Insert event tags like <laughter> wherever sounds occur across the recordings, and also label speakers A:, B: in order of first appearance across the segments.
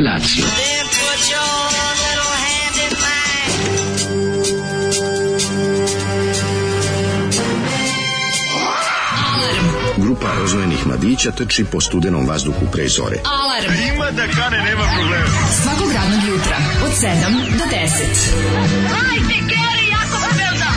A: Lazio.
B: Then put your little hand in mine.
C: Grupa rozvojenih mladića trči po studenom vazduhu pre zore.
D: Alarm. Ima da kane, nema problema. Svakog radnog jutra, od 7 do 10. Hajde, Geri, jako se velda!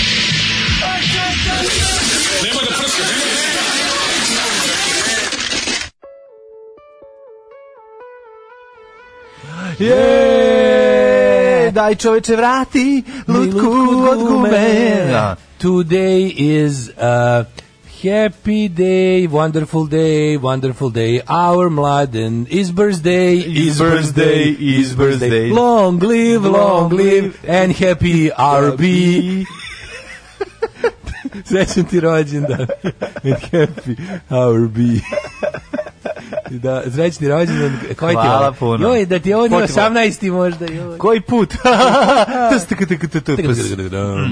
E: Je, E, daj čoveče vrati lutku od gumena.
F: Today is a happy day, wonderful day, wonderful day. Our mladen is birthday,
E: His birthday, his birthday.
F: Long live, long
E: Long
F: live
E: live
F: and happy RB.
E: <laughs>
F: Srećan ti rođendan. And happy hour B.
E: <laughs>
F: da, srećni rođendan. Koji ti je
E: Hvala
F: ovo?
E: puno.
F: Joj, da ti je on
E: Koji ti je ovo?
F: 18. možda. Joj.
E: Koji
F: <laughs>
E: put?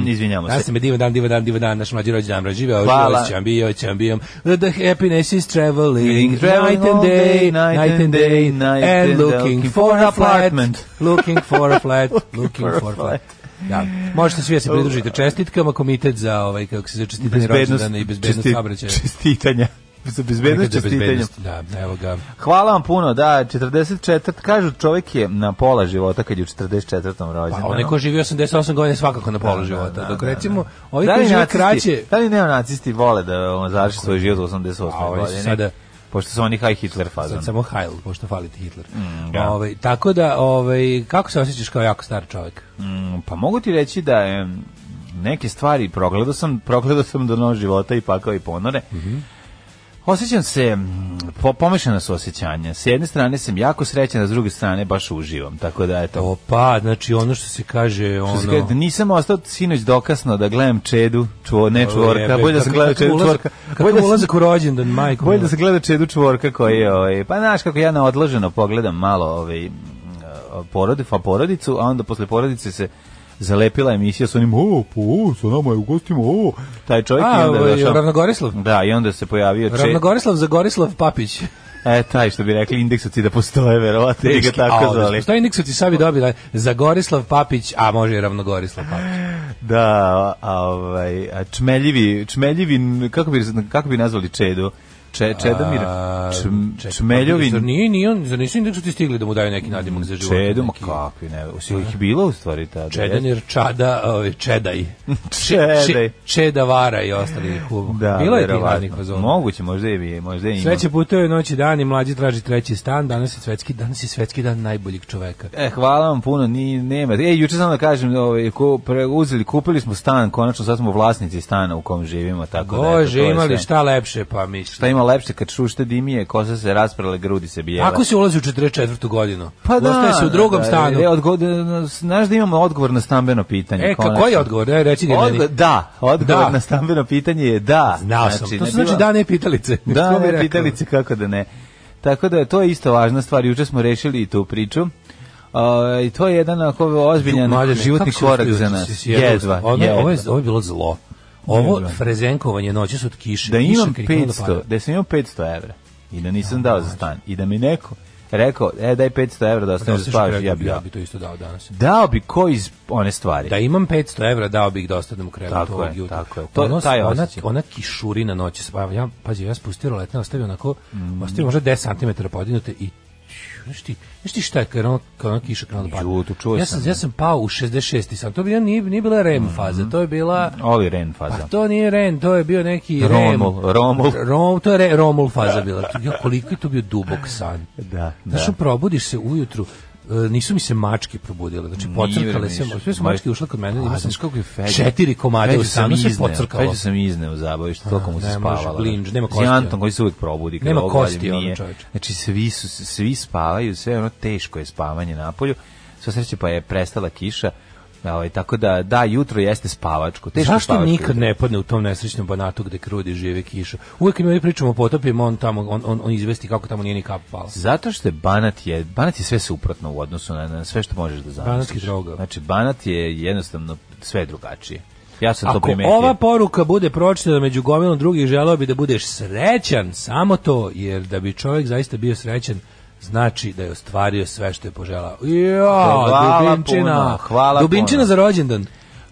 E: Mm, Izvinjamo
F: Ja
E: se.
F: sam je divan dan, divan dan, divan dan, naš mlađi rođendan dan živeo,
E: Hvala.
F: živeo, čambio, čambio. The happiness is traveling,
E: Traveling
F: night and
E: all
F: day,
E: day,
F: night and day,
E: night
F: and
E: and uh,
F: looking for a flat,
E: apartment.
F: <laughs> looking for a
E: <laughs>
F: flat, looking
E: for a
F: for a flat.
E: flat.
F: Da. Možete svi da se pridružite čestitkama, komitet za ovaj, kako se zove, čestitanje rođendana i bezbednost
E: česti-
F: saobraćaja.
E: Čestitanja. Za bezbednost
F: Komitet za
E: čestitanja.
F: bezbednost, Da, evo ga.
E: Hvala vam puno, da, 44, kažu čovjek je na pola života kad je u 44.
F: Pa
E: rođendanu.
F: onaj ko živi 88 godina je svakako na polu života. Dok recimo, ovi koji
E: li
F: žive
E: nacisti-
F: kraće,
E: Da li neonacisti vole da on završi svoj život u 88.
F: A ovi su
E: godine?
F: sada-
E: Pošto su oni high Hitler fazon.
F: sad samo Heil, pošto fali ti Hitler.
E: Mm, da.
F: Ovaj, tako da, ovaj, kako se osjećaš kao jako star čovjek?
E: Mm, Pa mogu ti reći da em, neke stvari progledao sam, <laughs> progledao sam do nož života i pakao i ponore.
F: Mhm.
E: Osjećam se, mm, po, pomešana su osjećanja. S jedne strane sam jako srećan, a s druge strane baš uživam. Tako da, eto,
F: Opa, znači ono što se kaže, ono...
E: Što se kaže, nisam ostao sinoć dokasno da gledam Čedu, čuo, ne čvorka,
F: Jebe,
E: bolje da sam
F: kakav-
E: gledao
F: kakav
E: Čedu
F: ulazak-
E: čvorka.
F: Kakav
E: Bolje da sam-
F: ulazak u rođendan, majko.
E: Bolje
F: moja.
E: da se gleda Čedu čvorka koji je, ovaj, pa znaš kako ja na odloženo pogledam malo ovaj, porodi, pa porodicu, a onda posle porodice se zalepila emisija s onim, o, po, o, sa nama je u gostima, o, taj čovjek i
F: A,
E: onda je
F: ovaj,
E: došao.
F: Ravnogorislav.
E: Da, i onda se pojavio Čed,
F: Ravnogorislav Zagorislav
E: <laughs>
F: Papić.
E: e, taj što bi rekli indeksovci da postoje, verovatno, bi ga
F: Teški, Znači, a,
E: tako
F: odlično.
E: zvali.
F: Šta indeksu ti savi dobila? Zagorislav Papić, a može i Ravnogorislav Papić.
E: Da, a, ovaj, a čmeljivi, čmeljivi, n- kako bi, kako bi nazvali Čedu? Če, Čedomir?
F: A,
E: Čm-
F: Pa, čekaj, Zar
E: čmeljovin?
F: nije, nije on, zar nisu indeksu ti stigli da mu daju neki nadimak za život?
E: Čedom,
F: Neki-
E: kakvi ne, si ih bilo u stvari tada.
F: Čedanir, Čada, ovaj, Čedaj.
E: Čedaj.
F: Če- Čedavara i ostali. Da,
E: Da,
F: Bilo je tih
E: verovatno.
F: radnih fazona.
E: Moguće, možda je bio, možda je imao.
F: Sveće putuje noć i dan i mlađi traži treći stan, danas je svetski, danas je svetski dan najboljeg čoveka.
E: E, hvala vam puno, ni nema. E, juče sam da kažem, ovaj, ko, pre, uzeli, kupili smo stan, konačno sad smo vlasnici stana u kom živimo, tako da... eto,
F: Bože,
E: to je
F: imali
E: sve.
F: šta lepše, pa mislim.
E: Šta ima lepše kad šušte dimije, kosa se rasprale, grudi se bijele.
F: Ako se ulazi u 44. godinu?
E: Pa da,
F: Ostaje se u drugom
E: da, da,
F: stanu.
E: E, odgo, da, znaš da imamo odgovor na stambeno pitanje.
F: E, ka,
E: konačno.
F: koji je odgovor? Daj, reći ga meni.
E: Odgo- da, odgovor
F: Da.
E: na stambeno pitanje je da.
F: Znao sam.
E: Znači,
F: to
E: ne
F: su znači
E: bilo-
F: dane pitalice. <laughs>
E: Da,
F: Ko bi
E: ne,
F: rekao?
E: pitalice kako da ne. Tako da to je isto važna stvar. Juče smo rešili i tu priču. Uh, I to je jedan ako ozbiljan
F: Mladene,
E: životni
F: kako si
E: korak
F: uspio
E: za
F: da si
E: nas.
F: se jedva
E: Jedva,
F: Ono, Ovo, je,
E: jedva.
F: ovo je bilo zlo. Ovo frezenkovanje noćas od kiše.
E: Da
F: kiša
E: imam
F: kad je krenula
E: 500,
F: pada.
E: da sam imao 500 evra i da nisam dao za stan i da mi neko rekao, e daj 500 evra da
F: znači. Pa Da
E: ostaneš da
F: ostaneš
E: spavaš,
F: krevet,
E: ja bi
F: ja
E: dao.
F: bi to isto dao danas.
E: Dao bi ko iz one stvari.
F: Da imam 500 evra, dao bih da ostanem u krevetu
E: Tako
F: ovog
E: je,
F: jutra. ono-
E: tako je. To- taj
F: ona,
E: osjećaj.
F: ona kišurina noći se pojavlja. Ja, pazi, ja spustio roletne, ostavio onako,
E: Mm.
F: ostavio možda 10 cm podignute i Znaš ti, znaš ti šta je kad ono, kad ono kiša krenula da
E: Ju, to čuo
F: pada? Ja sam,
E: sam, Mm.
F: ja sam pao u 66. sam. To bi, nije, nije bila REM faza, to je bila...
E: Ovi Ren faza.
F: Pa to nije REM, to je bio neki REM.
E: Romul, Romul.
F: Rom, to je re, Romul faza bila. Ja, koliko je to bio dubok san.
E: Da,
F: Znaš,
E: da.
F: probudiš se ujutru, e, nisu mi se mačke probudile, znači pocrkale
E: bre,
F: se,
E: ništa.
F: sve su mačke ušle kod mene, imao sam
E: znaš kako je Feđa?
F: četiri komade
E: Feđu
F: u sanu, se ono
E: izneo,
F: pocrkalo.
E: Feđu sam izneo u zabavištu, toliko mu se
F: ne može,
E: spavala.
F: blinđ, nema
E: S
F: kosti, ono.
E: Jantom koji se uvijek probudi. kada
F: Nema
E: ovo
F: kosti,
E: gledam,
F: ono,
E: nije.
F: čoveče.
E: Znači, svi, su, svi spavaju, sve ono teško je spavanje na polju. Sva sreće pa je prestala kiša. Ovaj, tako da, da, jutro jeste spavačko. Teško
F: Zašto
E: spavačko
F: nikad
E: jutro.
F: ne padne u tom nesrećnom banatu gde krudi žive kiša? Uvek mi ovdje pričamo o potopima, on tamo on, on, on izvesti kako tamo nije ni kap pala.
E: Zato što je Banat je Banat je sve suprotno u odnosu na, na sve što možeš da zamisliš.
F: Banatski drogao.
E: Znači Banat je jednostavno sve drugačije. Ja sam to
F: Ako
E: primetio.
F: ova poruka bude pročitana među gomilom drugih, želeo bi da budeš srećan, samo to, jer da bi čovjek zaista bio srećan, znači da je ostvario sve što je poželao.
E: Hvala
F: Ja, Dubinčina.
E: puno, hvala
F: Dubinčina
E: puno.
F: za rođendan.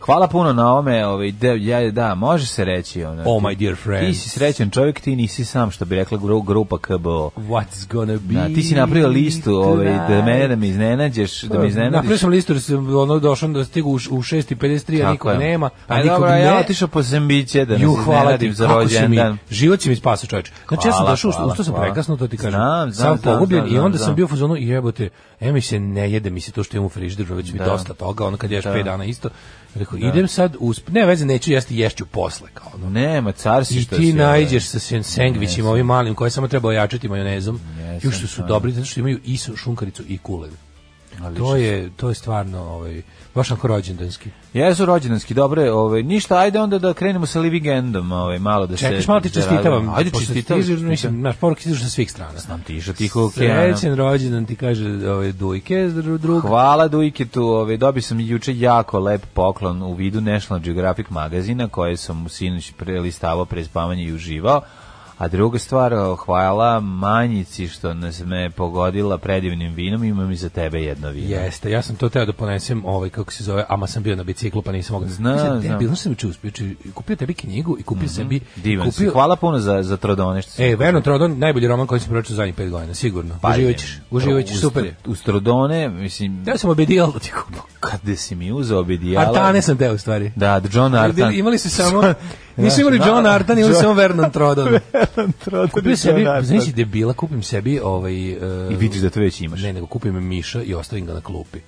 E: Hvala puno na ome, ovaj, de, ja, da, može se reći. Ono,
F: Oh, my dear friend.
E: Ti si srećan čovjek, ti nisi sam, što bi rekla gru, grupa KBO.
F: What's gonna be?
E: Da, ti si napravio listu ovaj, da mene da me iznenađeš, da me
F: Napravio
E: iznenadiš.
F: sam listu, jer sam ono došao da stigu u, š- u 6.53, a
E: Tako
F: nikog
E: je.
F: nema, a
E: Aj,
F: nikog
E: dobro, a
F: ne.
E: ja otišao po zembiće da me
F: Ju, hvala
E: iznenadim
F: ti,
E: za
F: kako si mi,
E: rođendan.
F: život si mi spasao čovječe. Znači ja sam
E: Hvala,
F: došao,
E: hvala,
F: ustao sam
E: hvala.
F: prekasno, to ti kažem.
E: Znam, znam,
F: sam
E: znam,
F: pogubljen
E: znam,
F: i onda
E: znam.
F: sam bio u fazonu i jebote, e mi se ne jede mi se to što imam u frižideru, već mi
E: Da.
F: dosta toga, ono kad ješ 5 dana isto. Rekao, idem sad, usp... ne veze, neću jesti, ješću posle, kao ono.
E: Nema, car si
F: I
E: što
F: ti
E: si, ovaj.
F: najđeš sa sen- sendvičima ovim malim koje samo treba ojačati majonezom.
E: Jesam,
F: Ju što su
E: da.
F: dobri, zato što imaju i su- šunkaricu i kulen. To je to je stvarno ovaj baš onako rođendanski.
E: Jesu rođendanski, dobro je, ovaj, ništa, ajde onda da krenemo sa Living Endom, ovaj, malo da se...
F: Čekaš malo ti
E: da
F: čestitavam.
E: radimo. Ajde
F: pošto
E: čestitavam.
F: stižeš, Mislim, naš poruk stižu sa svih strana.
E: Znam ti išao tiho okeana.
F: Srećen rođendan ti kaže ovaj, Dujke, dru- drug.
E: Hvala Dujketu, ovaj, dobio sam juče jako lep poklon u vidu National Geographic magazina koje sam u sinoć prelistavao pre spavanja i uživao. A druga stvar, o, hvala Manjici što nas me pogodila predivnim vinom, imam i za tebe jedno vino.
F: Jeste, ja sam to teo da ponesem, ovaj, kako se zove, ama sam bio na biciklu pa nisam mogao.
E: Znam,
F: Mislim,
E: znam. Mhm.
F: debilno sam juče uspio, znači, kupio tebi knjigu i kupio sebi...
E: Divan si.
F: kupio,
E: Hvala puno za, za trodone što si
F: E, Verno Trodon, najbolji roman koji sam pročitao zadnjih pet godina, sigurno.
E: Pa,
F: uživat ćeš,
E: idem.
F: uživat ćeš,
E: Uz-
F: super je.
E: Uz trodone, mislim,
F: Ja sam obedijal da ti kupio.
E: kada si mi uzeo obidijala...
F: Artane sam teo u stvari.
E: Da, John Artan.
F: Bili- Imali su samo... Nisu imali John Artan, imali su samo
E: <laughs>
F: Vernon Trodon. Kupio sebi, znači debila, kupim sebi ovaj... e,
E: I vidiš da to već imaš.
F: Ne, nego kupim Miša i ostavim ga na klupi.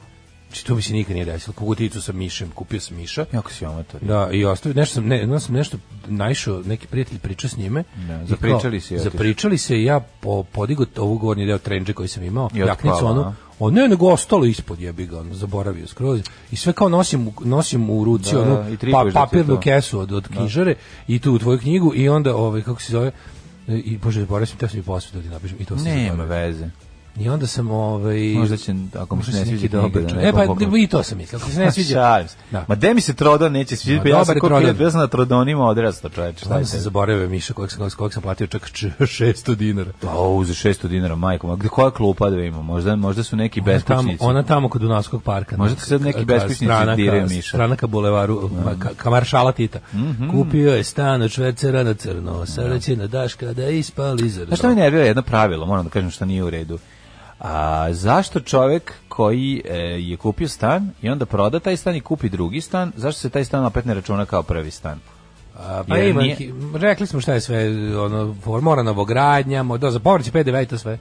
F: Znači, to mi se nikad nije desilo. Kuguticu sa Mišem, kupio sam Miša.
E: Jako si omator.
F: Da, i ostavio, nešto sam, ne, onda sam nešto naišao, neki prijatelj pričao s njime.
E: Ne,
F: i kao,
E: zapričali se i otišli.
F: Zapričali se i ja po, podigo ovu gornji deo trenđe koji sam imao,
E: I
F: jaknicu
E: otpala,
F: onu,
E: a?
F: o ne, nego ostalo ispod jebi ga, ono, zaboravio skroz. I sve kao nosim, u- nosim u ruci
E: Da,
F: onu
E: i tripuješ
F: pa,
E: da ti je
F: papirnu
E: to.
F: kesu od, od knjižare i tu u tvoju knjigu i onda, ovaj, kako se zove, e, i bože, zaboravio sam, teo sam i posvetu da ti napišem i to sam
E: Nema
F: zaboravio.
E: veze.
F: I onda sam ovaj
E: Možda će, ako mu se
F: možda
E: ne
F: se
E: sviđa
F: neki
E: dobro,
F: knjiga
E: da
F: čuje. E
E: nekom
F: pa
E: pokloni.
F: i to sam mislio, ako se
E: <laughs>
F: ne sviđa.
E: Šalim Pa se.
F: Da.
E: Ma de mi se Trodon neće sviđa,
F: Ma
E: pa ja sam
F: dobar je
E: kod
F: Trodon.
E: pijet, ja sam na Trodonima odrastao čoveč. Šta je
F: Onda sam
E: tebi?
F: zaboravio Miša kojeg sam, kojeg sam platio čak č- <laughs> 600 dinara.
E: Au, za 600 dinara, majko, ma gde koja klupa da ima? Možda, možda su neki
F: Ona tamo,
E: beskućnici.
F: ona tamo kod Dunavskog parka.
E: Možda ti sad neki
F: Ka-
E: beskućnici
F: strana ka-
E: diraju Miša. Mhm.
F: Strana ka bulevaru, ka, ka maršala Tita. Kupio je stan od švercera na crno, sada će na Daška da ispali zrno.
E: Znaš što mi nervira jedno pravilo, moram da kažem što nije u redu. A zašto čovek koji e, je kupio stan i onda proda taj stan i kupi drugi stan, zašto se taj stan opet ne računa kao prvi stan?
F: A, pa
E: Jer
F: ima,
E: nije-
F: neki- rekli smo šta je sve, ono, for- mora novogradnja, mo- da, za povrće PDV i Pa to sve.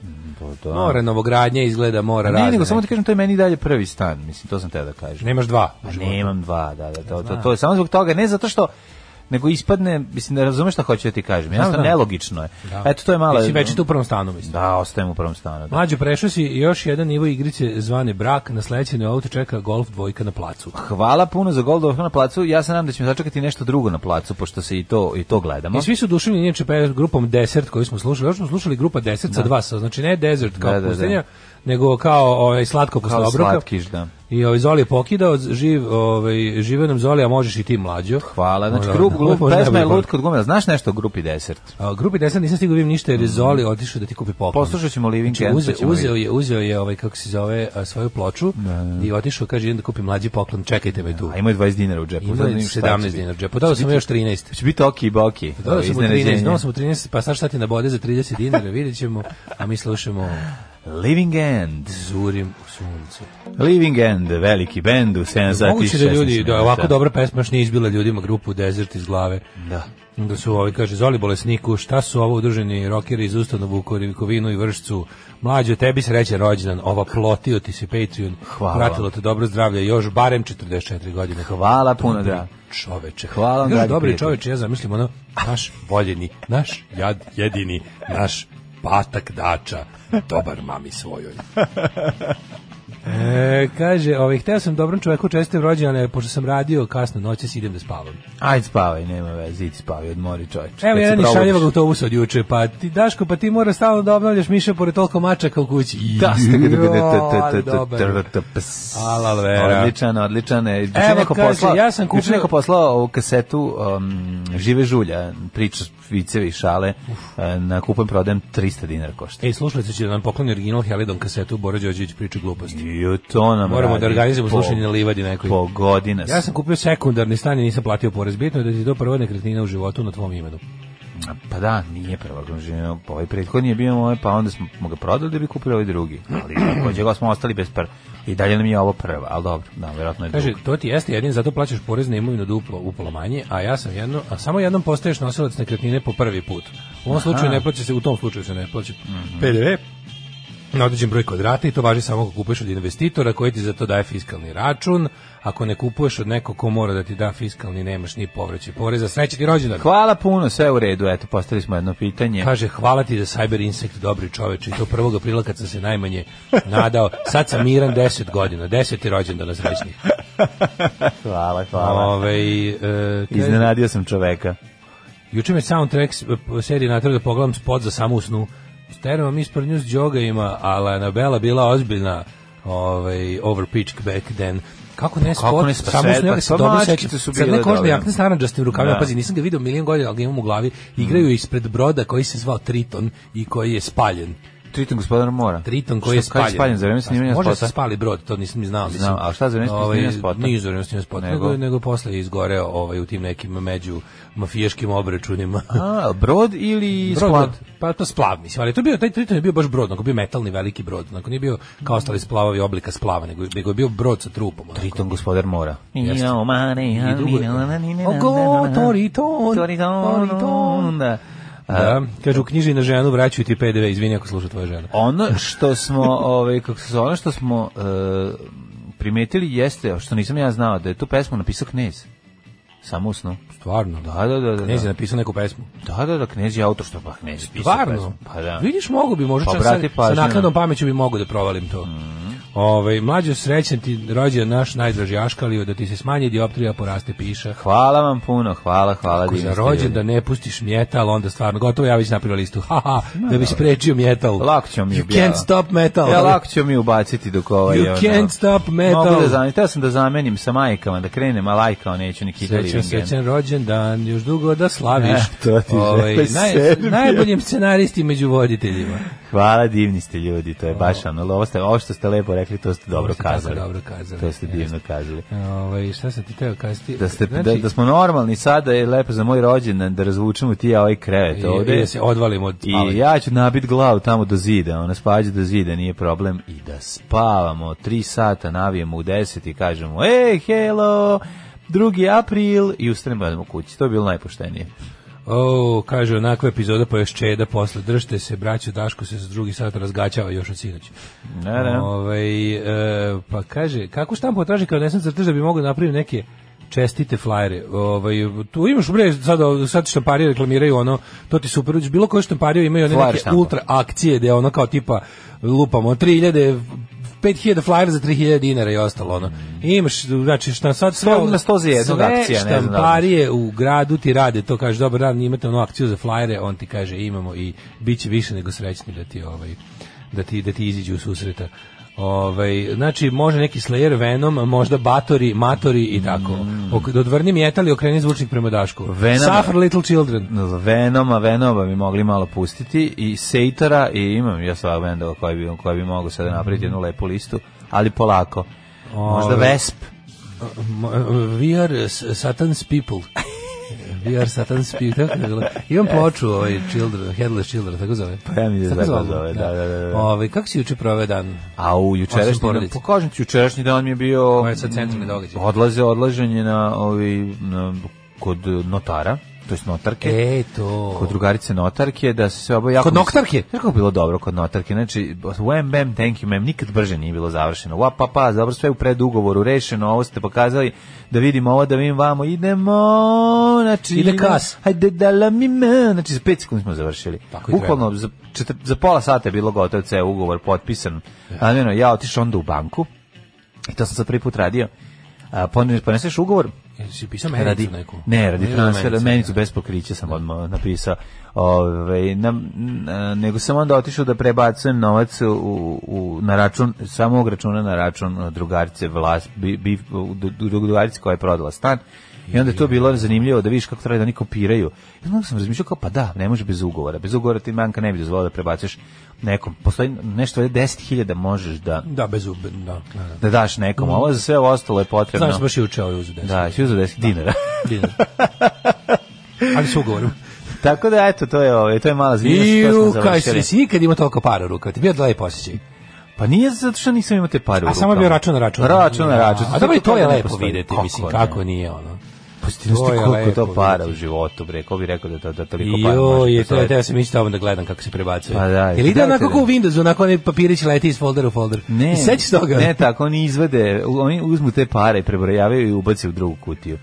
E: to da.
F: Mora novogradnja, izgleda, mora
E: Ne,
F: razne
E: nego samo
F: neke-
E: ti kažem, to je meni dalje prvi stan, mislim, to sam te da kažem.
F: Nemaš dva. u
E: Pa
F: životu.
E: nemam dva, da, da, to, to, to je samo zbog toga, ne zato što nego ispadne, mislim, ne razumeš šta hoću da ti kažem, jednostavno
F: znam.
E: nelogično je.
F: Da.
E: Eto, to je malo...
F: Ti si već tu u prvom stanu, mislim.
E: Da, ostajem u prvom stanu. Da.
F: Mlađo, prešao si još jedan nivo igrice zvane brak, na sledećem auto čeka golf dvojka na placu.
E: Hvala puno za Goldorf na placu, ja se nadam da ćemo začekati nešto drugo na placu, pošto se i to, i to gledamo.
F: I svi su duševni inače pe- grupom Desert koju smo slušali. Još smo slušali grupa Desert sa dva sa, znači ne Desert kao
E: Da, da,
F: pustinja, nego kao ovaj slatko posle
E: Kao
F: obroka.
E: slatkiš, da.
F: I ovaj Zoli je pokidao, živ, ovaj žive nam Zoli, a možeš i ti mlađo.
E: Hvala, znači,
F: Možda-
E: grup, grup,
F: možda
E: pesma je
F: najbolji
E: lud kod gumena. Znaš nešto o grupi Desert?
F: A, grupi Desert nisam stigao vidim ništa jer je Zoli otišao da ti kupi poklon.
E: Mhm. Poslušat ćemo Living End,
F: Znači, uze-
E: pa ćemo
F: uzeo
E: vidjeti.
F: je, uzeo je ovaj kako se zove a, svoju ploču i otišao kaže idem da kupim mlađi poklon, čekajte me tu.
E: A imaju 20 dinara u džepu.
F: Ima
E: sad da vidim šta će
F: 17
E: biti.
F: dinara u džepu. Dao sam još
E: <laughs>
F: 13.
E: Će biti oki i boki.
F: Dodao sam mu 13,
E: Iznenađenje.
F: dodao sam mu 13, pa sad šta ti nabode za 30 dinara, vidjet ćemo, a mi slušamo
E: Living End.
F: Zurim u suncu.
E: Living End, veliki bend u 7 sati
F: Moguće da ljudi, da je ovako dobra pesma još nije izbila ljudima grupu Desert iz glave.
E: Da.
F: Da su ovi, kaže, Zoli bolesniku, šta su ovo udruženi rokeri iz Ustanovu, Korinkovinu i Vršcu? Mlađo, tebi sreće rođendan, ova plotio ti se Patreon,
E: Hvala.
F: pratilo te dobro zdravlje, još barem 44 godine.
E: Hvala puno,
F: Dobri
E: da.
F: Čoveče.
E: Hvala vam,
F: Kaže,
E: dragi
F: dobri
E: prijatelji.
F: čoveče, ja zamislim ono, naš voljeni, naš jad, jedini,
E: <laughs>
F: naš patak dača, dobar mami svojoj. E, kaže, ovaj, hteo sam dobrom čoveku čestitam rođene, pošto sam radio kasno noćas, idem da spavam.
E: Ajde spavaj, nema veze, idi spavaj, odmori čovječe. Kad
F: Evo
E: se
F: jedan iz
E: probudiš.
F: šaljevog autobusa od juče, pa ti, Daško, pa ti mora stalno da obnavljaš miša pored toliko mačaka u kući.
E: <laughs> Da, ste ga-
F: Jo,
E: t-
F: ali
E: t-
F: dobar.
E: t- t- ps.
F: Ala vera.
E: Odličan, odličan. je. Juče
F: Evo,
E: neko
F: kaže,
E: poslao-
F: ja sam
E: juče
F: kupio-
E: neko poslao ovu kasetu um, Žive žulja, priča, vicevi, šale, e, na kupom prodajem 300 dinara košta.
F: Ej, slušalci će da nam pokloni original Helidon kasetu Bora Đorđević priča gluposti.
E: I to nam
F: Moramo da
E: radi
F: organizujemo
E: po-
F: slušanje na livadi nekoj.
E: Po godina.
F: Ja sam kupio sekundarni stan i nisam platio porez. Bitno je da ti je to prva nekretnina u životu na tvom imenu.
E: Pa da, nije prva komšina. Ovaj prethodni je bio moj, pa onda smo ga prodali da bi kupili ovaj drugi. Ali takođe ga smo ostali bez prva. I dalje nam je ovo prva, ali dobro, da, verovatno je druga.
F: Kaže, to ti jeste jedin, zato plaćaš porez na imovinu duplo, upola manje, a ja sam jedno, a samo jednom postaješ nosilac nekretnine po prvi put. U ovom slučaju ne plaća se, u tom slučaju se ne plaća PDV, na određen broj kvadrata i to važi samo ako kupuješ od investitora koji ti za to daje fiskalni račun. Ako ne kupuješ od nekog ko mora da ti da fiskalni, nemaš ni povraćaj poreza. Sreće ti rođendan.
E: Hvala puno, sve u redu, eto, postavili smo jedno pitanje.
F: Kaže, hvala ti da Cyber Insect dobri čoveč i to 1. aprila kad sam se najmanje nadao. Sad sam miran 10 godina, 10. rođendan srećnih.
E: Hvala, hvala.
F: Ove, e, kaže-
E: Iznenadio sam čoveka.
F: Juče me soundtrack s- p- serije natrao da pogledam spot za samu usnu. Stereo mi ispred nju s džogajima, ali Anabela bila ozbiljna ovaj, over pitch back then. Kako ne spot?
E: ne, pa sve-
F: usnu, ja ga
E: pa
F: se
E: sva
F: dobro
E: mačkice
F: sećam.
E: su
F: Crne
E: bile
F: kožne
E: dobre.
F: jakne s naranđastim rukavima,
E: Da. Mm.
F: pazi, nisam ga video milion godina, ali ga imam u glavi. Igraju ispred broda koji se zvao Triton i koji je spaljen.
E: Triton gospodar mora.
F: Triton koji je
E: Šta, kad
F: spaljen.
E: spaljen za vreme snimanja
F: Može
E: spota?
F: se spali brod, to nisam ni znao. Ovaj,
E: Znam, a šta za vreme snimanja spota?
F: Nije za vreme snimanja spota,
E: Nego?
F: nego, nego, posle je izgoreo ovaj, u tim nekim među mafijaškim obračunima.
E: <laughs> A, brod ili
F: Brod,
E: sklad?
F: brod, pa to splav mislim, ali to je bio taj Triton je bio baš brod, onako bio metalni veliki brod, onako nije bio kao ostali splavovi oblika splava, nego, nego je bio brod sa trupom. onako.
E: Triton gospodar mora.
F: Jeste.
E: Nino, mare,
F: I drugo je-
E: nino, nino,
F: Ogo,
E: nino,
F: Toriton,
E: Toriton,
F: Toriton.
E: da.
F: Da, kažu u knjiži na ženu vraćaju ti PDV, izvini ako sluša tvoja žena.
E: Ono što smo, <laughs> ovaj kako se zove, ono što smo e, primetili jeste, što nisam ja znao, da je tu pesmu napisao Knez. Samo u snu.
F: Stvarno, da.
E: Da, da, da, da.
F: Knez je
E: da.
F: napisao neku pesmu.
E: Da, da, da, Knez je autor što pa Knez je pisao
F: Stvarno?
E: pesmu. Pa da.
F: Vidiš, mogu bi, možda
E: Pa, Mhm.
F: čak
E: obrati
F: sa, sa
E: pažnju na-
F: naknadnom pameću bi mogu da provalim to. Ovaj mlađo srećan ti rođen naš najdraži aškalio da ti se smanji dioptrija poraste piša.
E: Hvala vam puno, hvala, hvala.
F: Ako
E: divni
F: za
E: ste
F: rođen
E: ljudi.
F: da ne pustiš metal, onda stvarno gotovo ja već napravio listu. Haha, da bi sprečio metal.
E: Lako ćemo mi
F: You
E: objaviti.
F: can't stop metal.
E: Ja lako ću mi ubaciti dok ovaj...
F: You
E: ono,
F: can't stop metal.
E: Mogu da zamenim, teo sam da zamenim sa majkama, da krenem, a lajkao neću ni Kita
F: Srećan,
E: Livingen.
F: srećan rođen dan, još dugo da slaviš.
E: E, to ti
F: Ovaj,
E: želim,
F: naj-
E: Serbija.
F: najboljim scenaristi među voditeljima.
E: Hvala, divni ste ljudi, to je baš ono, ali ovo, ste, ovo što ste lepo rekli, to ste dobro
F: ste tako
E: kazali.
F: dobro kazali,
E: To ste divno
F: jeste.
E: kazali.
F: Ovaj, šta sam ti teo kazati?
E: Da, ste,
F: Znači-
E: da, da smo normalni sada je lepo za moj rođendan da razvučemo ti ja ovaj krevet
F: i-
E: ovde.
F: i e, da se odvalimo od
E: I ja ću nabit glavu tamo do zida, ona spađa do zida, nije problem. I da spavamo, tri sata navijemo u deset i kažemo, ej, hello, 2. april i ustanem badamo kući. To je bilo najpoštenije.
F: O, kaže, onakva epizoda pa još čeda posle. Držite se, braćo, Daško se za drugi sat razgaćava još od sinoć.
E: Da, da.
F: Ovaj, e, pa kaže, kako štampu traži kao nesam crtež da bi mogu napraviti neke čestite flajere. Ovaj, tu imaš bre, sad, sad štamparije reklamiraju ono, to ti super uđeš. Bilo koje štamparije imaju one
E: Flyer
F: neke
E: štampa.
F: ultra akcije gde ono kao tipa lupamo 3000 5000 flajera za 3000 dinara i ostalo ono. Imaš, znači šta sad sve
E: Sto- na sto za jednog
F: sve
E: akcija, ne znam da li znaš.
F: štampari štamparije u gradu ti rade to, kaže dobar dan, imate onu akciju za flajere, on ti kaže imamo i bit će više nego srećni da ti ovaj da ti da ti iziđu u susreta. Ovaj znači može neki Slayer Venom, a možda Batori, Matori i tako. Ok, odvrni metal i okreni zvučnik prema Dašku.
E: Mm. Venom-
F: Suffer Little Children.
E: Venoma, Venoma bi mogli malo pustiti i Sejtara i imam ja sva bendova koja bi, koja bi mogu sada napraviti jednu lepu listu, ali polako. Možda
F: Ove.
E: Vesp.
F: M- We are s- Satan's people. <laughs> We are Satan's people. Tako je bilo.
E: <laughs>
F: Imam ploču ovaj Children, Headless Children, tako zove.
E: Pa ja mislim da
F: Tako
E: se tako
F: zove,
E: zove, da, da, da, da.
F: Ovaj, kako si juče proveo dan?
E: A u
F: Osim
E: jučerašnji dan,
F: porodice.
E: pokažem ti jučerašnji dan mi je bio
F: Ovo je sad centralni događaj.
E: Odlaze, odlaženje na ovi na, kod notara. to jest notarke.
F: E, to.
E: Kod drugarice notarke, da se sve oboje jako...
F: Kod noktarke?
E: Znaš kako je bilo dobro kod notarke? Znači, wham, bam, thank you, ma'am, nikad brže nije bilo završeno. Wa, pa, pa, dobro, sve u predugovoru, rešeno, ovo ste pokazali, da vidimo ovo, da vidim vamo, idemo, znači...
F: Ide kas.
E: Hajde da la mi me, znači za pet sekundi smo završili.
F: Tako i
E: Bukvalno za, četr, za pola sata je bilo gotov ceo ugovor potpisan. A ne, no, ja otišao onda u banku, i to sam sad prvi put radio, a, pone- poneseš ugovor,
F: Jesi pisao
E: radi
F: menicu neku?
E: ne radi
F: Nije
E: transfera
F: menica,
E: menicu
F: da.
E: bez pokrića sam odmah napisao ovaj na, na- nego sam onda otišao da prebacujem novac u, u na račun samog računa na račun uh, drugarice vlas bi, bi u- dru- drugarice koja je prodala stan I onda je to bilo zanimljivo da vidiš kako treba da oni kopiraju. I onda sam razmišljao kao, pa da, ne može bez ugovora. Bez ugovora ti banka ne bi dozvolila da prebaciš nekom. Postoji nešto, ovdje 10.000 možeš da,
F: Da, bez ube, da. da, da.
E: da daš nekom. Ovo za sve ovo ostalo je potrebno.
F: Znam se Mm. baš i učeo i uzu deset.
E: Da, si uzeo 10 dinara. <laughs>
F: Dinar. Ali su ugovorom.
E: Tako da, eto, to je, ovaj, to je mala zvijenost.
F: I
E: koju smo
F: rukaj
E: završili.
F: se, si nikad imao toliko para u rukama, ti bio da lep osjećaj.
E: Pa nije zato što nisam imao te pare u
F: A samo je
E: rukama.
F: bio račun na račun.
E: Račun na račun.
F: A dobro i to je
E: Kako ne
F: lepo
E: postoji?
F: videti, mislim,
E: ne?
F: kako nije ono.
E: Pa si ti znaš ti
F: To je
E: koliko je
F: lepo
E: to para u
F: videti.
E: životu, bre, ko bi rekao da, to, da toliko para
F: Jo,
E: može
F: je to,
E: postojati?
F: ja sam ići tamo da gledam kako se prebacuje.
E: Pa da,
F: Jel ide
E: da,
F: onako
E: da.
F: kao u Windowsu, onako onaj papirić leti iz foldera u folder. I
E: Ne,
F: sećaš toga?
E: ne tako, oni izvade, u- oni uzmu te pare, prebrojavaju i ubace u drugu kutiju.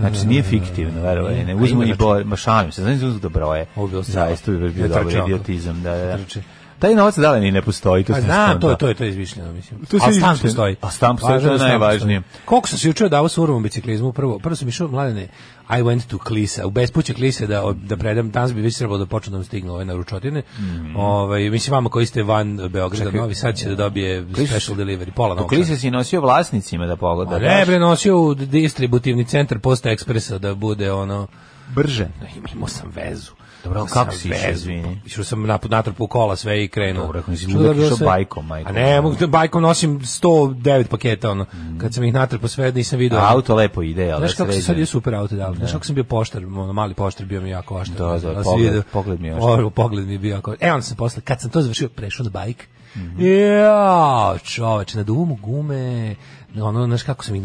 E: Znači, nije fiktivno, verovali, ne, uzmu
F: ima
E: i
F: račun.
E: boje, ma šalim se, znači uzmu da broje.
F: Ovo bi bilo strava.
E: Zaista bi bio
F: Ne
E: dobar
F: trče oko.
E: idiotizam, da, da, da.
F: Trče.
E: Taj novac dale ni ne postoji, to
F: Pa
E: sam
F: znam, to
E: skontao.
F: je, to je, to je izmišljeno, mislim.
E: To se
F: Ali stan
E: izmišljeno.
F: postoji.
E: A stan postoji,
F: Važno
E: to je
F: da stan
E: najvažnije.
F: postoji. Koliko sam se juče davao s urovom biciklizmu, prvo, prvo sam išao, mladene, I went to Klisa, u bespuće Klise da, da predam, danas bi već trebalo da počne da vam stignu ove naručotine.
E: Mhm.
F: Ovaj, mislim, vama koji ste van Beograda, Novi Sad će da dobije special delivery, pola novca.
E: Dokli se si nosio vlasnicima da pogleda.
F: A ne bre nosio u distributivni centar Posta Ekspresa da bude ono
E: brže.
F: imao sam vezu.
E: Dobro,
F: Imao
E: kako
F: sam
E: si išao,
F: vezu.
E: izvini?
F: Išao sam na natrpu kola sve i krenuo.
E: Dobro, ako nisi
F: Što
E: ludak,
F: da bi
E: išao
F: sve-
E: bajkom, majko.
F: A ne, mogu da bajkom nosim 109 paketa ono. Kad sam ih natrpao sve nisam video.
E: Auto lepo ide, ali
F: Znaš kako se
E: sređen.
F: sad je super auto da. Znaš kako sam bio poštar, ono, mali poštar bio mi jako oštar.
E: Da, da,
F: Ono, sam
E: pogled- pogled mi je oštar.
F: O, pogled mi je bio jako. E onda sam posle kad sam to završio prešao na bajk.
E: Mhm.
F: Ja, čoveče, na duvu gume. Ono, znaš kako sam ih,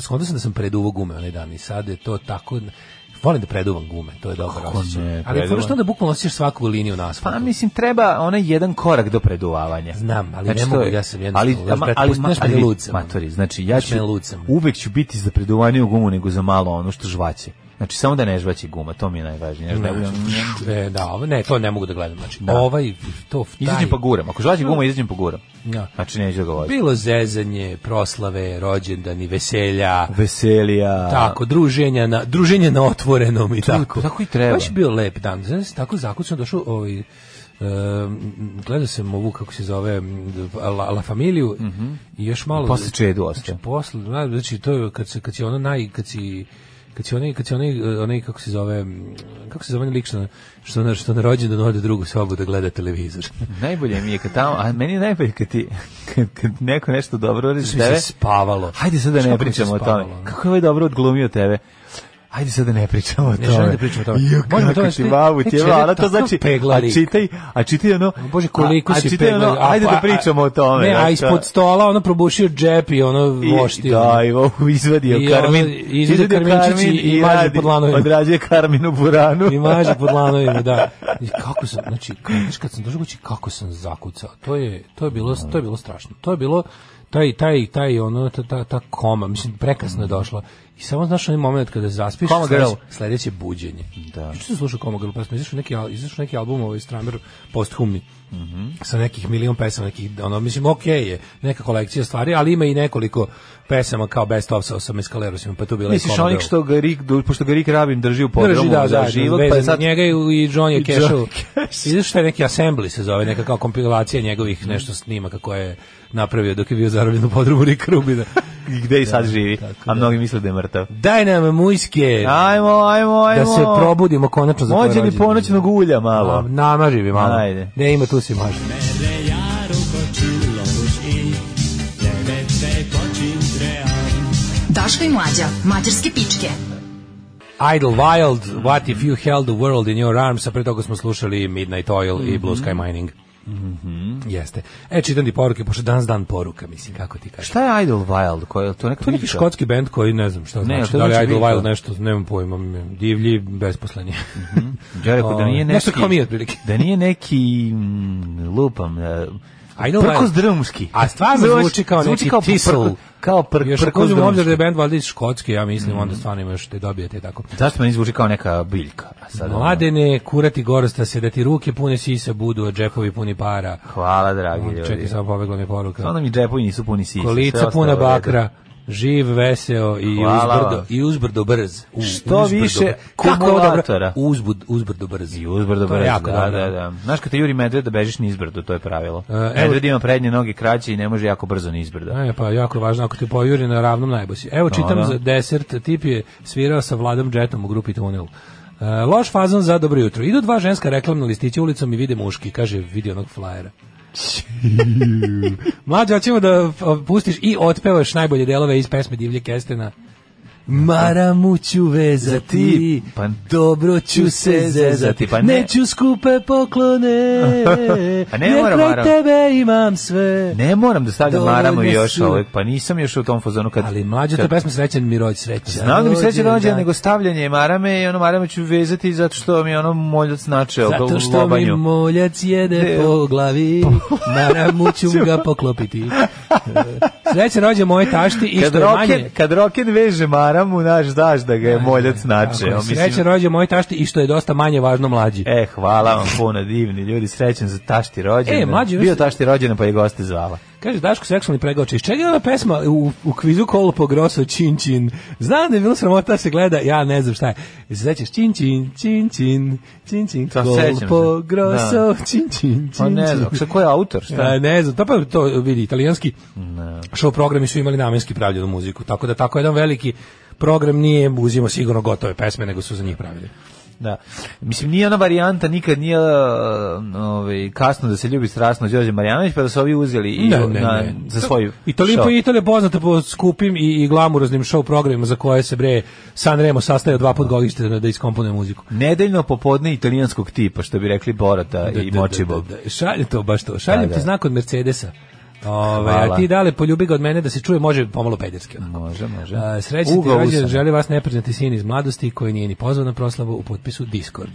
F: skontao sam da sam preduvo gume onaj dan i sad je to tako, volim da preduvam gume, to je dobar
E: Kako
F: osjećaj.
E: ne,
F: Ali je fora
E: preduvan.
F: što onda bukvalno osjećaš svaku liniju na asfaltu.
E: Pa mislim treba onaj jedan korak do preduvavanja.
F: Znam, ali
E: Znači,
F: ne
E: to
F: mogu,
E: je-
F: ja sam jednostavno, znaš,
E: ama-
F: brate, pusti- znaš me
E: ali,
F: da lud sam. ono.
E: Matori, znači ja
F: Znaš
E: ću
F: me da lud sam.
E: uvek ću biti za preduvanje u gumu nego za malo ono što žvaće. Znači samo da ne žvaće guma, to mi je najvažnije. Znači,
F: Ne, e, da, ovo- ne, to ne mogu da gledam. Znači,
E: Da.
F: ovaj, to, taj,
E: Izađem pa guram. Ako žvaće guma, izađem pa guram.
F: Da.
E: Znači neću da ga vozim.
F: bilo zezanje, proslave, rođendani, veselja,
E: Veselija.
F: tako, druženja na, druženje na otvorenom i tako.
E: tako i treba.
F: Baš je bio lep dan. Znaš, tako zakucno došao ovaj, em, gledao sam ovu, kako se zove, m, La, La Familiju i još malo...
E: Mhm. Posle čedu
F: Znači,
E: ostaje.
F: posle, zna- znači, to je kad, se, kad si ono naj, kad si, kad si onaj, kad si onaj, eh, onaj, kako se zove, m, kako se zove onaj lik što, na- što, na, što na rođendan ode u drugu sobu da gleda televizor.
E: Najbolje mi je kad tamo, a meni je najbolje kad ti <laughs> kad, kad neko nešto dobro reče
F: Sve
E: tebe.
F: Znači, se spavalo.
E: Hajde sad da
F: Znaš
E: ne
F: kako mi se
E: pričamo o tome.
F: spavalo, ono?
E: Kako je ovaj dobro odglumio tebe? Hajde sad da ne pričamo o tome.
F: želim da pričamo o tome.
E: Jo,
F: Možemo
E: kako
F: to e,
E: ti
F: nešto-
E: bavu,
F: Neće,
E: ti je
F: jedan
E: ona to
F: takav
E: znači, a
F: peglarik.
E: čitaj, a čitaj ono,
F: Bože, koliko
E: a, a
F: si
E: čitaj ono,
F: pegla. A,
E: hajde
F: pa,
E: da
F: a,
E: pričamo o tome.
F: Ne, a
E: znaš,
F: ispod stola ono probušio džep i ono
E: I,
F: voštio.
E: da, i ovo izvadio
F: I ono,
E: Karmin.
F: izvadio Karminčić i maže
E: radi-
F: pod lanovima.
E: Odrađuje Karmin u buranu.
F: I maže pod lanovima, da. I kako sam, znači, kad, znaš, kad sam došao kući, kako sam zakucao. To je, to je bilo, to je bilo strašno. To je bilo taj taj taj ono ta ta, ta koma, mislim prekasno je došla. I samo znaš onaj moment kada zaspiš,
E: Mhm. Koma
F: sledeće-
E: Girl.
F: sledeće buđenje.
E: Da.
F: Juče sam slušao Koma Girl pesmu, izašao neki, al- izašao neki album ovaj Stramer posthumni.
E: Mhm.
F: Sa nekih milion pesama, nekih, ono, mislim, okej je, neka kolekcija stvari, ali ima i nekoliko pesama kao best of sa, sa Mescalerosima, pa tu bila i
E: <laughs> Misliš
F: Koma
E: onih
F: Girl.
E: što ga Rick, pošto ga Rick Rabin drži u podromu
F: Drži, da,
E: za
F: da,
E: život, pa je sad
F: njega i, i John je
E: i John
F: kešao.
E: Cash.
F: <laughs> Vidiš šta je neki assembly se zove, neka kao kompilacija njegovih
E: Mm.
F: nešto snimaka koje je napravio dok je bio zarobljen u podrumu Rika
E: <laughs>
F: Rubina.
E: gde i sad živi, a mnogi misle da je mrtav.
F: Daj nam mujske,
E: Ajmo, ajmo, ajmo.
F: da se probudimo konačno za
E: Mođe mi
F: rođendan.
E: ponoćnog ulja malo.
F: A, Namaži mi malo.
E: Ajde.
F: Ne ima tu si maži.
D: Daško i mlađa, mađarske pičke.
F: Idle
E: Mhm.
F: Wild, What if you held the world in your arms, a pre toga smo slušali Midnight Oil i Blue Sky Mining. Jeste. E, čitam ti poruke, pošto danas dan poruka, mislim, kako ti kažeš.
E: Šta je Idle Wild? Ko je to neka
F: To je neki
E: biljka?
F: škotski bend koji ne znam šta
E: Ne,
F: znači,
E: to
F: da li
E: znači
F: Idle
E: biljka.
F: Wild nešto, nemam pojma, divlji, besposleni.
E: Ja Mhm.
F: <laughs>
E: rekao da nije
F: O,
E: neki...
F: um, nešto kao mi otprilike.
E: Da nije neki... Mm, lupam... e,
F: Idle
E: prkos
F: Wild.
E: drumski.
F: A stvarno
E: Znaš,
F: zvuči kao neki
E: kao
F: Thistle.
E: prko- Kao pr,
F: Još ako
E: prkos
F: uzmemo u obzir da
E: drumski. Mhm.
F: je band valjda iz Škotske, ja mislim, onda stvarno imaš te dobijete i tako.
E: Zašto meni zvuči kao neka biljka? A sad, ono,
F: Mladene, kurati gorosta se, da ti ruke pune sisa budu, a džepovi puni para.
E: Hvala, dragi ljudi.
F: Čekaj, samo pobegla mi poruka.
E: Onda mi džepovi nisu puni sisa. sve
F: Kolica
E: ostalo
F: puna
E: je u redu.
F: bakra, živ, veseo i
E: Hvala vam.
F: uzbrdo, i uzbrdo brz. U,
E: Što
F: uzbrdo
E: više
F: brz. Kako je ovo dobro?
E: kumulatora.
F: Uzbud, uzbrdo brz.
E: I uzbrdo
F: To je
E: brzo,
F: jako
E: da,
F: dobro.
E: da, da. Znaš kad te juri medved da bežiš nizbrdo, to je pravilo.
F: E, evo-
E: medved ima prednje noge kraće i ne može jako brzo nizbrdo.
F: E, pa jako je važno, ako te pojuri na ravnom najbosi. Evo, čitam
E: da.
F: za desert, tip je svirao sa Vladom Jetom u grupi Tunel. E, loš fazon za dobro jutro. Idu dva ženska reklamna listića ulicom i vide muški, kaže, vidi onog
E: <laughs>
F: flajera. Mlađe, hoćemo da pustiš i otpevaš najbolje delove iz pesme Divlje Kestena. Maramu ću vezati,
E: Pa-
F: dobro ću se zezati,
E: Pa ne.
F: neću skupe poklone,
E: <laughs> Pa ne
F: jer
E: mora,
F: kraj
E: mora.
F: tebe imam sve.
E: Ne moram da stavljam
F: Dovoljno
E: maramu još
F: su.
E: ovaj, pa nisam još u tom fazonu kad...
F: Ali mlađa to
E: kad-
F: pesma srećan mi rođ sreća.
E: Znam da mi sreće
F: Rođendan.
E: dođe, nego stavljanje marame i ono marame ću vezati zato što mi je ono moljac načeo
F: Zato
E: u
F: što mi
E: lobanju.
F: moljac jede
E: Ne.
F: po glavi, maramu ću ga
E: <laughs>
F: poklopiti. E, Srećan rođe moje tašti i
E: Kad
F: što je manje...
E: roken, kad roken veže maramu, naš, znaš da ga je moljac načeo.
F: Tako je,
E: mislim.
F: Srećan rođe moje tašti i što je dosta manje važno mlađi.
E: E, hvala vam puno, divni ljudi, srećen za tašti rođendan.
F: E, mlađi, vi
E: Bio
F: ste-
E: tašti rođendan, pa je goste zvala.
F: Kaže Daško seksualni pregaoče. Iz čega je ova pesma u, u kvizu kolo po grosso čin čin? Znam da je bilo sramota da se gleda, ja ne znam šta je. Jel Se sećaš čin čin, čin čin, čin čin,
E: Pa,
F: kolo
E: sećam se.
F: po grosso, čin čin,
E: Pa
F: čin
E: ne
F: čin.
E: znam, šta, ko je autor, šta?
F: A, ne znam, to pa to vidi, italijanski show programi su imali namenski pravljenu muziku, tako da tako jedan veliki program nije uzimo sigurno gotove pesme, nego su za njih pravili.
E: Da. Mislim, nije ona varijanta, nikad nije uh, ovaj, kasno da se ljubi strasno Đorđe Marjanović, pa da su ovi uzeli i, na, za svoju
F: Italija
E: show.
F: pa Italija je poznata po skupim i, i glamuroznim show programima za koje se bre San Remo sastaje dva put godište da, da iskomponuje muziku.
E: Nedeljno popodne italijanskog tipa, što bi rekli Borata i Močibog.
F: Da, da, da. Šalje to baš to. Šaljem
E: Da, da.
F: ti znak od Mercedesa. Ove, a
E: Hvala.
F: ti dale poljubi ga od mene da se čuje može pomalo pederski. onako.
E: Može, može.
F: A, Srećni ti
E: Ugo
F: rođen,
E: usana.
F: želi vas nepriznati sin iz mladosti koji nije ni pozvao na proslavu u potpisu Discord.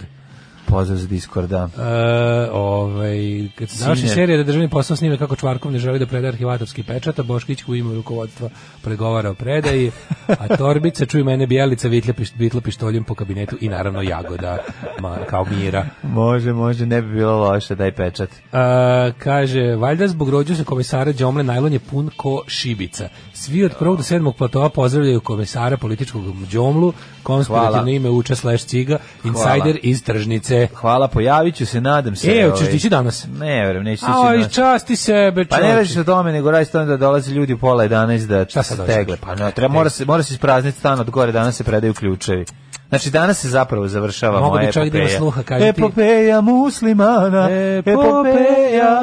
E: Pozdrav za Discord, da.
F: E, ovaj, kad se završi
E: Sine.
F: serija da državni posao snime kako Čvarkov ne želi da preda arhivatorski pečat, a Boškić u ime rukovodstva pregovara o predaji, a Torbica, čuj mene, Bijelica vitla, piš, vitla pištoljem po kabinetu i naravno Jagoda, ma, kao mira.
E: Može, može, ne bi bilo loše, daj pečat.
F: A, kaže, valjda zbog rođusa komesara Đomle najlon je pun ko šibica. Svi od prvog do sedmog platoa pozdravljaju komesara političkog Đomlu, konspirativno
E: Hvala.
F: ime Uča slash Ciga, insider
E: Hvala.
F: iz tržnice.
E: Hvala, pojavit ću se, nadam se.
F: E, hoćeš
E: ovaj.
F: ti ići danas?
E: Ne, verujem, neću
F: A,
E: ti
F: i
E: ići.
F: časti sebe,
E: Pa ne
F: čoveče.
E: radiš o tome, nego radiš o tome da dolaze ljudi u pola 11 da
F: Šta sad
E: tegle.
F: hoćeš?
E: Pa ne, treba, mora, se, mora se isprazniti stan od gore, danas se predaju ključevi. Znači, danas se zapravo završava
F: Mogu bi
E: moja
F: čovjek da ima
E: epopeja.
F: sluha, kažem ti.
E: epopeja muslimana,
F: E,
E: epopeja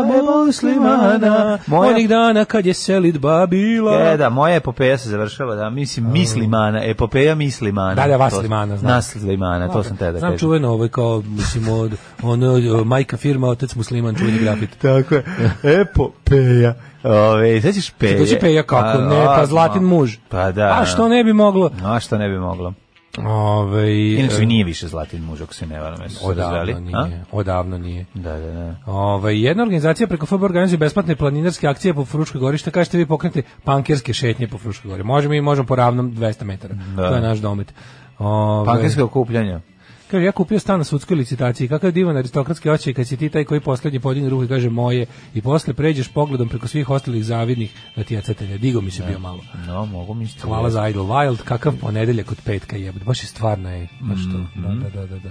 E: muslimana. Moja
F: Onih dana kad je selidba bila.
E: E, da, moja epopeja se završava, da, mislim, mislimana, epopeja mislimana.
F: Da, da, vas
E: To-
F: limana, znam.
E: Nas limana, to sam te da
F: Znam
E: kažem.
F: čuveno ovo kao, mislim, od, ono, o, majka firma, otec musliman, čuveni grafit.
E: Tako je, epopeja. Ove, sećaš peje?
F: Dođi peja kako,
E: A,
F: ne, pa
E: a,
F: zlatin
E: ma,
F: muž.
E: Pa da.
F: A što ne bi moglo?
E: A što ne bi moglo?
F: Ove,
E: Inače i nije više Zlatin muž, ako se ne varam, jesu se razveli.
F: odavno
E: a?
F: nije, odavno nije.
E: Da, da, da.
F: Ove, jedna organizacija preko FB organizuje besplatne planinarske akcije po Fruškoj gori, što kažete vi pokrenete pankerske šetnje po Fruškoj gori. Možemo i možemo po ravnom 200 metara.
E: Da.
F: To je naš domet. Ove,
E: Pankerske okupljanja.
F: Kaže, ja kupio stan na sudskoj licitaciji, kakav divan aristokratski očaj kad si ti taj koji poslednji podigne ruku i kaže moje i posle pređeš pogledom preko svih ostalih zavidnih natjecatelja. Digo mi se bio malo.
E: No, mogu mi isto.
F: Hvala za Idle Wild, kakav ponedeljak od petka jebate. Baš je stvarno je, baš to.
E: Mhm.
F: Da, da, da, da. da.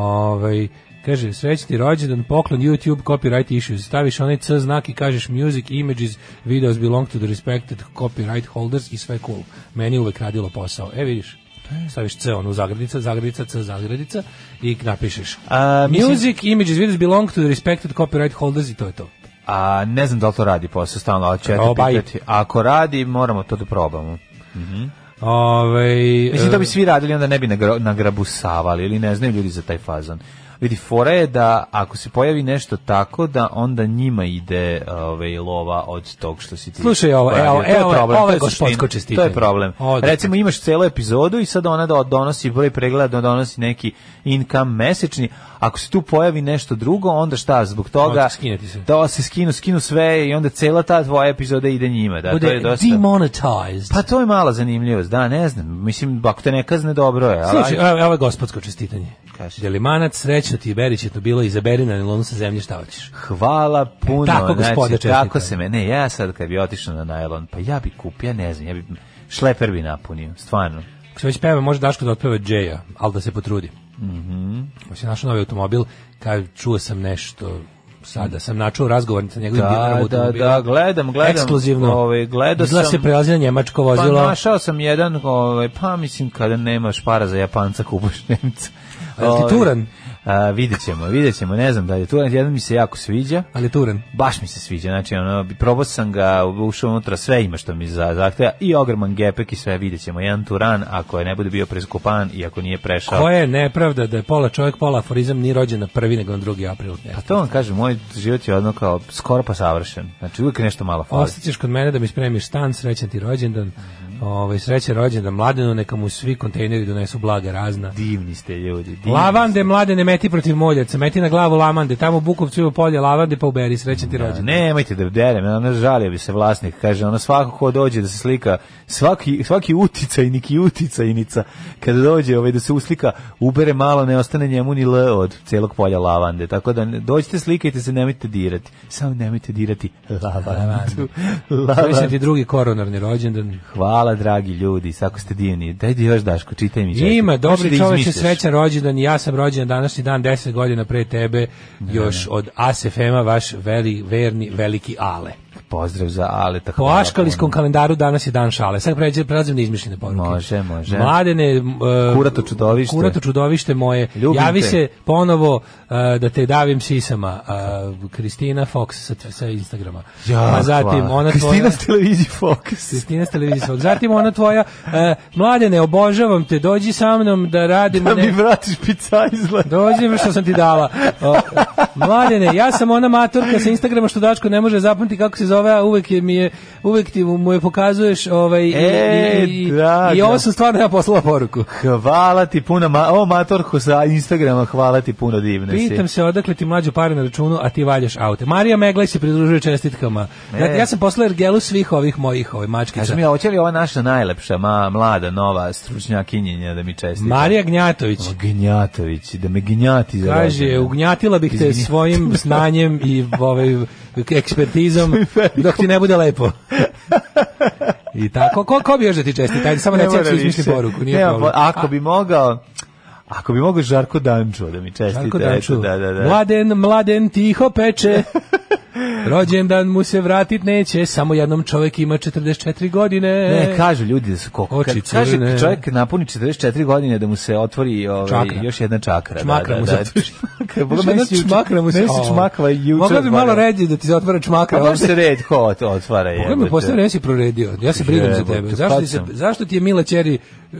F: Ovaj, kaže, srećni rođendan, poklon YouTube, copyright issues. Staviš onaj C znak i kažeš music, images, videos belong to the respected copyright holders i sve cool. Meni je uvek radilo posao. E, vidiš, staviš C onu zagradica, zagradica, C zagradica i napišeš.
E: A, mislim-
F: music, images, videos belong to the respected copyright holders i to je to.
E: A ne znam da li to radi posao stalno, ali ću ja te
F: Probaj.
E: pitati. Ako radi, moramo to da probamo.
F: Ovaj,
E: Mislim da bi
F: e,
E: svi radili, onda ne bi nagra- nagrabusavali ili ne znaju ljudi za taj fazon. Vidi, fora je da ako se pojavi nešto tako, da onda njima ide ovaj, lova od tog što si ti...
F: Slušaj ovo,
E: uradio.
F: evo,
E: To je
F: evo,
E: problem, to
F: ovo je ovaj
E: je suština,
F: gospodsko
E: To
F: čestitanje.
E: je problem.
F: Odlično.
E: Recimo imaš celu epizodu i sad ona da donosi broj pregleda, donosi neki income mesečni. Ako se tu pojavi nešto drugo, onda šta, zbog toga...
F: Onda skinete se.
E: Da se skinu, skinu sve i onda cela ta tvoja epizoda ide njima. Da, to je
F: Bude
E: dosta...
F: demonetized.
E: Pa to je mala zanimljivost, da, ne znam. Mislim, ako te ne kazne, dobro je. ali-
F: Slušaj, evo, evo je gospodsko čestitanje.
E: Kaži.
F: Delimanac, srećno ti je beričetno bilo, izaberi na nilonu sa zemlje šta hoćeš.
E: Hvala puno.
F: Tako, gospode,
E: znači, tako
F: čestitam.
E: se me, ne, ja sad kad bi otišao na najlon, pa ja bi kupio, ja ne znam, ja bi šleper bi napunio, stvarno.
F: Ako se već peva, može Daško da otpeva Džeja, ali da se potrudi. Mhm. Mm se našao novi automobil, kao čuo sam nešto sada, sam načuo razgovor sa njegovim
E: Da,
F: dilerom
E: da,
F: automobila.
E: da, gledam, gledam.
F: Ekskluzivno.
E: Ovaj, gledao
F: Izgleda
E: sam-
F: se prelazi na njemačko
E: Pa
F: vozilo.
E: našao sam jedan, ovaj, pa mislim kada nemaš para za Japanca, kupuš Nemca.
F: A jel ti
E: Ovaj,
F: turan?
E: A, vidjet ćemo, vidjet ćemo, ne znam da li je turan, jedan mi se jako sviđa.
F: Ali Turan.
E: Baš mi se sviđa, znači ono, probao sam ga, ušao unutra, sve ima što mi za zahteva i ogroman gepek i sve, vidjet ćemo, jedan turan, ako je ne bude bio preskupan i ako nije prešao.
F: Koja je nepravda da je pola čovjek, pola aforizam, nije rođen na prvi, nego na drugi april. E,
E: Pa to vam kažem, moj život je ono kao skoro pa savršen. Znači uvijek nešto malo fali.
F: Ostaćeš kod mene da mi spremiš stan, srećan ti rođendan, ovaj, srećan rođendan mladenu, neka mu svi kontejneri donesu blaga razna.
E: Divni ste ljudi. Divni.
F: Lavande, mlade, ne meti protiv moljaca, meti na glavu lavande, tamo u Bukovcu ima polje lavande, pa uberi, srećan ti
E: ste.
F: rođendan.
E: Nemojte da derem, ono žalio bi se vlasnik, kaže, ono svako ko dođe da se slika, svaki, svaki uticajnik i uticajnica, kada dođe ovaj, da se uslika, ubere malo, ne ostane njemu ni L od celog polja lavande, tako da ne- dođite, slikajte se, nemojte dirati, samo nemojte dirati lavandu. <laughs>
F: Srećan ti
E: Lavandu.
F: drugi koronarni rođendan.
E: Hvala, dragi ljudi, sako ste divni. Daj di još, Daško, čitaj mi. čekaj.
F: Ima,
E: Hoćeš da
F: dobri čoveče,
E: izmisliš?
F: srećan rođendan, i ja sam rođen na današnji dan, 10 godina pre tebe, još od ASFM-a, vaš veli, verni, veliki ale.
E: Pozdrav za Aleta.
F: Po
E: hvala
F: aškalijskom
E: puno.
F: kalendaru danas je dan šale. Sad pređe, prelazim na izmišljene poruke.
E: Može, može.
F: Mladene... m, e,
E: Kurato čudovište.
F: Kurato čudovište moje.
E: Ljubim
F: Javi
E: te.
F: se ponovo e, da te davim sisama. E, Kristina Fox sa, sa Instagrama.
E: Ja,
F: A zatim
E: hvala.
F: ona
E: Kristina
F: tvoja...
E: s televiziji Fokus.
F: Kristina s televizije Fox. Zatim ona tvoja, e, mladene, obožavam te, dođi sa mnom da radimo...
E: Da mi
F: Pa ne-
E: vratiš pizza izgleda.
F: Dođi što sam ti dala. O, mladene, ja sam ona maturka sa Instagrama što Dačko ne može zapamtiti kako se zove, a uvek je mi je uvek ti mu mu je pokazuješ ovaj i-
E: E,
F: i, i,
E: drago.
F: i ovo sam stvarno ja poslala poruku.
E: Hvala ti puno, ma, o Matorko sa Instagrama, hvala ti puno divne si.
F: Pitam se odakle ti mlađo pare na računu, a ti valjaš aute. Marija Meglaj se pridružuje čestitkama. Dakle, ja sam poslala ergelu svih ovih mojih ovaj, mačkica.
E: E. Kaži mi, a hoće li ova naša najlepša, ma, mlada, nova stručnjakinjenja da mi čestite?
F: Marija Gnjatović
E: O, Gnjatović, da me gnjati za
F: kaže,
E: rođendan.
F: ugnjatila bih te
E: Izvinite. <laughs>
F: svojim znanjem i ovaj, ekspertizom dok ti ne bude lepo.
E: <laughs>
F: I tako, ko, ko bi još da ti čestiti? Ajde, samo
E: Ne
F: reci, ja
E: mora
F: ću izmisliti
E: više.
F: poruku, nije
E: Nema
F: problem.
E: po- ako bi mogao, ako bi mogao Žarko Danču da mi čestite.
F: Žarko
E: eto,
F: Danču.
E: Da, da, da.
F: Mladen, mladen tiho
E: <laughs>
F: peče. Rođendan mu se vratit neće, samo jednom čovek ima 44 godine.
E: Ne, kažu ljudi da su koliko.
F: Oči
E: kad kaže
F: crvene.
E: čovjek napuni 44 godine da mu se otvori ovaj,
F: Čakra.
E: još jedna čakra.
F: Čmakra
E: da,
F: mu
E: da,
F: se
E: da.
F: otvori.
E: Čmakra,
F: Još
E: Boga,
F: jedna
E: meni se juče-
F: čmakra mu se-
E: meni se
F: O.
E: čmakra juče
F: Mogla bi malo
E: otvorila.
F: ređe da ti se otvara čmakra.
E: A baš
F: ovde.
E: se red ko ot- otvara je.
F: Kako mi postoje nesi proredio? Ja se brinem za tebe.
E: Jebote,
F: Zašto ti,
E: kad
F: se,
E: sam?
F: zašto ti je Mila Ćeri <laughs>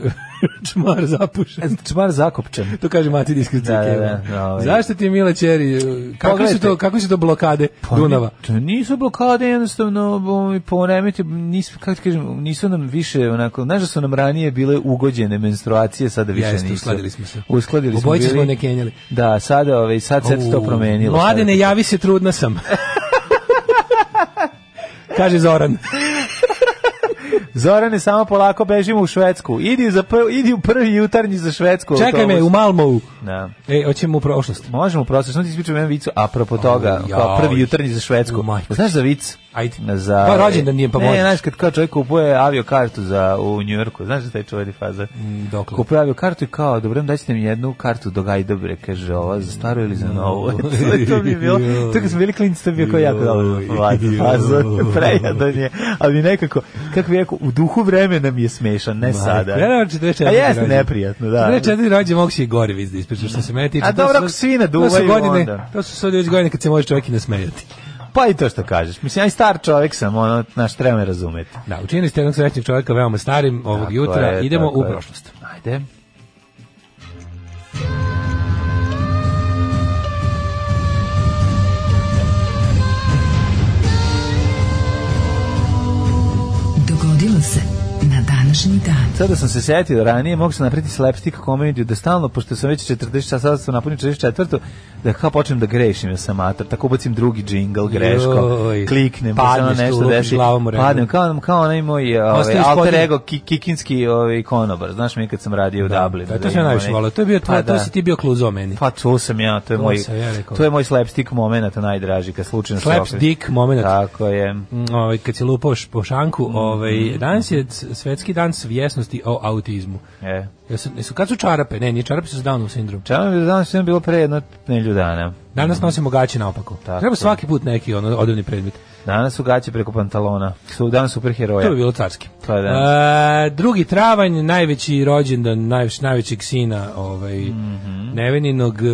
F: čmar zapušen?
E: Čmar zakopčan.
F: To kaže Mati Diskrici.
E: Da, da, da, da, ovaj.
F: Zašto ti je Mila Ćeri? e, Kako su
E: Pogledajte.
F: to, kako su to blokade
E: Pa
F: Dunava?
E: To nisu blokade, jednostavno bo- poremeti, nisu, kako ti kažem, nisu nam više, onako, znaš da su nam ranije bile ugođene menstruacije, sada više
F: Jeste,
E: nisu.
F: uskladili smo se.
E: Uskladili smo
F: Obojice
E: bili.
F: smo ne kenjali.
E: Da, sada, ovaj, sad, sad se to
F: U,
E: promenilo. Sada
F: Mladene,
E: to-
F: javi se, trudna
E: <laughs>
F: sam. Kaže Zoran.
E: Zorane, samo polako bežimo u Švedsku. Idi, za prv- idi u prvi jutarnji za Švedsku.
F: Čekaj me, u
E: autobus.
F: Malmovu.
E: Da.
F: E, hoćemo u prošlost.
E: Možemo prosto, samo ti ispričam jednu vicu, a propo toga,
F: Au,
E: kao prvi
F: jao.
E: jutarnji za Švedsku.
F: U, majko.
E: Znaš za vic?
F: Ajde.
E: Za,
F: Pa, rođendan nije, pa
E: Ne,
F: možeš.
E: znaš, kad kao čovjek kupuje avio kartu za, u Njujorku, znaš da taj čuveni faza?
F: Dokle?
E: Kupuje avio kartu i kao, dobro, dajte mi jednu kartu do Gajdobre, kaže, ova za staru ili za novu. <laughs> to bi bilo, to kad smo bili klinici, to bi bio kao jako dobro faza, <laughs> prejadan je, ali nekako, kako bi rekao, u duhu vremena mi je smešan, ne E sada.
F: Prerano 44.
E: A jeste
F: ono rođendan.
E: neprijatno, da.
F: 44 rođe mogu si i gori viz da ispričaš što se mene tiče.
E: A
F: To
E: dobro,
F: su-
E: ako svi naduvaju,
F: to su godine,
E: onda.
F: To su sad već godine kad se može čovjek i nasmejati.
E: Pa i to što kažeš. Mislim, ja i star čovjek sam, ono, naš treba me razumeti.
F: Da, učinili ste jednog srećnog čovjeka veoma starim ovog
E: Tako
F: jutra.
E: je,
F: Idemo
E: tako
F: u
E: je.
F: prošlost.
E: Ajde.
D: današnji dan.
E: Sada sam se setio ranije, mogu sam napriti slapstick komediju da stalno, pošto sam već 40 časa, sada sam napunio 44. Da kao počnem da grešim, ja sam mator. Tako ubacim drugi džingl, greško,
F: Joj.
E: kliknem, pa
F: Padneš
E: se ono
F: tu,
E: nešto
F: lupiš
E: desi.
F: glavom u rebu.
E: Padnem, kao, kao onaj moj ovaj,
F: Ostaviš
E: alter
F: podijel.
E: ego, ki, kikinski ovaj, konobar. Znaš mi kad sam radio u Dublinu.
F: Da, E, to sam
E: imamo
F: ja najviše
E: neki-
F: volao. To je bio tvoj,
E: Pa da.
F: to si ti bio kluzo meni.
E: Pa to sam ja, to je
F: To
E: moj
F: sam ja rekao.
E: to je moj slapstick momenat najdraži kad slučajno se
F: Slaps
E: okre-
F: dick moment.
E: Tako je.
F: Mm, ovaj kad se lupao š- po šanku,
E: Mm,
F: ovaj danas je c- svetski dan svjesnosti o autizmu.
E: E.
F: Jesu, jesu kad su čarape? Ne, nije čarape, su Downov sindrom.
E: Čemu bi danas sve bilo pre jedno nelju dana?
F: Danas nosimo gaće naopako.
E: Tako
F: Treba
E: je.
F: svaki put neki ono odevni predmet.
E: Danas su gaće preko pantalona. Su danas superheroja.
F: To bi bilo carski.
E: Pa da.
F: E, drugi travanj, najveći rođendan najveć, najvećeg sina ovaj, neveninog e,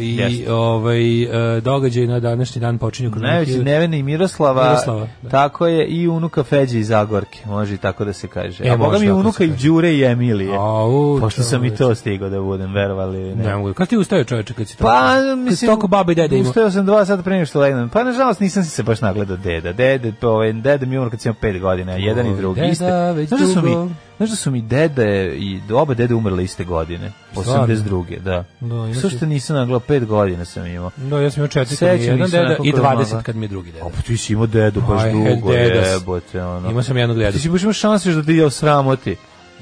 F: i
E: Mhm. Jeste.
F: ovaj, e, događaj na današnji dan počinju kod
E: Najveći neveni Miroslava,
F: Miroslava, da.
E: tako je, i unuka Feđe iz Zagorke, može i tako da se kaže.
F: E,
E: A boga
F: može
E: mi
F: tako
E: unuka
F: se
E: i
F: kaže.
E: Đure i Emilije.
F: Au,
E: Pošto sam i
F: čoveče.
E: to stigao da budem, verovali ili ne.
F: Ne mogu. Kad ti ustao čoveče kad si to?
E: Pa,
F: kad si
E: mislim...
F: toliko baba i dede ima.
E: Ustao sam dva sata pre nego što legnem. Pa, nažalost, nisam se baš nagledao deda. Dede, to, ovaj, dede mi je umro kad sam imao pet godina, jedan i
F: Oj,
E: drugi.
F: deda,
E: iste.
F: već
E: Znaš da su
F: dugo.
E: mi, znaš da su mi dede, i, oba dede umrli iste godine.
F: Stvarno?
E: 82. Da.
F: Da, inače-
E: Sve što nisam nagledao, pet godina sam imao.
F: Da, ja sam imao četiri kad mi je
E: Sećam
F: jedan
E: ih se
F: deda
E: onako
F: i
E: kroz
F: 20
E: mozak.
F: kad mi je drugi deda.
E: A pa ti si imao dedu baš
F: Aj,
E: dugo,
F: deda si.
E: jebote, ono.
F: Imao sam jednog deda.
E: Ti si baš imao šanse da ti je osramoti.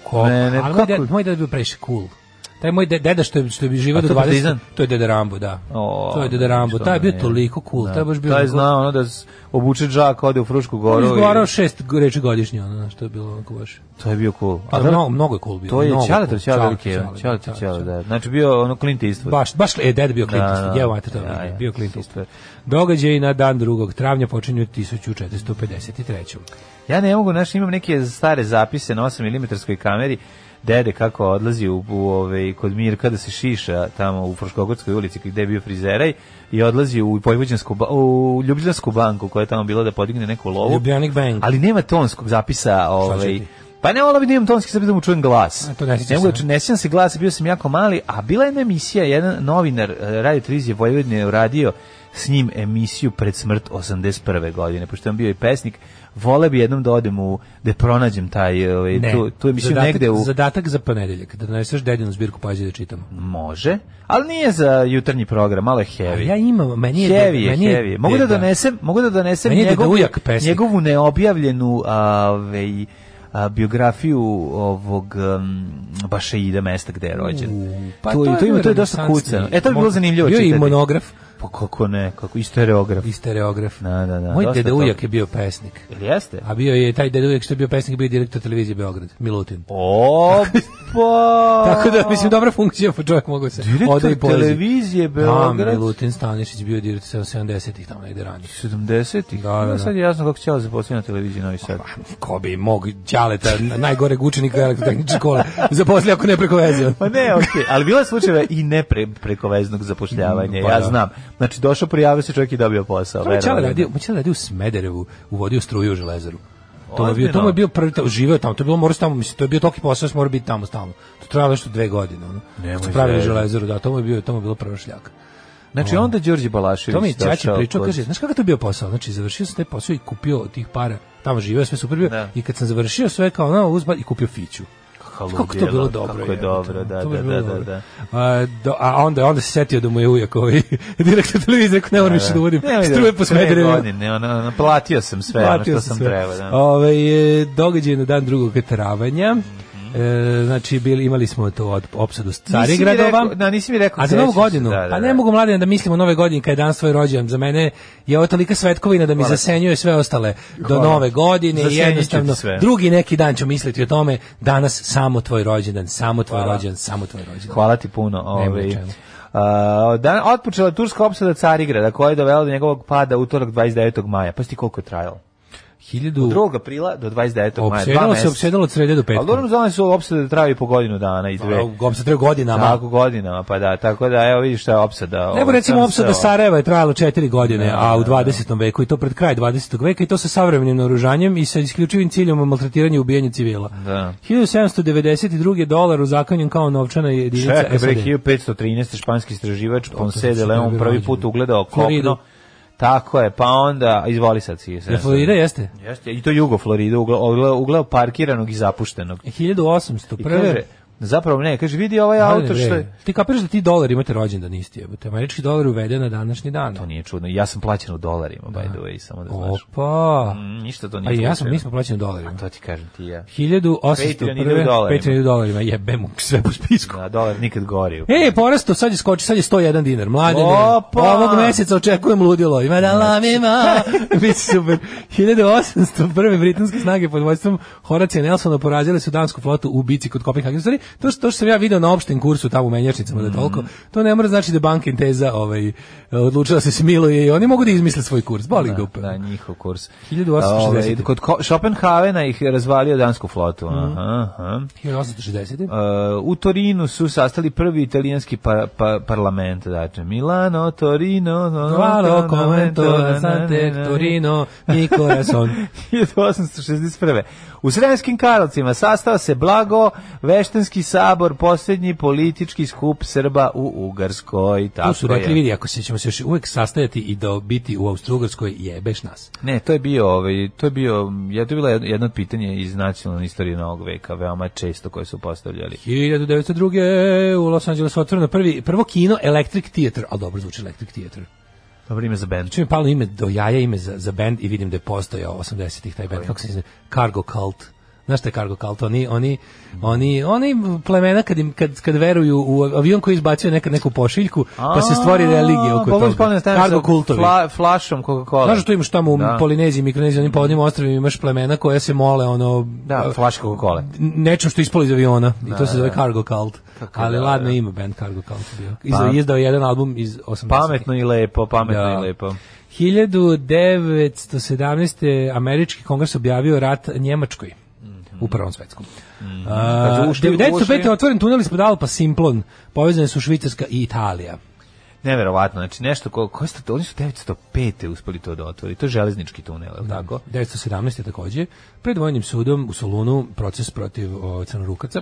F: Ko?
E: Ne, ne,
F: Ali moj,
E: kako-
F: deda, moj deda je bio previše cool. Taj moj de- deda što je, što je bi živio
E: A
F: do
E: to je
F: 20,
E: partizan?
F: to je deda Rambo, da.
E: O,
F: to je deda Rambo,
E: što
F: taj je bio
E: ne.
F: toliko cool, taj je baš bio...
E: Taj je
F: onako-
E: znao ono da s- obuče džak, ode u Frušku
F: On
E: goru. i-
F: je izgovarao šest go- reči godišnje, ono, znaš, to je bilo onako baš...
E: To je bio cool.
F: A
E: da-
F: mnogo, mnogo je cool bio.
E: To je
F: mnogo
E: Ćaletov
F: cool.
E: Ćaletov
F: Ćale,
E: Ćaletov, Ćaletov
F: Ćale,
E: Ćaletov,
F: Ćale.
E: da. Znači bio ono Clint Eastwood.
F: Baš, baš e, je deda bio Clint
E: Da,
F: Eastwood,
E: da.
F: jevo mater to,
E: Da, da.
F: bio Clint Eastwood. Događaj na dan 2. travnja počinju 1453.
E: Ja ne mogu, znaš, imam neke stare zapise na 8 mm kameri, dede kako odlazi u, u ovaj, kod Mirka da se šiša tamo u Fruškogorskoj ulici gde je bio frizeraj i odlazi u Vojvođansku ba- u Ljubljansku banku koja je tamo bila da podigne neku lovu.
F: Ljubljanik Bank.
E: Mhm. Ali nema tonskog zapisa, ovaj.
F: ti?
E: Pa ne volao bi da imam tonski zapis da mu čujem glas.
F: A, to ne sjećaš
E: mogu da
F: se.
E: ču- ne sjećam se glasa, bio sam jako mali, a bila je jedna emisija, jedan novinar eh, Radio Televizije Vojvodine je uradio s njim emisiju pred smrt 81. godine, pošto je on bio i pesnik. Vole bi jednom da odem u, da je pronađem taj, ovaj,
F: Ne,
E: tu, tu emisiju
F: zadatak,
E: negde u...
F: Zadatak za ponedeljak, da doneseš dedinu zbirku pađe da čitamo.
E: Može, ali nije za jutarnji program, malo je
F: A
E: heavy.
F: Ja imam, meni je...
E: Heavy je,
F: meni je
E: heavy. je. Mogu da
F: deda-
E: donesem, mogu da donesem
F: Meni je deda
E: njegovu,
F: ujak pesnik.
E: njegovu neobjavljenu ovaj a, biografiju ovog um, Bašeida mesta gde je rođen.
F: U,
E: pa to, to, ima, to je dosta
F: renesansni-
E: kucano. E, to bi bilo zanimljivo
F: Bio je i
E: čitati.
F: monograf
E: Pa kako ne, kako, i stereograf.
F: i stereograf.
E: Da, da, da,
F: Moj
E: dosta
F: deda
E: toga.
F: ujak je bio pesnik.
E: Jel jeste?
F: A bio je taj deda ujak što je bio pesnik, bio je direktor televizije Beograd, Milutin.
E: O, pa...
F: <laughs> Tako da, mislim, dobra funkcija, pa čovjek mogu se ode i
E: Direktor
F: polazi.
E: televizije
F: Da,
E: Beograd.
F: Milutin Stanišić bio direktor 70-ih, tamo negde ranije.
E: 70-ih.
F: Da, da,
E: No,
F: da.
E: Sad je jasno kako će ovo zaposliti na televiziji Novi Sad.
F: Ko bi mog ćaleta, najgore učenika elektrotehničke škole, zaposlio ako ne preko veze.
E: Pa ne, okej, ali bilo je slučajeva i ne pre, preko veznog zapošljavanja,
F: Pa
E: ja
F: da.
E: znam. Znači, došao, prijavio se, čovjek i dobio posao.
F: To je Ćale
E: verovali.
F: radio, moj Ćale radio u Smederevu, uvodio struju u železaru. To je bio,
E: Ozbiljno?
F: to mu je bio prvi, to, živeo tamo, to je bilo morao tamo, mislim, to je bio toki posao, mora biti tamo stalno. To trajalo nešto dve godine, ono. Kad su pravili
E: zezati.
F: železaru, da, to mu je bio, to mu je bilo prva šljaka.
E: Znači, onda Đorđe Balašević
F: To mi je Ćači
E: došao
F: pričao,
E: kod-
F: kaže, znaš kako je to bio posao? Znači, završio sam taj posao i kupio od tih para, tamo živeo, sve super bio,
E: Da. Pa
F: i kad sam završio sve kao ono, uzba i kupio fiću. Kako to
E: ludilo,
F: bilo dobro.
E: Kako je
F: jebote,
E: dobro, da,
F: to
E: da,
F: baš bilo
E: da, da,
F: dobro.
E: da.
F: A, do, a onda, onda se setio da mu je ujak ovaj <laughs> direktor televizije, rekao, ne moram više da uvodim
E: Ne, vidi,
F: struje po
E: pre
F: Smederevu.
E: godine, ono, ono, platio sam sve ono
F: Platio
E: što
F: si
E: sam
F: sve.
E: trebao. Da.
F: Ovaj, e, događaj na dan drugog travanja. E, znači bili imali smo to od opsadu
E: Nisi mi
F: Carigradova.
E: rekao- da, nisi mi rekao,
F: A za novu
E: sećam se,
F: godinu,
E: da, da,
F: pa ne
E: da.
F: mogu mladen da mislim o nove godine kad je danas tvoj rođendan. Za mene je ovo tolika svetkovina da mi zasenjuje sve ostale do nove godine i
E: Zasenjit ću ti
F: jednostavno
E: sve.
F: drugi neki dan ću misliti o tome. Danas samo tvoj rođendan, samo tvoj rođendan, samo tvoj rođendan.
E: Hvala ti puno. Ovaj.
F: čemu.
E: A, dan, otpočela je turska opsada Carigrada koja je dovela do njegovog pada utorak 29. maja. Pa ti koliko je trajalo?
F: Hiljadu
E: 2. aprila do 29. maja. dva
F: Opsedalo se,
E: meseca.
F: opsedalo od srede do petka.
E: Ali dobro znam su opsade da traju po godinu dana i dve.
F: A, opsada traje godinama.
E: Tako godinama, pa da, tako da evo vidiš šta je opsada.
F: Nego
E: ovo,
F: recimo
E: Ovaj, sam
F: opsada
E: sreo.
F: Sarajeva je trajala četiri godine, a u 20. veku i to pred kraj 20. veka i to sa savremenim naoružanjem i sa isključivim ciljem maltretiranja i ubijanja civila.
E: Da.
F: 1792. dolar uzakonjen kao novčana jedinica
E: Čekaj, bre,
F: SAD.
E: 1513. španski istraživač Ponce de
F: se
E: Leon
F: ne bi
E: prvi
F: rođen.
E: put ugledao
F: Floridu.
E: kopno Tako je, pa onda izvoli sad si.
F: Jel Florida jeste?
E: Jeste, i to jugo Florida, ugleo, ugleo parkiranog i zapuštenog.
F: 1801.
E: I kaže, zapravo ne, kaže, vidi ovaj
F: Ali
E: auto što je...
F: bre, Ti kapiraš da ti dolar imate rođendan isti jebote. Američki dolar je uveden na današnji dan.
E: To nije čudno, ja sam plaćen u dolarima, by the way, samo da znaš.
F: Opa.
E: Mm, Ništa to
F: A
E: nije
F: i ja sam,
E: slučajno.
F: mi smo plaćeni u dolarima.
E: To ti kažem ti ja.
F: 1801.
E: Patreon ide u dolarima.
F: Patreon ide u dolarima, jebem mu sve po spisku.
E: Da, dolar nikad
F: <laughs>
E: gori.
F: E, porasto, sad je skoči, sad je 101 dinar. Mlade,
E: Opa!
F: ovog meseca očekujem ludilo. Ima da lamima. Biće super. 1801. britanske snage pod vojstvom Horacija Nelsona porazile su dansku flotu u bici kod Kopenhagena. U Stvari, to što, to što sam ja video na opštem kursu tamo u menjačnicama da je toliko, to ne mora znači da je banka Inteza ovaj, odlučila da se smiluje i oni mogu da izmisle svoj kurs. Boli da, dupe.
E: Da, njihov kurs.
F: 1860.
E: Ovaj, kod Ko- Schopenhavena ih je razvalio dansku flotu.
F: Mhm.
E: Aha, aha.
F: 1860.
E: Uh, u Torinu su sastali prvi italijanski pa, pa, parlament, dakle Milano, Torino,
F: Valo, commento, sante,
E: <laughs>
F: Torino, mi corazon.
E: 1861. U Sremskim Karlovcima sastao se Blago Veštenski sabor, posljednji politički skup Srba u Ugarskoj. Tako
F: Tu su rekli,
E: je.
F: vidi, ako se ćemo se još uvek sastajati i da biti u Austro-Ugrskoj, jebeš nas.
E: Ne, to je bio, ovaj, to je bio, ja to je bila jedno- jedno od pitanja iz nacionalne istorije novog veka, veoma često koje su postavljali.
F: 1902. u Los Angelesu otvoreno prvi, prvo kino Electric Theater, ali dobro zvuči Electric Theater.
E: Dobro ime za band.
F: Čim je palo ime do jaja, ime za, za band i vidim da je postojao 80-ih taj band, kako se izme, Cargo Cult. Znaš šta je Cargo Cult? Oni, oni, oni, oni plemena kad, im, kad, kad veruju u avion koji izbacio nekad neku pošiljku, pa se stvori religija
E: pa
F: oko toga. Cargo kultovi.
E: Fla, flašom Coca-Cola.
F: Znaš što imaš tamo u
E: Da.
F: Polineziji, Mikroneziji, onim povodnim ostravima imaš plemena koja se mole ono
E: Da,
F: e,
E: flaš Coca-Cola.
F: nečem što je ispalo iz aviona i to se zove Cargo Cult. Ali ladno ima band Cargo Cult bio. Izdao, izdao je jedan album iz 80.
E: Pametno i lepo, pametno
F: Da.
E: i lepo.
F: 1917. američki kongres objavio rat Njemačkoj u prvom svetskom. A,
E: Mhm. Kad su ušli-
F: 1905.
E: ušli-
F: je otvoren tunel ispod Alpa Simplon, povezane su Švicarska i Italija.
E: Neverovatno, znači nešto ko, ko ste, to- oni su 905. uspeli to da otvori. To je železnički tunel, je li tako?
F: 1917. takođe, pred vojnim sudom u Solunu proces protiv o, crnorukaca,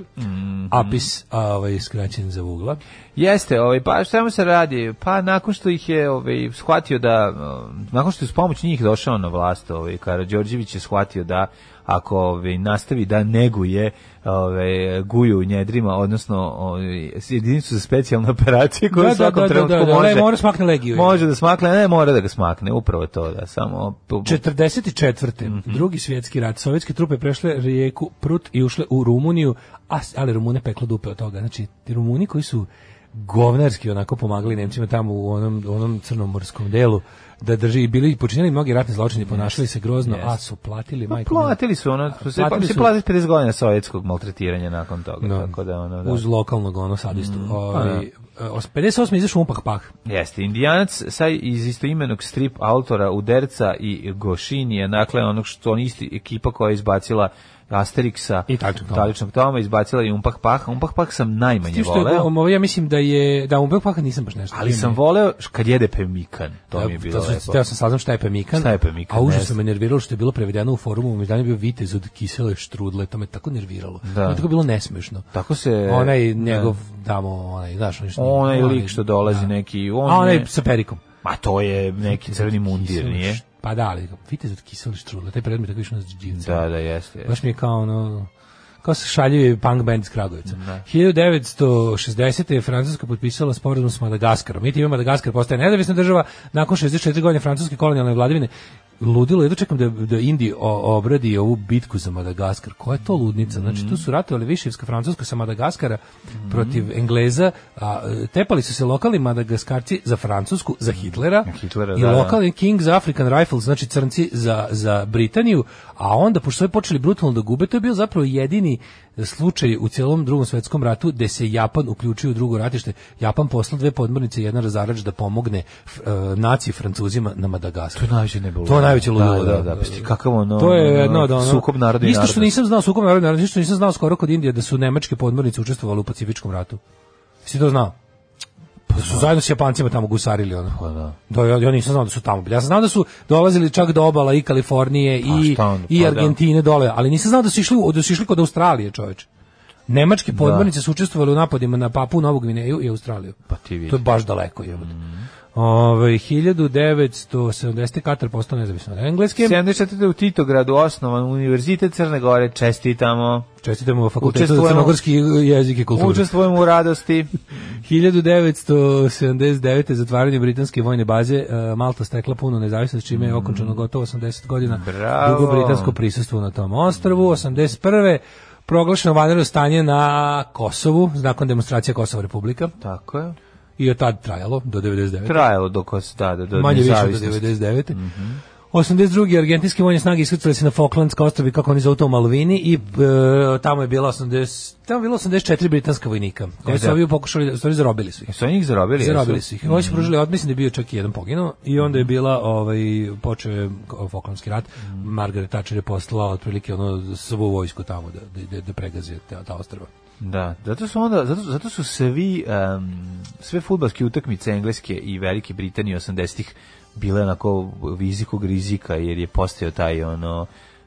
F: apis, a, ovaj, skraćen za vugla.
E: Jeste, ovaj, pa šta mu se radi? Pa nakon što ih je ovaj, shvatio da, eh, nakon što je s pomoć njih došao na vlast, ovaj, Karadžorđević je shvatio da ako ovaj, nastavi da neguje ovaj, guju u njedrima, odnosno ovaj, jedinicu za specijalne operacije koju
F: Da,
E: u
F: da,
E: svakom
F: da, da,
E: trenutku
F: da, da,
E: može,
F: ne, mora smakne legiju.
E: Može da smakne, ne mora da ga smakne, upravo to da samo...
F: 44. Drugi svjetski rat. Sovjetske trupe prešle rijeku Prut i ušle u Rumuniju, a, s- ali Rumune peklo dupe od toga. Znači, ti Rumuni koji su govnarski onako pomagali Nemcima tamo u onom, u onom crnomorskom delu da drži i bili počinjeni mnogi ratni zločini, ponašali se grozno, a su platili majku. milu.
E: Pa Platili su ono, se,
F: platili
E: platili
F: su.
E: 50 godina sovjetskog maltretiranja nakon toga, tako da ono, da. Mm. Pa
F: uz lokalnog ono sadistu. Ovaj, e, os- 58. izašao Umpak Pak.
E: Jeste, indijanac sa iz istoimenog strip autora Uderca i Gošinija, dakle onog što on isti ekipa koja je izbacila Asterixa
F: I Taličnog Toma.
E: Taličnog Toma, izbacila i Umpah Paha. Umpah Pah sam najmanje
F: Tim što je,
E: voleo,
F: ovo, ja mislim da je, da Umpak Paka nisam baš nešto.
E: ali sam voleo š- kad jede pemikan. To mi je bilo
F: da,
E: lepo.
F: Teo sam saznam šta je pemikan.
E: Šta je pemikan,
F: A
E: ne
F: užasno me nerviralo što je bilo prevedeno u forumu, u međudanju je bio vitez od kisele štrudle, to me tako nerviralo.
E: Da.
F: To je tako bilo nesmešno.
E: Tako se...
F: Onaj njegov tamo, onaj, znaš, onaj, što-
E: Onaj lik što dolazi neki, on
F: A onaj
E: je-
F: sa perikom.
E: Ma to je neki crveni mundir, nije?
F: Pa da, ali vitez od kisele štrudle, taj predmet tako više na živce.
E: Da, da, jeste. jeste.
F: Baš mi je kao ono kao se šaljivi punk band iz Kragujevca. 1960. je Francuska potpisala sporazum s Madagaskarom. I time Madagaskar postaje nezavisna država nakon 64 godine francuske kolonijalne vladavine. Ludilo, jedno čekam da, da Indi o- obradi ovu bitku za Madagaskar. Koja je to ludnica?
E: Mhm.
F: Znači, tu su ratovali Viševska Francuska sa Madagaskara protiv Engleza. A, e, tepali su se lokalni Madagaskarci za Francusku, za Hitlera.
E: Hitlera,
F: I
E: da, da.
F: lokalni King za African Rifles, znači crnci za, za Britaniju, a onda, pošto su ovi počeli brutalno da gube, to je bio zapravo jedini slučaj u cijelom drugom svetskom ratu gde se Japan uključio u drugo ratište. Japan poslao dve podmornice i jedan razarač da pomogne f- e, naciji Francuzima na Madagaskaru.
E: To je najveće nebolo.
F: To je najveće ludilo,
E: Da, da,
F: da.
E: da. Pa sti kakav ono...
F: To je jedno od ono,
E: Sukob naroda i
F: Isto što
E: naroda.
F: nisam znao sukob naroda, i naroda, isto što nisam znao skoro kod Indije da su nemačke podmornice učestvovale u Pacifičkom ratu. Si to znao? Pa su zajedno s Japancima tamo gusarili ono.
E: Pa da.
F: Da, ja, ja nisam znao da su tamo bili. Ja sam znao da su dolazili čak do obala i Kalifornije i,
E: šta onda,
F: i
E: pa da.
F: Argentine dole, ali nisam znao da su išli, u- da su išli kod Australije, čoveče. Nemačke podmornice su učestvovali u napadima na Papu, Novu Gvineju i Australiju.
E: Pa ti vidi.
F: To je baš daleko, jebote. Ovaj, Ove, 1970. Katar postao nezavisno od Engleske.
E: 74. u Titogradu osnovan Univerzitet Crne Gore, čestitamo.
F: Čestitamo fakultetu za
E: Učestvujemo-
F: crnogorski jezik i kulturu.
E: Učestvujemo u
F: <laughs>
E: radosti.
F: 1979. zatvaranje britanske vojne baze e, Malta stekla punu nezavisnost čime je okončano gotovo 80 godina
E: Bravo.
F: dugo britansko prisustvo na tom ostrvu 81. proglašeno vanredno stanje na Kosovu nakon demonstracije Kosova Republika
E: Tako je.
F: i od tad trajalo do 99.
E: Trajalo dok os- da, da, do
F: manje više Mhm. do
E: nezavisnosti.
F: 99. 82. argentinske vojne snage iskrcali se na Falklandska ostrovi kako oni zovu to u Malvini i e, tamo je bila 80 tamo je bilo 84 britanska vojnika. Koji su
E: da.
F: ovi pokušali, u stvari zarobili su ih.
E: Su oni njih zarobili?
F: Zarobili
E: jesu?
F: su Mhm. ih. Ovi su pružili otpis, mislim da je bio čak i jedan poginuo i onda je bila ovaj počeo je Falklandski rat. Margaret Thatcher je poslala otprilike ono svu vojsku tamo da da, da pregaze ta, ta ostrva.
E: Da, zato su onda, zato, zato su svi, um, sve futbalske utakmice Engleske i Velike Britanije 80-ih bile onako vizikog rizika, jer je postao taj ono,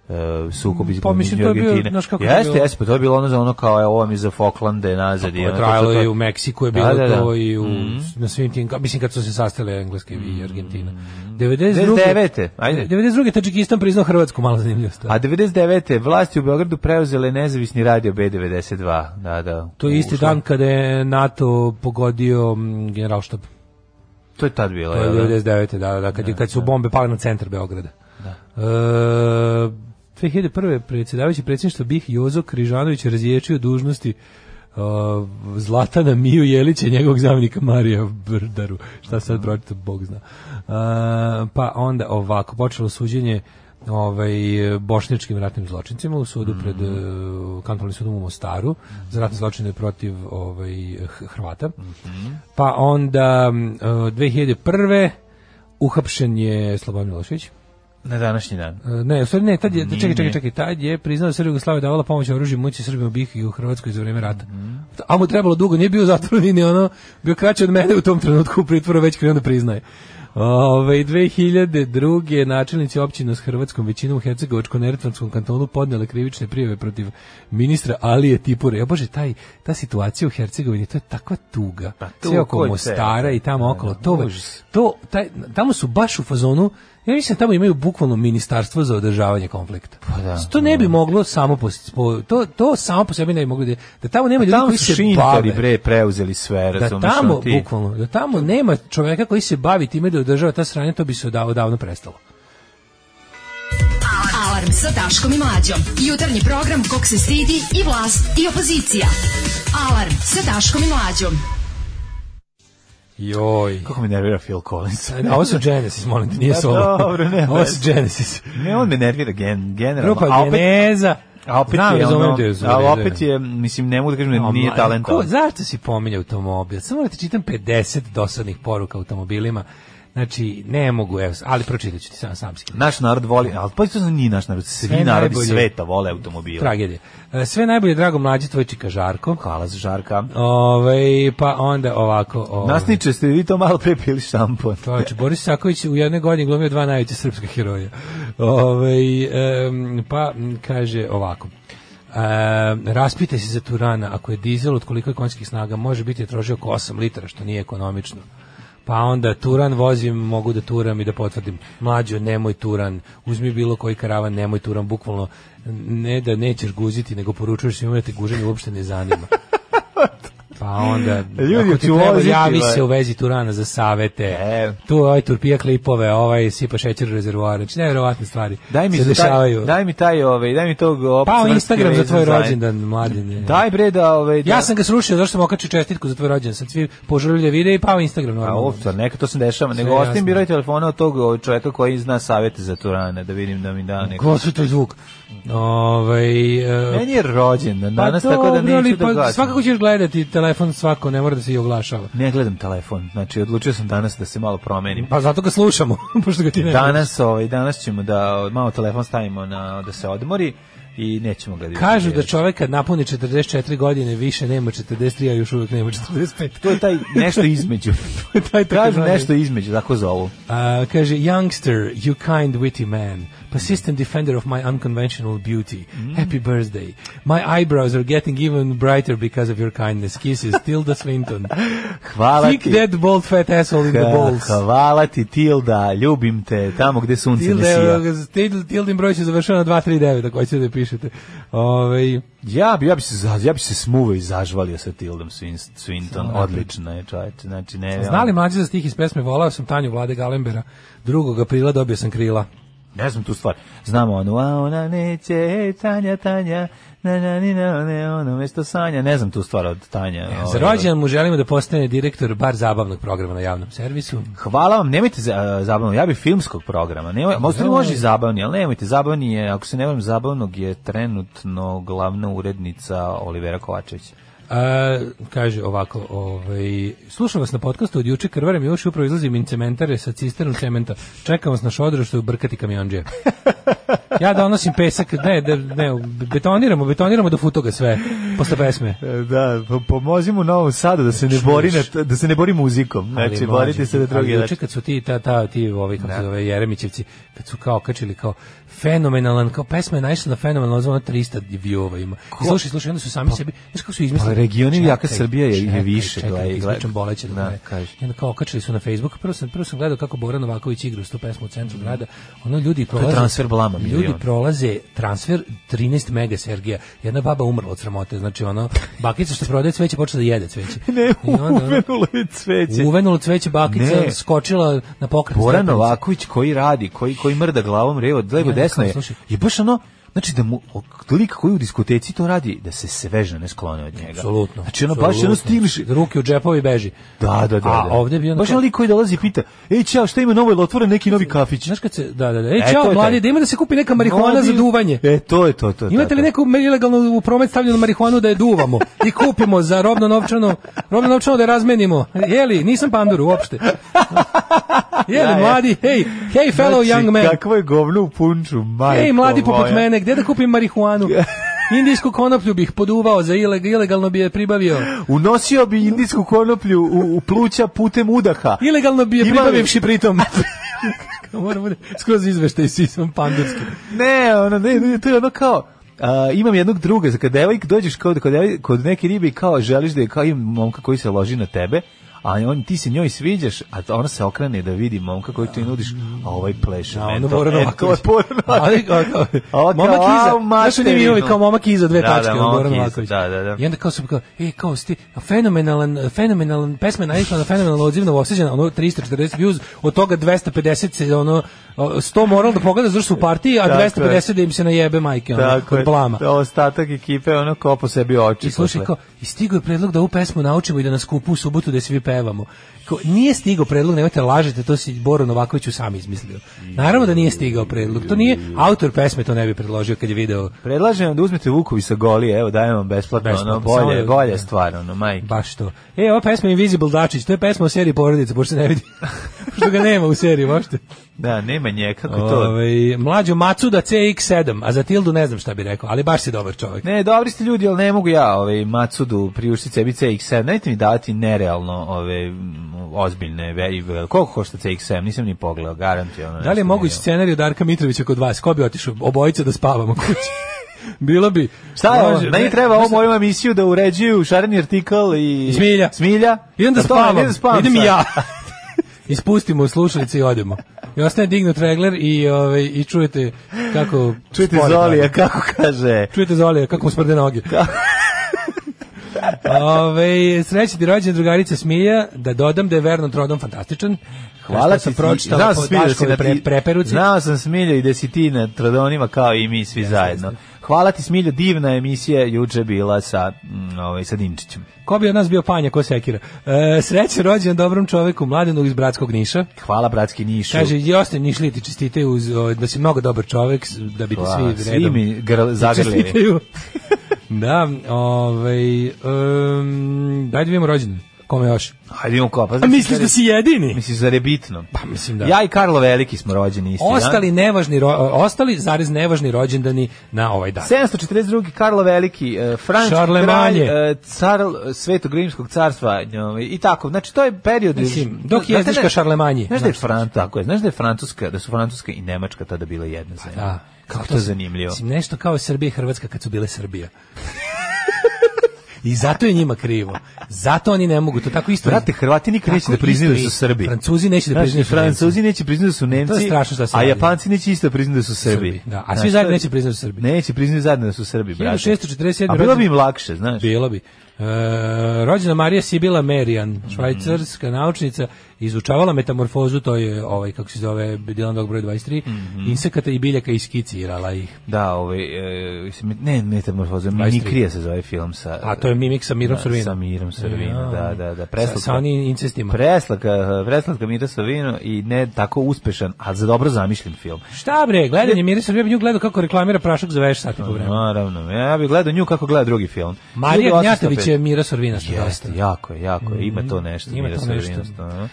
E: Uh, sukob iz
F: Pa, mislim, to je bio,
E: Argentine.
F: znaš kako je
E: jeste,
F: bilo? Pa
E: jeste, pa to je bilo ono za ono kao, e, ovo mi je za Falklande nazad. i
F: Je,
E: ono,
F: trajalo
E: to- to-
F: je i u Meksiku je bilo
E: Da, da, Mhm. da.
F: to i u, na svim tim, ka- mislim kad su se sastale Engleske i Argentina.
E: 99.,
F: 99.
E: Mhm. ajde.
F: 92. Tadžikistan priznao Hrvatsku, malo zanimljivo stvar.
E: A 99. vlasti u Beogradu preuzele nezavisni radio B92. Da, da.
F: to je isti
E: Ušlo.
F: dan kada je NATO pogodio mm, generalštab.
E: To je tad bilo.
F: To je
E: jel da?
F: 99. da, da, da, kad, je, kad su bombe pale na centar Beograda. Da. E, 2001. predsjedavajući predsjedništvo BiH Jozo Križanović razječio dužnosti e, Zlatana Miju Jelića i njegovog zamjenika Marija Brdaru. Šta sad pročito, Bog zna. E, pa onda ovako, počelo suđenje ovaj, bošnjačkim ratnim zločincima u sudu pred e, kantonalnim sudom u Mostaru za ratne zločine protiv ovaj, H- Hrvata. Pa onda mm, e, 2001. uhapšen je Slobodan Milošević.
E: Na današnji dan.
F: E, Ne, u stvari ne, tad je,
E: Nije,
F: čekaj,
E: nije.
F: čekaj, čekaj, tad je priznao da Srbija Jugoslavija davala pomoć oružju muci Srbima u BiH i u Hrvatskoj za vreme rata.
E: Mhm.
F: A mu trebalo dugo, nije bio zatvoren ni ono, bio kraće od mene u tom trenutku u pritvoru, već krenuo da priznaje. Ove, 2002. načelnici općina s hrvatskom većinom u Hercegovačko-Neretvanskom kantonu podnijeli krivične prijave protiv ministra Alije Tipure. Ja bože, taj, ta situacija u Hercegovini, to je takva tuga.
E: Pa to
F: Sve oko
E: ko te-
F: Mostara i tamo okolo. To,
E: E, užas.
F: to, taj, tamo su baš u fazonu, ja mislim da tamo imaju bukvalno ministarstvo za održavanje konflikta. Pa
E: da.
F: to ne bi moglo samo po, po- to, to samo po sebi ne bi moglo da, da tamo nema ljudi
E: Pa Tamo
F: koji
E: su
F: se
E: šintari,
F: bave.
E: bre, preuzeli sve,
F: da
E: razumiješ?
F: tamo,
E: ono ti-
F: bukvalno, da tamo nema čoveka koji se bavi time da održava ta sranja, to bi se odavno, odavno prestalo.
D: Alarm sa Daškom i Mlađom. Jutarnji program kog se stidi i vlast i opozicija. Alarm sa Daškom i Mlađom.
F: Joj.
E: Kako me nervira Phil Collins.
F: Da, ovo su Genesis, molim te, nije
E: Pa
F: solo.
E: dobro, ne,
F: Ovo
E: ne.
F: su Genesis.
E: <laughs> Ne, on me nervira gen, generalno.
F: Grupa Geneza.
E: a opet
F: Znam,
E: je,
F: razumem
E: ono,
F: te, razumem
E: a
F: te.
E: opet je, mislim, ne mogu da kažem da nije
F: Omladine,
E: talentovan.
F: ko- zašto si pominjao automobil? Samo da ti čitam 50 dosadnih poruka automobilima. Znači, ne mogu, evo, ali pročitat ću ti sam, sam si.
E: Naš narod voli, ali pa isto nije naš narod, svi
F: Sve
E: narodi
F: najbolje.
E: sveta vole automobile.
F: Tragedija. E, Sve najbolje, drago mlađe, tvoj čika Žarko.
E: Hvala za žarka.
F: Ovaj. Ove, pa onda ovako... ovaj. Ove,
E: Nasniče, ste vi to malo pre pili šampon.
F: Čovječe, Boris Saković u jednoj godini glumio dva najveća srpska heroja. Ove, pa m, kaže ovako. Em, raspitaj se za Turana, ako je dizel od koliko je konjskih snaga, može biti je trošio oko 8 litara, što nije ekonomično. Pa onda Turan vozim, mogu da turam i da potvrdim. Mlađo, nemoj Turan, uzmi bilo koji karavan, nemoj Turan, bukvalno ne da nećeš guziti, nego poručuješ svima da te guženje uopšte ne zanima.
E: <laughs>
F: Pa onda,
E: Ljudi,
F: ako ti
E: ću
F: treba,
E: voziti,
F: javi
E: ba.
F: se u vezi Turana za savete.
E: E.
F: Tu ovaj turpija klipove, ovaj sipa šećer u rezervoar. Znači, nevjerovatne stvari
E: Daj mi,
F: se
E: za taj,
F: dešavaju.
E: daj mi taj, ovaj, daj mi tog
F: pa u
E: opsvrtke
F: Instagram za
E: vezan
F: tvoj
E: zajedno.
F: rođendan, mladine.
E: Daj bre da, ovaj, da
F: Ja sam ga srušio, zašto sam okačio čestitku za tvoj rođendan. Sad svi požurili da vide i pao Instagram.
E: A
F: Normalno.
E: uopšte, Pa, neka to se dešava, nego
F: Sve
E: ostavim
F: jasno.
E: biroj telefona od tog ovaj, čovjeka koji zna savjete za Turane, da vidim da mi da neko.
F: Ko su to zvuk? Ovaj, e,
E: Meni je rođen,
F: pa
E: danas tako da
F: dobro, ali
E: neću da
F: pa
E: gasim.
F: Svakako ćeš gledati telefon svako, ne mora da se i oglašava.
E: Ne gledam telefon, znači odlučio sam danas da se malo promenim.
F: Pa zato ga slušamo, <laughs> pošto ga ti ne
E: Danas, ovaj, danas ćemo da malo telefon stavimo na, da se odmori i nećemo ga dirati.
F: Kažu da čovek kad napuni 44 godine više nema 43, a još uvijek nema 45.
E: To je
F: <laughs>
E: taj nešto između.
F: To je taj
E: Kažu
F: takozvani-
E: nešto između, tako zovu.
F: A, kaže, youngster, you kind witty man,
E: Mhm.
F: persistent defender of my unconventional beauty, happy birthday. My eyebrows are getting even brighter because of your kindness. Kisses, Tilda
E: <laughs>
F: Swinton.
E: Hvala
F: Kick
E: ti.
F: that bald fat asshole in the balls.
E: Hvala ti Tilda, ljubim te, tamo gde sunce ne
F: Tilda,
E: sija.
F: Tilda, Tildin broj će završeno na 239, ako hoćete da pišete. Ovaj, Ove,
E: Ja bi, ja bi se, za- ja bi se smuvao i zažvalio sa Tildom Swin- Swinton, odlična je čovječe, znači ne...
F: znali mlađe za stih iz pesme Volao sam Tanju Vlade Galembera. 2. aprila dobio sam krila.
E: Ne znam tu stvar. Znamo onu, a ona neće, ej, Tanja, Tanja, na, na, ni, na, ne, ono, mesto Sanja. Ne znam tu stvar od Tanja. ovaj,
F: Za rođendan mu želimo da postane direktor bar zabavnog programa na javnom servisu.
E: Hvala vam, nemojte za, e, zabavno, ja bi filmskog programa. Nemoj, možda li može i zabavni, ali nemojte, zabavni je, ako se ne varam, zabavnog je trenutno glavna urednica Olivera Kovačević.
F: A, kaže ovako, ovaj, slušam vas na podcastu od juče, krvarem i uši, upravo izlazim in cementare sa cisternom cementa. Čekam vas na šodru što je brkati kamionđe. Ja donosim pesak, ne, ne, ne, betoniramo, betoniramo do futoga sve, posle pesme.
E: Da, pomozi mu Novom Sadu da se ne
F: bori Znači,
E: da se ne bori muzikom.
F: Ali mlađe, ali juče kad su ti ta ta ti ovi kako se zove Jeremićevci kad su kao kačili kao fenomenalan kao pesma je naišla na fenomenalan zvon 300 viewova ima. I slušaj, slušaj, onda su sami sebi, znači kako su izmislili.
E: Pa regioni
F: Čekaj,
E: jaka Srbija je- je
F: čekaj,
E: više,
F: Čekaj,
E: gledaj,
F: da
E: gledaj.
F: ispričam boleće
E: Da,
F: da, me-
E: kaži.
F: I onda kao kačili su na Facebook, prvo sam prvo sam gledao kako Boran Novaković igra tu pesmu u centru grada. Ono ljudi prolaze
E: Mhm. transfer blama, milion.
F: Ljudi prolaze transfer 13 mega Sergija. Jedna baba umrla od sramote, znači ono bakica što prodaje cveće počela da jede cveće.
E: <laughs> Ne,
F: I onda, ono,
E: uvenulo je cveće.
F: Uvenulo cveće bakica,
E: Ne.
F: skočila na pokret.
E: Bora
F: stepenice.
E: Novaković koji radi, koji koji mrda glavom revo, levo
F: Ja,
E: desno je.
F: kao, slušaj.
E: Je baš ono Znači da mu o- lik koji u diskoteci to radi, da se svežno ne sklone od njega.
F: Apsolutno.
E: Znači ono baš ono
F: apsolutno.
E: stiliš.
F: Ruke u džepovi beži.
E: Da, da, da.
F: A
E: da.
F: ovde bi ono
E: Baš
F: kao-
E: ono lik koji dolazi i pita, ej čao, šta ima novo, ili otvoren neki novi kafić?
F: Znaš kad se, da, da, da. E,
E: E, to
F: čao,
E: je
F: mladi,
E: taj.
F: da ima da se kupi neka marihuana
E: Mladi-
F: za duvanje.
E: E, to je to, to je to.
F: Imate li
E: to.
F: neku ilegalno u promet stavljenu marihuanu da je duvamo i kupimo za robno novčano, robno novčano da je razmenimo? Jeli, nisam pandur uopšte. Jeli,
E: Da, je.
F: mladi, hej, hej fellow
E: Znači,
F: young man.
E: Kakvo je govno u punču, majko
F: Ej, mladi poput
E: moja.
F: mene, gde da kupim
E: <laughs>
F: marihuanu? Indijsku konoplju bih poduvao za ileg- ilegalno bi je pribavio.
E: Unosio bi indijsku konoplju u, u pluća putem udaha.
F: Ilegalno bi je
E: Ima li-
F: pribavivši <laughs> pritom. Moram bude skroz izveštaj sisom pandurski.
E: <laughs> Ne, ono, ne, ne, to je ono kao, a, imam jednog druga, za kad devojk dođeš kao, kod, devoj- kod neke ribe i kao želiš da je kao imam momka koji se loži na tebe, a on, ti se njoj sviđaš, a to- ona se okrene da vidi momka koji ti nudiš, a ovaj pleše.
F: A
E: meni
F: ono
E: to-
F: Bora
E: e, to je
F: Novaković.
E: Bora Novaković.
F: <laughs> Ali, a, kao,
E: <laughs> A ovo kao,
F: momak
E: "Au,
F: iza, znaš oni mi ovi
E: materinu."
F: kao momak iza dve
E: Da,
F: tačke,
E: da,
F: ono,
E: momak
F: Goran
E: iza,
F: Novaković.
E: da, da, da.
F: I onda kao sam kao, ej, kao sti, a fenomenalan, fenomenalan, pesma je naišla na fenomenalno odzivno osjeđena, ono 340 views, od toga 250 se, ono, o, 100 moral da pogleda zašto su u partiji, a
E: Tako je.
F: 250 da im se najebe majke, ono,
E: Tako
F: od
E: je,
F: blama.
E: ostatak ekipe ono kao po sebi oči.
F: I slušaj,
E: posle.
F: kao, i stigo je predlog da ovu pesmu naučimo i da nas kupu u subotu da svi pevamo. Kao, nije stigo predlog, nemojte lažete, to si Boro Novakoviću sam izmislio. Naravno da nije stigao predlog, to nije, autor pesme to ne bi predložio kad je video
E: Predlažem vam da uzmete Vukovi sa goli, evo dajem vam besplatno,
F: Besplatno,
E: ono, bolje,
F: samo-
E: bolje stvar, ono, majke.
F: baš to. E, ova pesma je Invisible Dačić, to je pesma o seriji porodice, pošto se ne vidi, <laughs> što ga nema u seriji, možete.
E: Da, nema nje, kako to?
F: Ove, mlađo Macuda CX7, a za Tildu ne znam šta bi rekao, ali baš si dobar čovjek.
E: Ne, dobri ste ljudi, ali ne mogu ja ovaj, Macudu priuštiti sebi CX-7. Nemojte mi davati nerealno ove, m, ozbiljne. ve- i ve- Koliko košta CX-7? Nisam ni pogledao, garantujem. ono
F: Da li
E: nešto
F: je moguć
E: nije.
F: scenarij od Darka Mitrovića kod vas? Ko bi otišao? Obojica da spavamo kući. <laughs> Bilo bi.
E: Šta je ovo?
F: Može,
E: Meni
F: ne,
E: treba
F: znaš
E: ovu
F: šta?
E: moju emisiju da uređuju šareni artikl i...
F: Smilja.
E: Smilja.
F: Idem da
E: A to,
F: spavam.
E: idem da spavam
F: Idem i
E: sad.
F: <laughs> ja. Ispustimo slušalice i odemo. I ostane dignut regler i, ovaj, i čujete kako...
E: Čujte
F: spore
E: Zolija
F: radi.
E: kako kaže.
F: Čujete Zolija kako mu smrde noge. <laughs> Ove, sreći Ovaj, ti rođen drugarica Smilja, da dodam da je Vernon Trodom fantastičan.
E: Hvala ti.
F: Što sam pročitala
E: Znao
F: po
E: sam Smilja da si
F: Daškovoj
E: na
F: pre,
E: ti-
F: preperuci.
E: Znao sam Smilja i da si ti na Tradonima kao i mi svi zajedno. Hvala ti Smilja, divna emisija je juče bila sa, mm, ovaj, sa Dinčićem.
F: Ko bi od nas bio panja ko sekira? E, sreće rođen dobrom čoveku, mladenu iz Bratskog Niša.
E: Hvala bratski Nišu.
F: Kaže, i ostali nišli ti čestitaju uz, o, da si mnogo dobar čovek, s- da bi ti
E: Hvala,
F: svi redom
E: mi grl,
F: <laughs>
E: zagrlili.
F: čestitaju. da, ovaj, um, dajde vidimo rođendan. Kome još?
E: Hajde idemo kopa.
F: A misliš da si jedini?
E: Misliš, zar je bitno?
F: Pa mislim da.
E: Ja i Karlo Veliki smo rođeni isti
F: ostali nevažni ro, ostali zarez nevažni rođendani na ovaj dan.
E: dan. 742. Karlo Veliki, eh, Franč,
F: Šarlemanje.
E: kralj, eh, car eh, Svetog Rimskog carstva ovaj, i tako. Znači, to je period...
F: Mislim, dok
E: Znate
F: je jezdiš
E: da-
F: ka Šarlemanji.
E: Znaš da je
F: Znači.
E: Fran, tako je, znaš da je Francuska, da su Francuska i Nemačka tada bile jedna zemlja.
F: Da.
E: Kako to je zanimljivo.
F: Mislim, nešto kao Srbija i Hrvatska kad su bile Srbija. I zato je njima krivo. Zato oni ne mogu to tako isto.
E: Brate, Hrvati nikad neće
F: Tako
E: da priznaju da
F: isto
E: su
F: i
E: Srbi.
F: Francuzi neće da
E: Znaš,
F: priznaju da su
E: Francuzi neće priznati da su Nemci.
F: To je strašno šta se
E: A
F: radi.
E: Japanci neće isto priznati da su Srbi.
F: Srbi, da. A svi
E: Znaš,
F: zajedno
E: to je-
F: neće priznati da su Srbi.
E: Neće priznati zajedno da su Srbi, brate.
F: 1647
E: A bilo bi
F: rođen-
E: im lakše, znaš.
F: Bilo bi. E, rođena Marija Sibila Merian,
E: Mhm.
F: švajcarska naučnica, izučavala metamorfozu, to je ovaj kako se zove Dylan Dog broj 23,
E: Mhm.
F: insekata i biljaka i skicirala ih.
E: Da, ovaj, e, mislim, ne, metamorfoza,
F: 23.
E: Mimikrija se zove film sa...
F: A to je mimik sa Mirom
E: da,
F: Sorvinom.
E: Sa Mirom Sorvinom,
F: Ja.
E: da, da, da.
F: Sa,
E: Preslaka,
F: sa onim incestima.
E: preslaka, preslaka Mira Sorvino i ne tako uspešan, a za dobro zamišljen film.
F: Šta bre, gledanje Mira Sorvina, ja bi nju gledao kako reklamira prašak za veš sati po vremenu.
E: Naravno, ja bih gledao nju kako gleda drugi film.
F: Marija
E: 1805.
F: Gnjatović je Mira Sorvina. što dosta. Mm-hmm.
E: Jeste, jako je, jako je. Ima to nešto.
F: Ima
E: Mira
F: to nešto.
E: Sorvinost, a?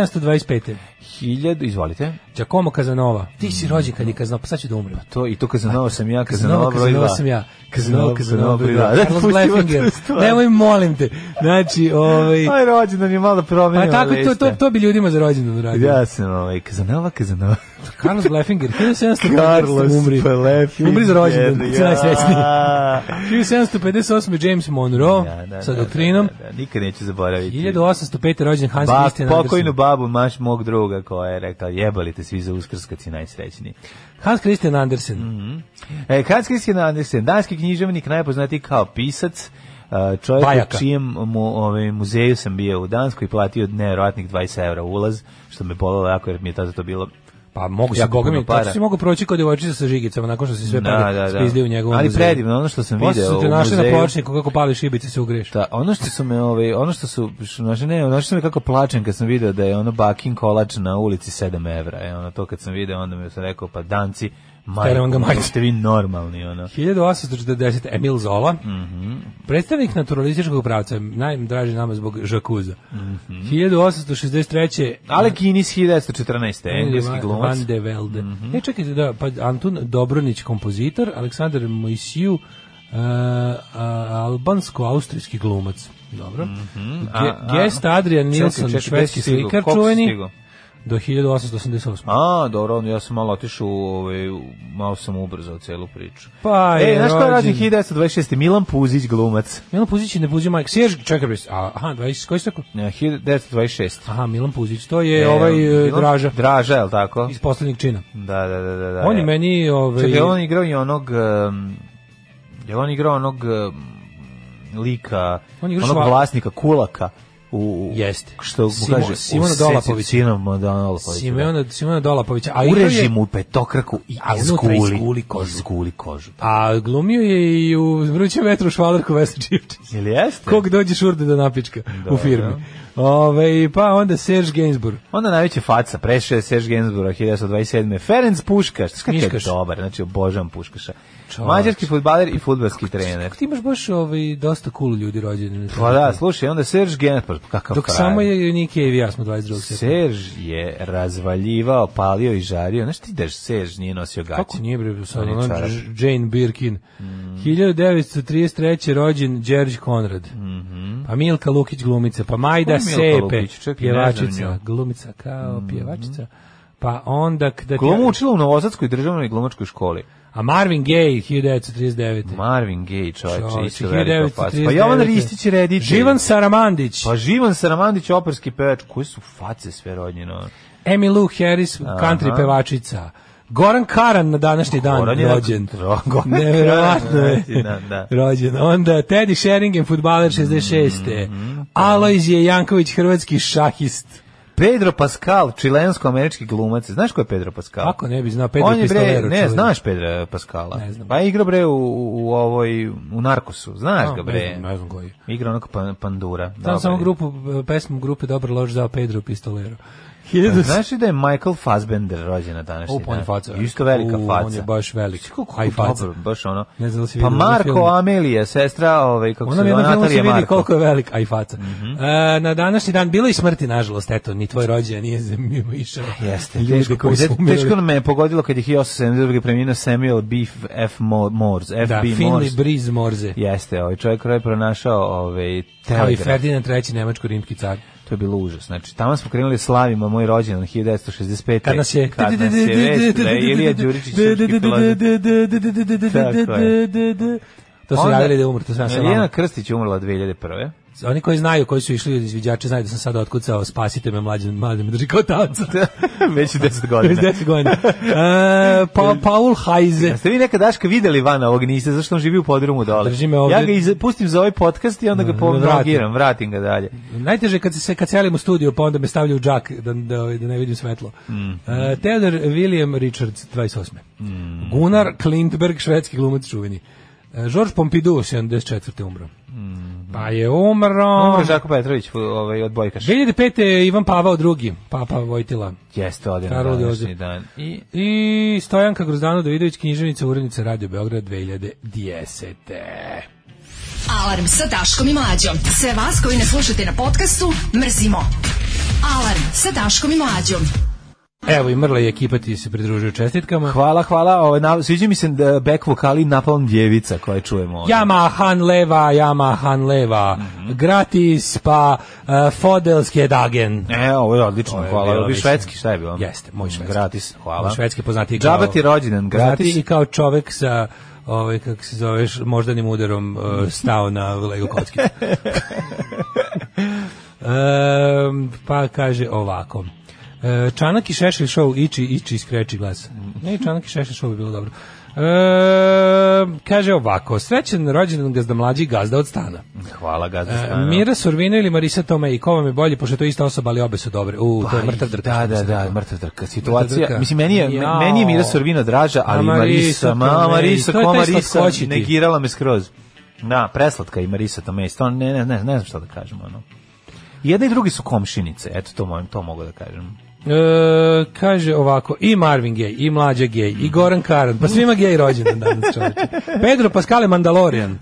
F: 1725.
E: Hiljadu, izvolite.
F: Giacomo Casanova. Ti si rođen kad je Casanova, pa sad ću da umrem.
E: To, I to Kazanova sam ja, Kazanova
F: Kazanova,
E: broj 2.
F: sam ja. Kazanova, Kazanova broj dva.
E: Da,
F: Carlos
E: pustimo tu
F: Blefinger.
E: stvar.
F: Nemoj, molim te. Znači, ovaj...
E: Aj, rođendan je malo promenio.
F: Pa tako, to, to, to bi ljudima za rođendan uradio.
E: Ja sam ovaj, Kazanova, Kazanova.
F: Carlos
E: <laughs>
F: Blefinger, 1750
E: Carlos
F: umri.
E: Blefinger,
F: Umri za rođendan,
E: ja.
F: ja. najsrećniji. 1758. James Monroe sa doktrinom.
E: Da, da, da, nikad neću zaboraviti.
F: 1805. rođen Hans
E: Ba,
F: Christian Andersen.
E: pokojnu babu, maš mog druga koja je rekla, jebali te svi za uskrskac si najsrećniji.
F: Hans Christian Andersen.
E: E, Hans Christian Andersen, danski književnik, najpoznatiji kao pisac, e, čovjek
F: Bajaka.
E: u čijem mu, ovaj, muzeju sam bio u Danskoj i platio nevjerojatnih 20 evra ulaz, što me bolelo jako jer mi je tada to bilo
F: Pa mogu se,
E: Jako
F: boga mi,
E: puno para.
F: tako si mogu proći kod devojčica sa žigicama, nakon što se sve pare spizli u njegovom
E: Ali
F: muzeju.
E: predivno, ono što sam
F: Posle
E: video
F: su
E: u
F: te našli na
E: muzeju.
F: pločniku kako pališ šibice se ugreš.
E: Da, ono što su me, ovaj, ono što su, što, znači, ne, ono što sam kako plačem kad sam video da je ono bakin kolač na ulici 7 evra. E, ono, to kad sam video, onda mi sam rekao, pa danci,
F: Teram ga
E: majko,
F: majci.
E: ste vi normalni, ono.
F: 1840 Emil Zola,
E: Mhm.
F: predstavnik naturalističkog pravca, najdraži nama zbog žakuza.
E: Mhm.
F: 1863.
E: Ale Guinness 1914. engleski
F: Van-
E: glumac. Mhm.
F: Van de Velde. E, čekajte, da, pa Antun Dobronić, kompozitor, Aleksandar Moisiu, uh, albansko-austrijski glumac. Dobro. Ge-
E: Mhm. a-
F: Gest Adrian
E: Čekaj,
F: Nilsson,
E: čekaj, gde
F: švedski
E: si stigao?
F: slikar
E: Koliko si
F: čuveni,
E: stigao?
F: do 1888.
E: A, dobro, onda ja sam malo otišao, u, ovaj, u- malo sam ubrzao celu priču.
F: Pa
E: e,
F: je
E: znaš ko radi
F: rođen-
E: 1926. Milan Puzić, glumac.
F: Milan Puzić i ne Puzić Majk. Sjež, čekaj, bre, a- aha, 20, koji ste rekao?
E: E, 1926.
F: Aha, Pa, Milan Puzić, to je ovaj e,
E: Milan-
F: Draža
E: Draža, je li tako?
F: iz poslednjeg čina.
E: Da, da, da, da. da
F: On je
E: evo.
F: meni ovaj
E: Čekaj, je on igrao i onog... Um, je on igrao onog um, lika,
F: On igra
E: onog
F: šva-
E: vlasnika, kulaka. U, u-
F: Jeste.
E: Što mu
F: Simo-
E: kaže?
F: Simona Dolapović.
E: Simona Dolapović.
F: Simeona Simona Dolapovića, a
E: Da.
F: igrao je-
E: Ureži mu petokraku i
F: A unutra
E: izguli,
F: izguli kožu.
E: Izguli kožu.
F: A glumio je i u vrućem vetru švalerku Vesna Čivčić.
E: Ili jeste?
F: Kog dođe šurde da napička u firmi. Ove, pa onda Serge Gainsbourg.
E: Onda najveća faca, prešao je Serge Gainsbourg 1927. Ferenc Puškaš, znaš kakav je
F: Miškaš.
E: dobar, znači obožavam Puškaša.
F: Čovek.
E: Mađarski fudbaler i fudbalski trener.
F: Ti imaš baš ovaj, dosta cool ljudi rođeni.
E: Pa da, slušaj, onda Serge Gainsbourg, pa kakav
F: Dok
E: frajer.
F: samo je Niki i ja smo 22. septembra.
E: Serž je razvaljivao, palio i žario. Znaš ti da Serž nije nosio gaće?
F: Kako nije bre, sad
E: On je
F: ono,
E: čarap.
F: Ž- Jane Birkin.
E: Mm.
F: 1933. rođen Đerđ Konrad. Pa Milka Lukić glumica, pa
E: Mhm. Ko
F: Majda
E: je Milka
F: Sepe,
E: Lukić? Čekaj, ne znam
F: pjevačica,
E: nju. Mhm.
F: glumica kao pjevačica. Pa onda kada ti-
E: Glumu učila u Novosadskoj državnoj glumačkoj školi.
F: A Marvin Gaye 1939.
E: Marvin Gaye, čovječe,
F: Čovječe,
E: isto velika faca. Pa Jovan
F: 1939.
E: Ristić je reditelj.
F: Živan Saramandić,
E: Pa Živan Saramandić, operski pevač. Koje su face sve rođeno?
F: Amy Lou Harris, country pevačica. Goran Karan na današnji dan
E: Goran je-
F: rođen.
E: Ro- <laughs> Goran
F: Neverovatno je.
E: Karan, da, da.
F: rođen. Onda Teddy Sheringham, futbaler
E: Mhm,
F: 66. Alojzije Janković, hrvatski šahist.
E: Pedro Pascal, čilensko-američki glumac. Znaš ko je Pedro Pascal?
F: Kako ne bi znao Pedro
E: On je bre,
F: Pistolero,
E: ne,
F: čuveni.
E: znaš Pedro Pascala.
F: Ne znam.
E: Pa igra bre u, u, u ovoj, u Narkosu. Znaš
F: A,
E: ga
F: ne
E: bre.
F: znam, ne znam koji je.
E: Igra onog pan- pandura.
F: Znam
E: Dobar
F: samo
E: je. <laughs>
F: grupu, pesmu grupe Dobro lož za Pedro Pistolero.
E: Hiljadu... Znaš li da je Michael Fassbender rođen na današnji
F: Opa, on je faca.
E: Isto velika
F: U,
E: faca.
F: on je baš velik.
E: Znaš Kako,
F: Aj,
E: kako
F: faca.
E: dobro, baš ono.
F: Ne znam da li si
E: pa
F: vidio onaj
E: Marko
F: film.
E: Amelije, sestra, ovaj, kako
F: Ona
E: se
F: mi
E: zove,
F: na filmu se
E: Natalija Mhm.
F: vidi
E: Marko.
F: koliko je velik, aj faca. E, na današnji dan bilo je i smrti, nažalost, eto, ni tvoj rođendan nije <laughs> za mimo išao.
E: Jeste,
F: Ljudi
E: teško,
F: koji su
E: teško
F: umirali.
E: me je pogodilo kad je 1872. preminuo Samuel B. F. Mo- Morse. F.
F: Da,
E: B. Morse.
F: Finley Breeze Morze.
E: Jeste, ovaj čovjek koji je pronašao ovaj,
F: Kao i
E: telegraf.
F: Ferdinand III, nemačko-rimski car.
E: To je bilo užas. Znači, tamo smo krenuli slavimo moj rođendan 1965.
F: Kad nas je...
E: Kad nas je već, da je Ilija Đuričić srpski filozof. Tako
F: To su
E: Onda-
F: javili da je umr, to sam ja sam
E: Marijana Krstić je umrla
F: <laughs>
E: 2001.
F: Oni koji znaju, koji su išli od izviđača, znaju da sam sada otkucao Spasite me mlađe, mlađe me drži kao tavca.
E: Već 10
F: Već
E: godina.
F: 10 godina. E, pa, Paul Heise.
E: Jeste vi nekad Daška videli van ovog niste, zašto on živi u podrumu dole?
F: Drži me ovde.
E: Ja ga iz, pustim za ovaj podcast i onda ga
F: Da,
E: pomnogiram, vratim ga dalje.
F: Najteže je kad se kad selim u studio, pa onda me stavljaju u džak da, da, da ne vidim svetlo.
E: Mhm.
F: E, Theodor William Richards, 28.
E: Mhm.
F: Gunnar Klintberg, švedski glumac čuveni. E, George Pompidou, 74. umro. Pa je umro...
E: Mhm. Umro Žako Petrović, fu- ovaj, odbojkaš.
F: 2005. je Ivan Pavao II, papa Vojtila.
E: Jeste, ovdje na
F: Karol
E: današnji
F: Jozef.
E: dan. I
F: I Stojanka Grozdano Davidović, književnica, urednica Radio Beograd 2010.
D: Alarm sa Daškom i Mlađom. Sve vas koji ne slušate na podcastu, mrzimo. Alarm sa Daškom i Mlađom.
F: Evo i mrla je ekipa ti se pridružio čestitkama.
E: Hvala, hvala. Ovaj, na, sviđa mi se da back vokali Napalm Djevica koje čujemo. ovdje.
F: Yamahan leva, Yamahan leva. Gratis pa uh, Fodelske dagen.
E: E, ovo je odlično,
F: To je
E: hvala.
F: bilo
E: Ovo je
F: više.
E: švedski, šta je bilo?
F: Jeste, moj švedski.
E: Gratis, hvala.
F: Moj švedski poznati kao...
E: Džaba ti rođendan, gratis.
F: Poznatiji i kao čovek sa ovaj kako se zoveš moždanim udarom uh, stao na Lego
E: <laughs>
F: kocki. Ehm, pa kaže ovako. E, Čanak i Šešelj show ići, ići, skreči glas. Ne, Čanak i Šešelj show bi bilo dobro. E, kaže ovako, srećan rođendan gazda mlađi gazda od stana.
E: Hvala, gazda.
F: E,
E: stana.
F: Mira Sorvino ili Marisa Tome i ko vam je bolje, pošto je to ista osoba, ali obe su dobre. U, to je
E: Pa,
F: mrtav drkaš,
E: Da,
F: što
E: da,
F: sam
E: da,
F: rekao.
E: mrtav drka. Situacija,
F: Mrtav drka.
E: mislim, meni je, me-
F: Jao.
E: meni je Mira Sorvina draža, ali
F: A Marisa
E: Marisa, pa ma,
F: Tomei,
E: Marisa,
F: to je
E: ko
F: taj
E: Marisa,
F: slatkoći ti.
E: negirala me skroz. Da, preslatka i Marisa Tomei, to ne, ne, ne, ne znam šta da kažem, ono. I Jedna i drugi su komšinice, eto to, mojem, to mogu da kažem.
F: E, kaže ovako, i Marvin Gay, i mlađa Gay, i Goran Karan, pa svima Gay rođendan danas
E: <laughs>
F: čoveče. Pedro Pascale Mandalorian.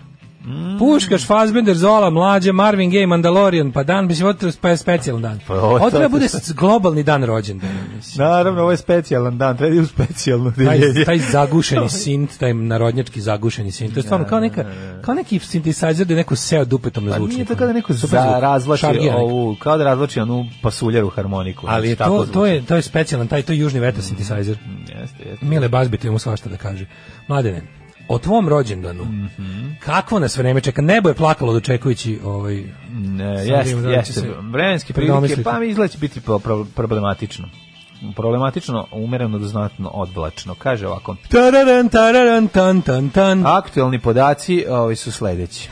E: Mm.
F: Puškaš, Fassbender, Zola, mlađa, Marvin Gay, Mandalorian, pa dan, mislim, ovo treba- pa je specijalan dan.
E: Pa ovo
F: Ovo treba
E: to-
F: bude s- globalni dan rođendana. mislim.
E: Naravno, ovo je specijalan dan, treba u specijalno
F: Taj, taj zagušeni sint, taj narodnjački zagušeni sint, to je stvarno kao, neka, kao neki synthesizer da je neko seo dupetom na
E: Pa
F: zvučniku. ono,
E: nije to kada neko
F: Super zvuk.
E: za razvlači
F: Šargija neka.
E: ovu, kao da razvlači onu pasuljaru harmoniku.
F: Ali je
E: znači, tako
F: to, to,
E: zvuči. Mm.
F: je, to je specijalan, taj, to je južni vetar synthesizer.
E: Jeste, jeste.
F: Mile Bazbit mu svašta da kaže. Mladene, o tvom rođendanu,
E: Mhm.
F: kakvo nas vreme čeka? Nebo je plakalo dočekujući ovaj...
E: Ne,
F: Sad
E: jeste,
F: vidimo da li će
E: jeste.
F: se
E: Vremenske prilike,
F: predomisliti.
E: pa mi izgleda će biti pro- pro- problematično. Problematično, umereno do znatno odvlačno. Kaže ovako,
F: Tararan, tararan, tan, tan, tan.
E: aktuelni podaci ovi su sledeći.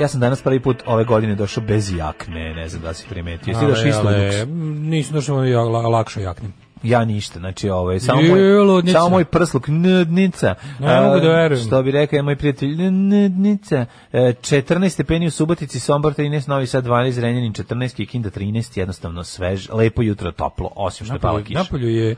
E: Ja sam danas prvi put ove godine došao bez jakne, ne znam da li si primetio. Jesi došao isto u duks?
F: Nisam došao ja, la, lakšo jaknim.
E: Ja ništa, znači ovo je samo
F: Ju,
E: moj,
F: ludnica.
E: samo moj prsluk, nudnica.
F: Ne mogu da verujem.
E: Što bi rekao je moj prijatelj, nudnica. E, 14 stepeni u Subotici, Sombor 13, Novi Sad 12, Renjanin 14, Kikinda 13, jednostavno svež, lepo jutro, toplo, osim što je pala
F: Napolju,
E: kiša.
F: Napolju je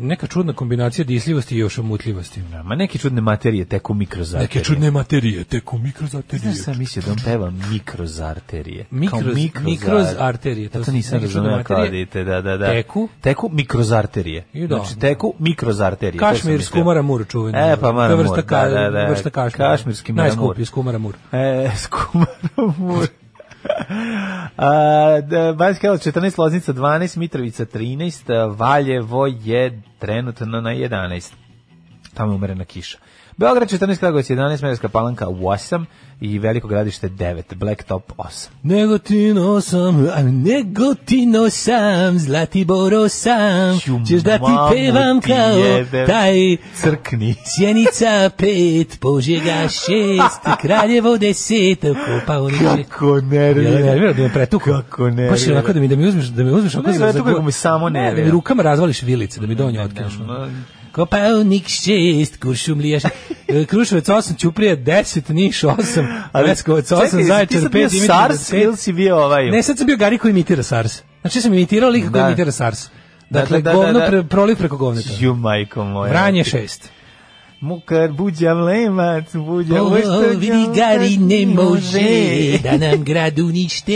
F: neka čudna kombinacija disljivosti i još omutljivosti.
E: Ma neke čudne materije teku mikrozarterije.
F: Neke čudne materije, teku mikrozarterije.
E: Ja sam mislio da on peva mikrozarterije.
F: Mikroz-
E: Kao mikrozar-
F: mikrozarterije, to
E: Ja to
F: su
E: nisam
F: neke čudne
E: razumeo kao
F: materije.
E: dite, da, da, da.
F: Teku?
E: Teku mikrozarterije.
F: I da.
E: Znači, teku mikrozarterije. to sam
F: Kašmir,
E: mislio.
F: skumara mur čuveni.
E: E, pa Mara
F: To je
E: Mur,
F: vrsta, ka,
E: da, da, da.
F: vrsta kašmira.
E: Kašmirski Mara Mur.
F: Najskuplji, skumara mur.
E: E, <laughs> Skumaromur. A, da, Banjska Karlovac 14, Loznica 12, Mitrovica 13, a, Valjevo je trenutno na 11. Tamo je umerena kiša. Beograd 14, Kragovic 11, Merska Palanka 8 i Veliko gradište 9, Blacktop 8.
F: Negotino sam, a negotino sam, Zlatiboro sam,
E: Ju,
F: ćeš da ti
E: mamu
F: pevam
E: ti
F: kao
E: jebem.
F: taj
E: Crkni.
F: Sjenica pet, Požega šest, Kraljevo deset, kopa u niče.
E: Kako nervira.
F: Ja nervira da me pretuku.
E: Kako nervira.
F: Baš je onako da mi, da mi uzmeš, da mi uzmeš. onako
E: Ne
F: za-
E: pretuku,
F: za-
E: nego mi samo
F: Ne, Da mi
E: nervira.
F: rukama razvališ vilice, da mi donje otkineš.
E: ma-
F: Kopalnik šest, kuršumlija šest. e, Kruševac 8, Ćuprija 10, Niš 8, Leskovac 8, Zaječar 5,
E: Ti
F: Dimitrovgrad
E: sam bio SARS
F: 5.
E: ili si bio ovaj...
F: Ne, sad sam bio Gari koji imitira SARS. Znači sam imitirao lika koji
E: Da.
F: imitira SARS.
E: Da,
F: Dakle,
E: da, da,
F: govno
E: da.
F: pre, proliv preko govneta.
E: Ju, majko moja.
F: Vranje 6.
E: Mukar, buđam lemac, buđam...
F: Ovo vidi Gari ne može da nam grad unište,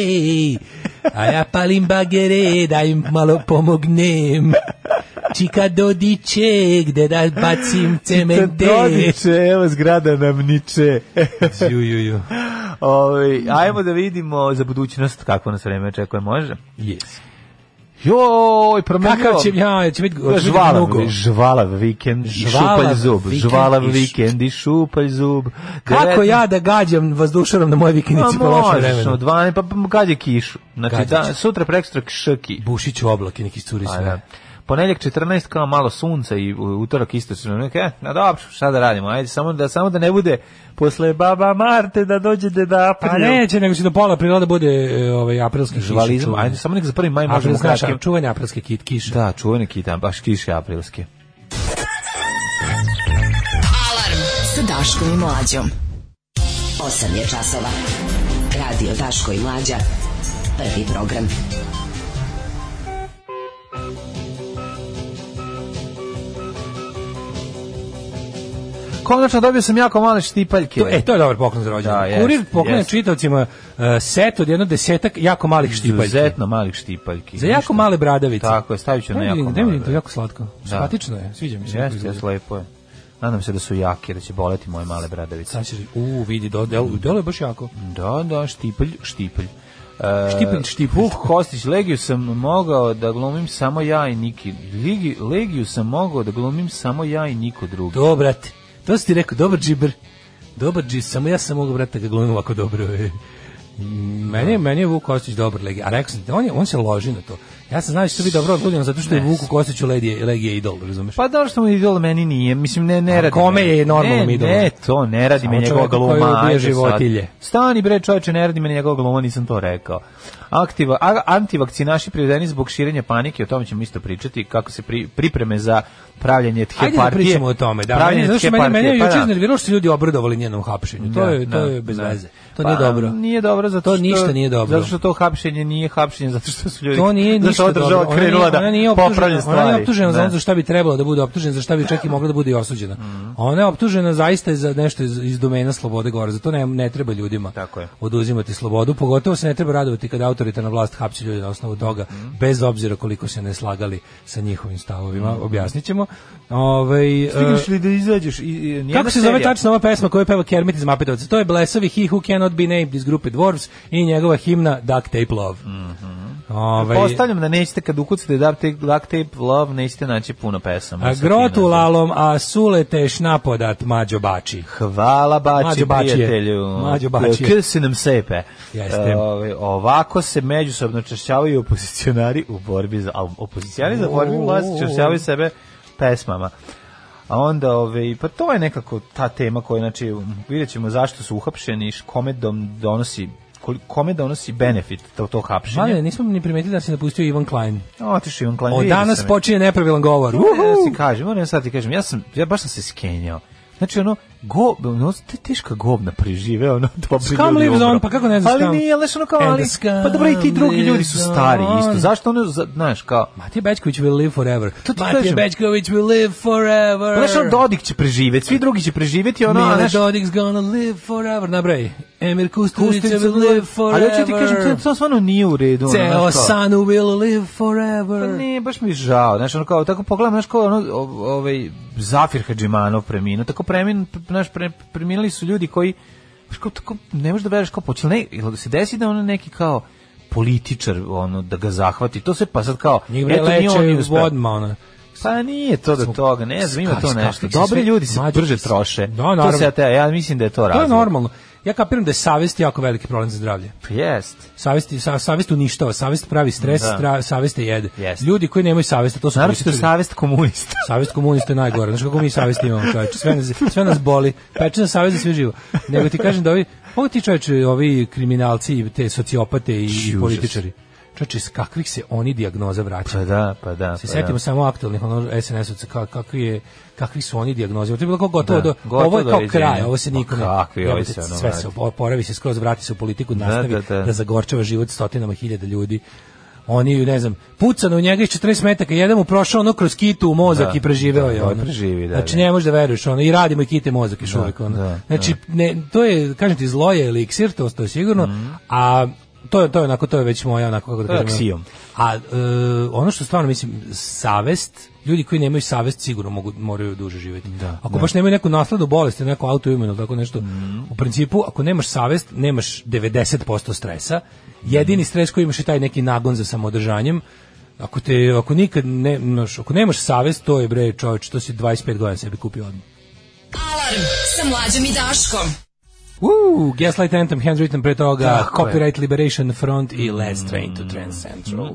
F: a ja palim bagere da im malo pomognem. Čika dodiče gde da bacim cemente.
E: Dodiče, evo zgrada nam niče. <laughs>
F: Ju, ju, ju.
E: Ovaj, ajmo da vidimo za budućnost kako nas vreme očekuje, može?
F: Yes.
E: Joj, promenio.
F: Kakav će, ja, će biti
E: Žvalav,
F: mnogo.
E: žvalav vikend, i
F: Žvalav
E: šupalj zub,
F: vikend
E: žvalav
F: i š-
E: vikend i šupalj zub. Pa
F: Kako
E: 19
F: ja pa da gađam vazdušarom na moje vikendici po lošem vremenu?
E: 12, pa pa kad je kišu. Znači,
F: Gađat
E: da,
F: će.
E: sutra prekstra kšaki.
F: Bušić u oblake, neki curi
E: Pa, da.
F: sve.
E: Ponedjeljak 14 kao malo sunca i u- utorak isto se neka. "E, Na dobro, šta da radimo? Ajde samo da samo da ne bude posle baba Marte da dođe deda April.
F: Pa neće, nego će do pola priroda bude e, ovaj, aprilski
E: žvalizam. Ajde samo nek za prvi maj možemo
F: Aprilska,
E: kratkim.
F: čuvanje aprilske kit, kiše.
E: Da, čuvene kitan, baš kiše aprilske.
D: Alarm sa Daškom i Mlađom.
A: 8 je časova. Radio Daško i Mlađa. Prvi program.
E: Konačno dobio sam jako male štipaljke.
F: To, e, to je dobar poklon za rođendan.
E: Da, jest,
F: Kurir poklanja
E: jest.
F: čitavcima uh, set od jedno desetak jako malih štipaljki.
E: Izuzetno malih štipaljki.
F: Za jako
E: Ništa.
F: male bradavice.
E: Tako je, stavit ću na
F: Ne
E: jako
F: vidim, ne vidim, to je
E: male.
F: jako slatko. Simpatično je, sviđa mi se. kako
E: Jeste,
F: izgleda.
E: jeste, lepo je. Nadam se da su jake, da će boleti moje male bradavice.
F: Sad ćeš, u, vidi, do, del, delo je baš jako.
E: Da, da, štipelj, štipelj. E,
F: Štipelj, štipelj.
E: Vuk Kostić, Legiju sam mogao da glumim samo ja i Niki. Ligi, Legiju sam mogao da glumim samo ja i niko drugi.
F: Do, brate, to si ti rekao, dobar džiber. Dobar džis, samo ja sam mogu, brate, da ga glumim ovako dobro. <laughs> Meni, je- meni je Vuk Kostić dobar legija, a rekao sam, ti, on, je, on se loži na to. Ja sam znao da će to biti dobro odgledano zato što je Vuku Kostiću legije, legije idol, razumeš?
E: Pa da što mu je idol meni nije, mislim ne ne
F: A
E: radi.
F: kome
E: me.
F: je normalnom
E: ne,
F: idolom?
E: Ne, to ne radi
F: Samo
E: me njegova
F: čoveku koji
E: gluma.
F: ubija
E: ajde sad.
F: životinje.
E: Stani bre čoveče, ne radi me njegova gluma, nisam to rekao. Aktiva, a, antivakcinaši privedeni zbog širenja panike, o tome ćemo isto pričati, kako se pri, pripreme za pravljanje tke
F: Ajde
E: partije.
F: da pričamo o tome, da.
E: Pravljenje
F: Meni, znaš,
E: tke
F: meni, meni je
E: partije, pa
F: juče
E: da.
F: iznerviralo što su ljudi obradovali njenom hapšenju. To
E: Da,
F: je, to
E: da,
F: je bez
E: da.
F: veze. To
E: Pa,
F: nije dobro.
E: Nije dobro zato
F: To
E: što...
F: ništa nije dobro.
E: Zato što to hapšenje nije hapšenje, zato što su ljudi...
F: To nije
E: zato što
F: ništa
E: ova
F: dobro.
E: država
F: Ona nije-
E: krenula
F: ona nije
E: da
F: optužena-
E: popravlja stvari.
F: Ona nije optužena za
E: Da.
F: ono za šta bi trebalo da bude optužena, za šta bi čak i mogla da bude i osuđena.
E: Mhm.
F: Ona je optužena zaista za nešto iz, iz domena slobode govora. Zato ne, ne treba ljudima
E: Tako je.
F: oduzimati slobodu. Pogotovo se ne treba radovati kada autoritarna vlast hapsi ljudi na osnovu toga,
E: Mhm.
F: bez obzira koliko se ne slagali sa njihovim stavovima.
E: Mhm.
F: Objasnit ćemo. Ovaj, e,
E: Stigneš li da izađeš? I, i, nijedna
F: Kako se zove
E: serija?
F: tačno ova pesma koju peva Kermit iz Mapetovca? To je Blesavi He Who Cannot Be Named iz grupe Dwarves i njegova himna Duck Tape Love. Mm
E: Mhm. Postavljam da nećete kad ukucate duct tape, duct tape love, nećete naći puno pesama.
F: a
E: sa tim
F: grotu
E: nazivom.
F: lalom, a sulete šnapodat mađo bači.
E: Hvala Bači,
F: Mađo Bačije.
E: prijatelju.
F: Mađo Bačije.
E: K se nam sepe.
F: Jeste.
E: E, ove, ovako se međusobno češćavaju opozicionari u borbi za... A opozicionari za borbi u vlasti češćavaju sebe pesmama. A onda, ove, pa to je nekako ta tema koja, znači, vidjet ćemo zašto su uhapšeni, i kome dom- donosi kol- kome donosi benefit to, to
F: Mali,
E: hapšenje.
F: nismo ni primetili da se napustio Ivan Klein.
E: Otišao Ivan Klein.
F: Od
E: vidio
F: danas
E: sam je.
F: počinje nepravilan govor.
E: Ne, Ja
F: Uhu!
E: ti kažem, moram sad ti kažem, ja sam, ja baš sam se skenjao. Znači ono, go, ono, te teška gobna prežive, ono, <laughs> dobri
F: Scum
E: ljudi
F: lives
E: umru.
F: on, pa kako ne znaš
E: Ali
F: scum?
E: nije, leš ono kao,
F: And
E: ali,
F: the scum
E: pa dobro i ti drugi ljudi su
F: lives
E: stari
F: on.
E: isto. Zašto ono, za- znaš, kao,
F: Matija Bećković will live forever.
E: To ti
F: Matija
E: kažem.
F: Bećković will live forever.
E: znaš, ono Dodik će preživjeti, svi drugi će preživjeti, ono, a
F: Mile
E: znaš,
F: Dodik's gonna live forever. Nabraj. Emir Kusturica
E: Kusturica
F: will live
E: Ali
F: forever.
E: hoću ti kažem, to, to stvarno nije u redu. ono,
F: Ceo
E: znaš, kao.
F: sanu will live
E: Pa
F: forever.
E: nije, baš mi je žao. Znaš, ono kao, tako pogledam, znaš, kao ono, o- ovaj, Zafir Hadžimanov preminuo. Tako premin, znaš, pre, preminuli su ljudi koji, znaš, kao, tako, ne možeš da veruješ kao, počeli, ne, jel se desi da ono neki kao političar, ono, da ga zahvati. To se pa sad kao,
F: Njih bre
E: nije on nije
F: leče
E: uspeo.
F: vodma, ono.
E: Pa nije to do toga, ne znam, ima
F: Skaj,
E: to
F: skaj,
E: nešto.
F: skaj,
E: Dobri
F: sve-
E: ljudi se
F: mlađi
E: brže
F: su-
E: troše.
F: Da,
E: to
F: naravno.
E: se ja, te, ja mislim da je to
F: To
E: razlog.
F: je normalno. Ja kapiram da je savest jako veliki problem za zdravlje.
E: Pa Jest.
F: Savest, sa, savest uništava, savest pravi stres,
E: Da.
F: stra, savest je jede.
E: Jeste.
F: Ljudi koji nemaju savesta, to su
E: Naravno je
F: političari.
E: savest komunista.
F: Savest komunista je najgore. Znaš kako mi savest imamo, čoveče. Sve nas, sve nas boli. Peče nas savest za sve živo. Nego pa ti kažem da ovi, ovi ti čoveče, ovi kriminalci, i te sociopate i, i
E: Užas.
F: političari. čače, s kakvih se oni dijagnoza vraćaju.
E: Pa da, pa da.
F: se
E: pa
F: setimo
E: da.
F: samo aktualnih ono SNS-ovaca ka, kakvi je kakvi su oni dijagnoze. To je bilo kao gotovo
E: Da,
F: do
E: gotovo
F: ovo je kao
E: doviđenja.
F: kraj, ovo se
E: Pa
F: niko ne.
E: kakvi, ovi
F: Jebote,
E: se ono
F: sve se
E: vrati.
F: oporavi se skroz vrati se u politiku, nastavi da,
E: da, da.
F: zagorčava život stotinama hiljada ljudi. Oni, ne znam, pucano u njega iz 40 metaka, jedan mu prošao ono kroz kitu u mozak
E: Da,
F: i preživeo
E: da,
F: je
E: da,
F: ono.
E: preživi, da,
F: znači,
E: da.
F: ne možeš da veruješ, ono, i radimo i kite mozak još uvijek, ono.
E: da, Mhm.
F: znači, ne, to je, kažem ti, zlo je eliksir, to, to je sigurno, a to je, to je onako, to je već moja, onako, kako da
E: To je
F: kažem, ono,
E: aksiom.
F: a e, ono što stvarno mislim savest, ljudi koji nemaju savest sigurno mogu moraju duže živjeti. ako baš nemaju neku naslednu bolest, ili neko autoimuno, tako nešto. U principu ako nemaš savest, nemaš 90% stresa. Jedini stres koji imaš je taj neki nagon za samoodržanjem. Ako te ako nikad ne, znaš, ako nemaš savest, to je bre čovjek, to si 25 godina sebi kupio odmah.
D: Alarm sa mlađom i Daškom.
F: Uh, Gaslight Anthem, Handwritten pre toga,
E: Tako je. Mm-hmm.
F: Copyright Liberation Front i Last Train to Trans Central.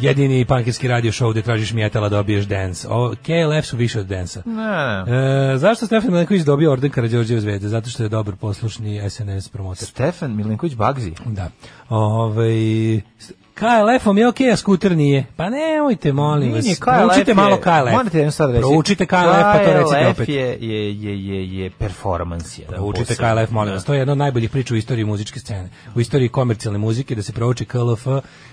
F: Jedini pankirski radio show gde tražiš mjetala dobiješ dance. O, KLF su više od dansa.
E: Ne, ne.
F: E, zašto Stefan Milenković dobio orden Karađorđeve zvezde? Zato što je dobar poslušni SNS promotor.
E: Stefan Milinković Bagzi.
F: Da. Ovaj KLF-om je okej, a skuter nije. Pa nemojte, molim vas.
E: Nije, KLF
F: Proučite
E: je-
F: malo KLF.
E: Morate jednu stvar reći.
F: Proučite KLF, pa to recite opet.
E: KLF je, je, je, je, je performans. jedan
F: Proučite
E: poseban.
F: KLF, molim vas. To je jedna od najboljih priča u istoriji muzičke scene. U istoriji komercijalne muzike, da se prouči KLF,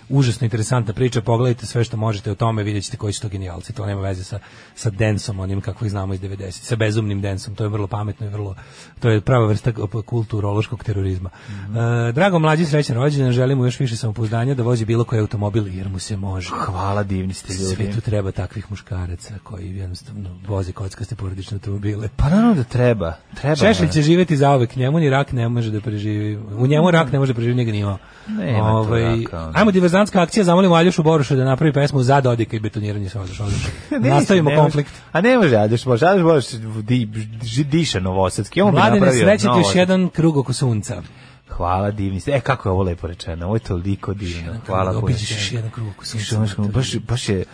F: užasno interesantna priča. Pogledajte sve što možete o tome, vidjet ćete koji su to genijalci. To nema veze sa, sa densom, onim kako ih znamo iz 90. Sa bezumnim densom. To je vrlo pametno i vrlo... To je prava vrsta op- kulturološkog terorizma. E, drago mlađi, srećan rođendan, želimo još više samopouzdanja da vozi bilo koji automobil, jer mu se može.
E: Hvala, divni ste ljudi.
F: Svetu treba takvih muškaraca koji jednostavno voze kockaste porodične automobile.
E: Pa naravno da treba. treba
F: Šešelj će
E: ne.
F: živjeti zauvek, njemu ni rak ne može da preživi. U njemu rak ne može da preživi, njega nima. Ovaj,
E: Nema tu raka, ono.
F: ajmo diverzantska akcija, zamolimo Aljošu Boruša da napravi pesmu za Dodika i betoniranje
E: <laughs>
F: sa Aljoša.
E: Neće,
F: Nastavimo
E: ne može.
F: konflikt.
E: A ne može, Adeš Bož, Adeš Bož di, ži- diše Novosadski. On bi
F: Mladene,
E: napravio
F: sreće ti još
E: Novosadski.
F: jedan krug oko sunca.
E: Hvala, divni ste. E, kako je ovo lepo rečeno, ovo je toliko divno. Hvala,
F: krug,
E: puno.
F: obiđeš još jedan krug oko sunca.
E: Što ono što- Baš, baš je...
F: E,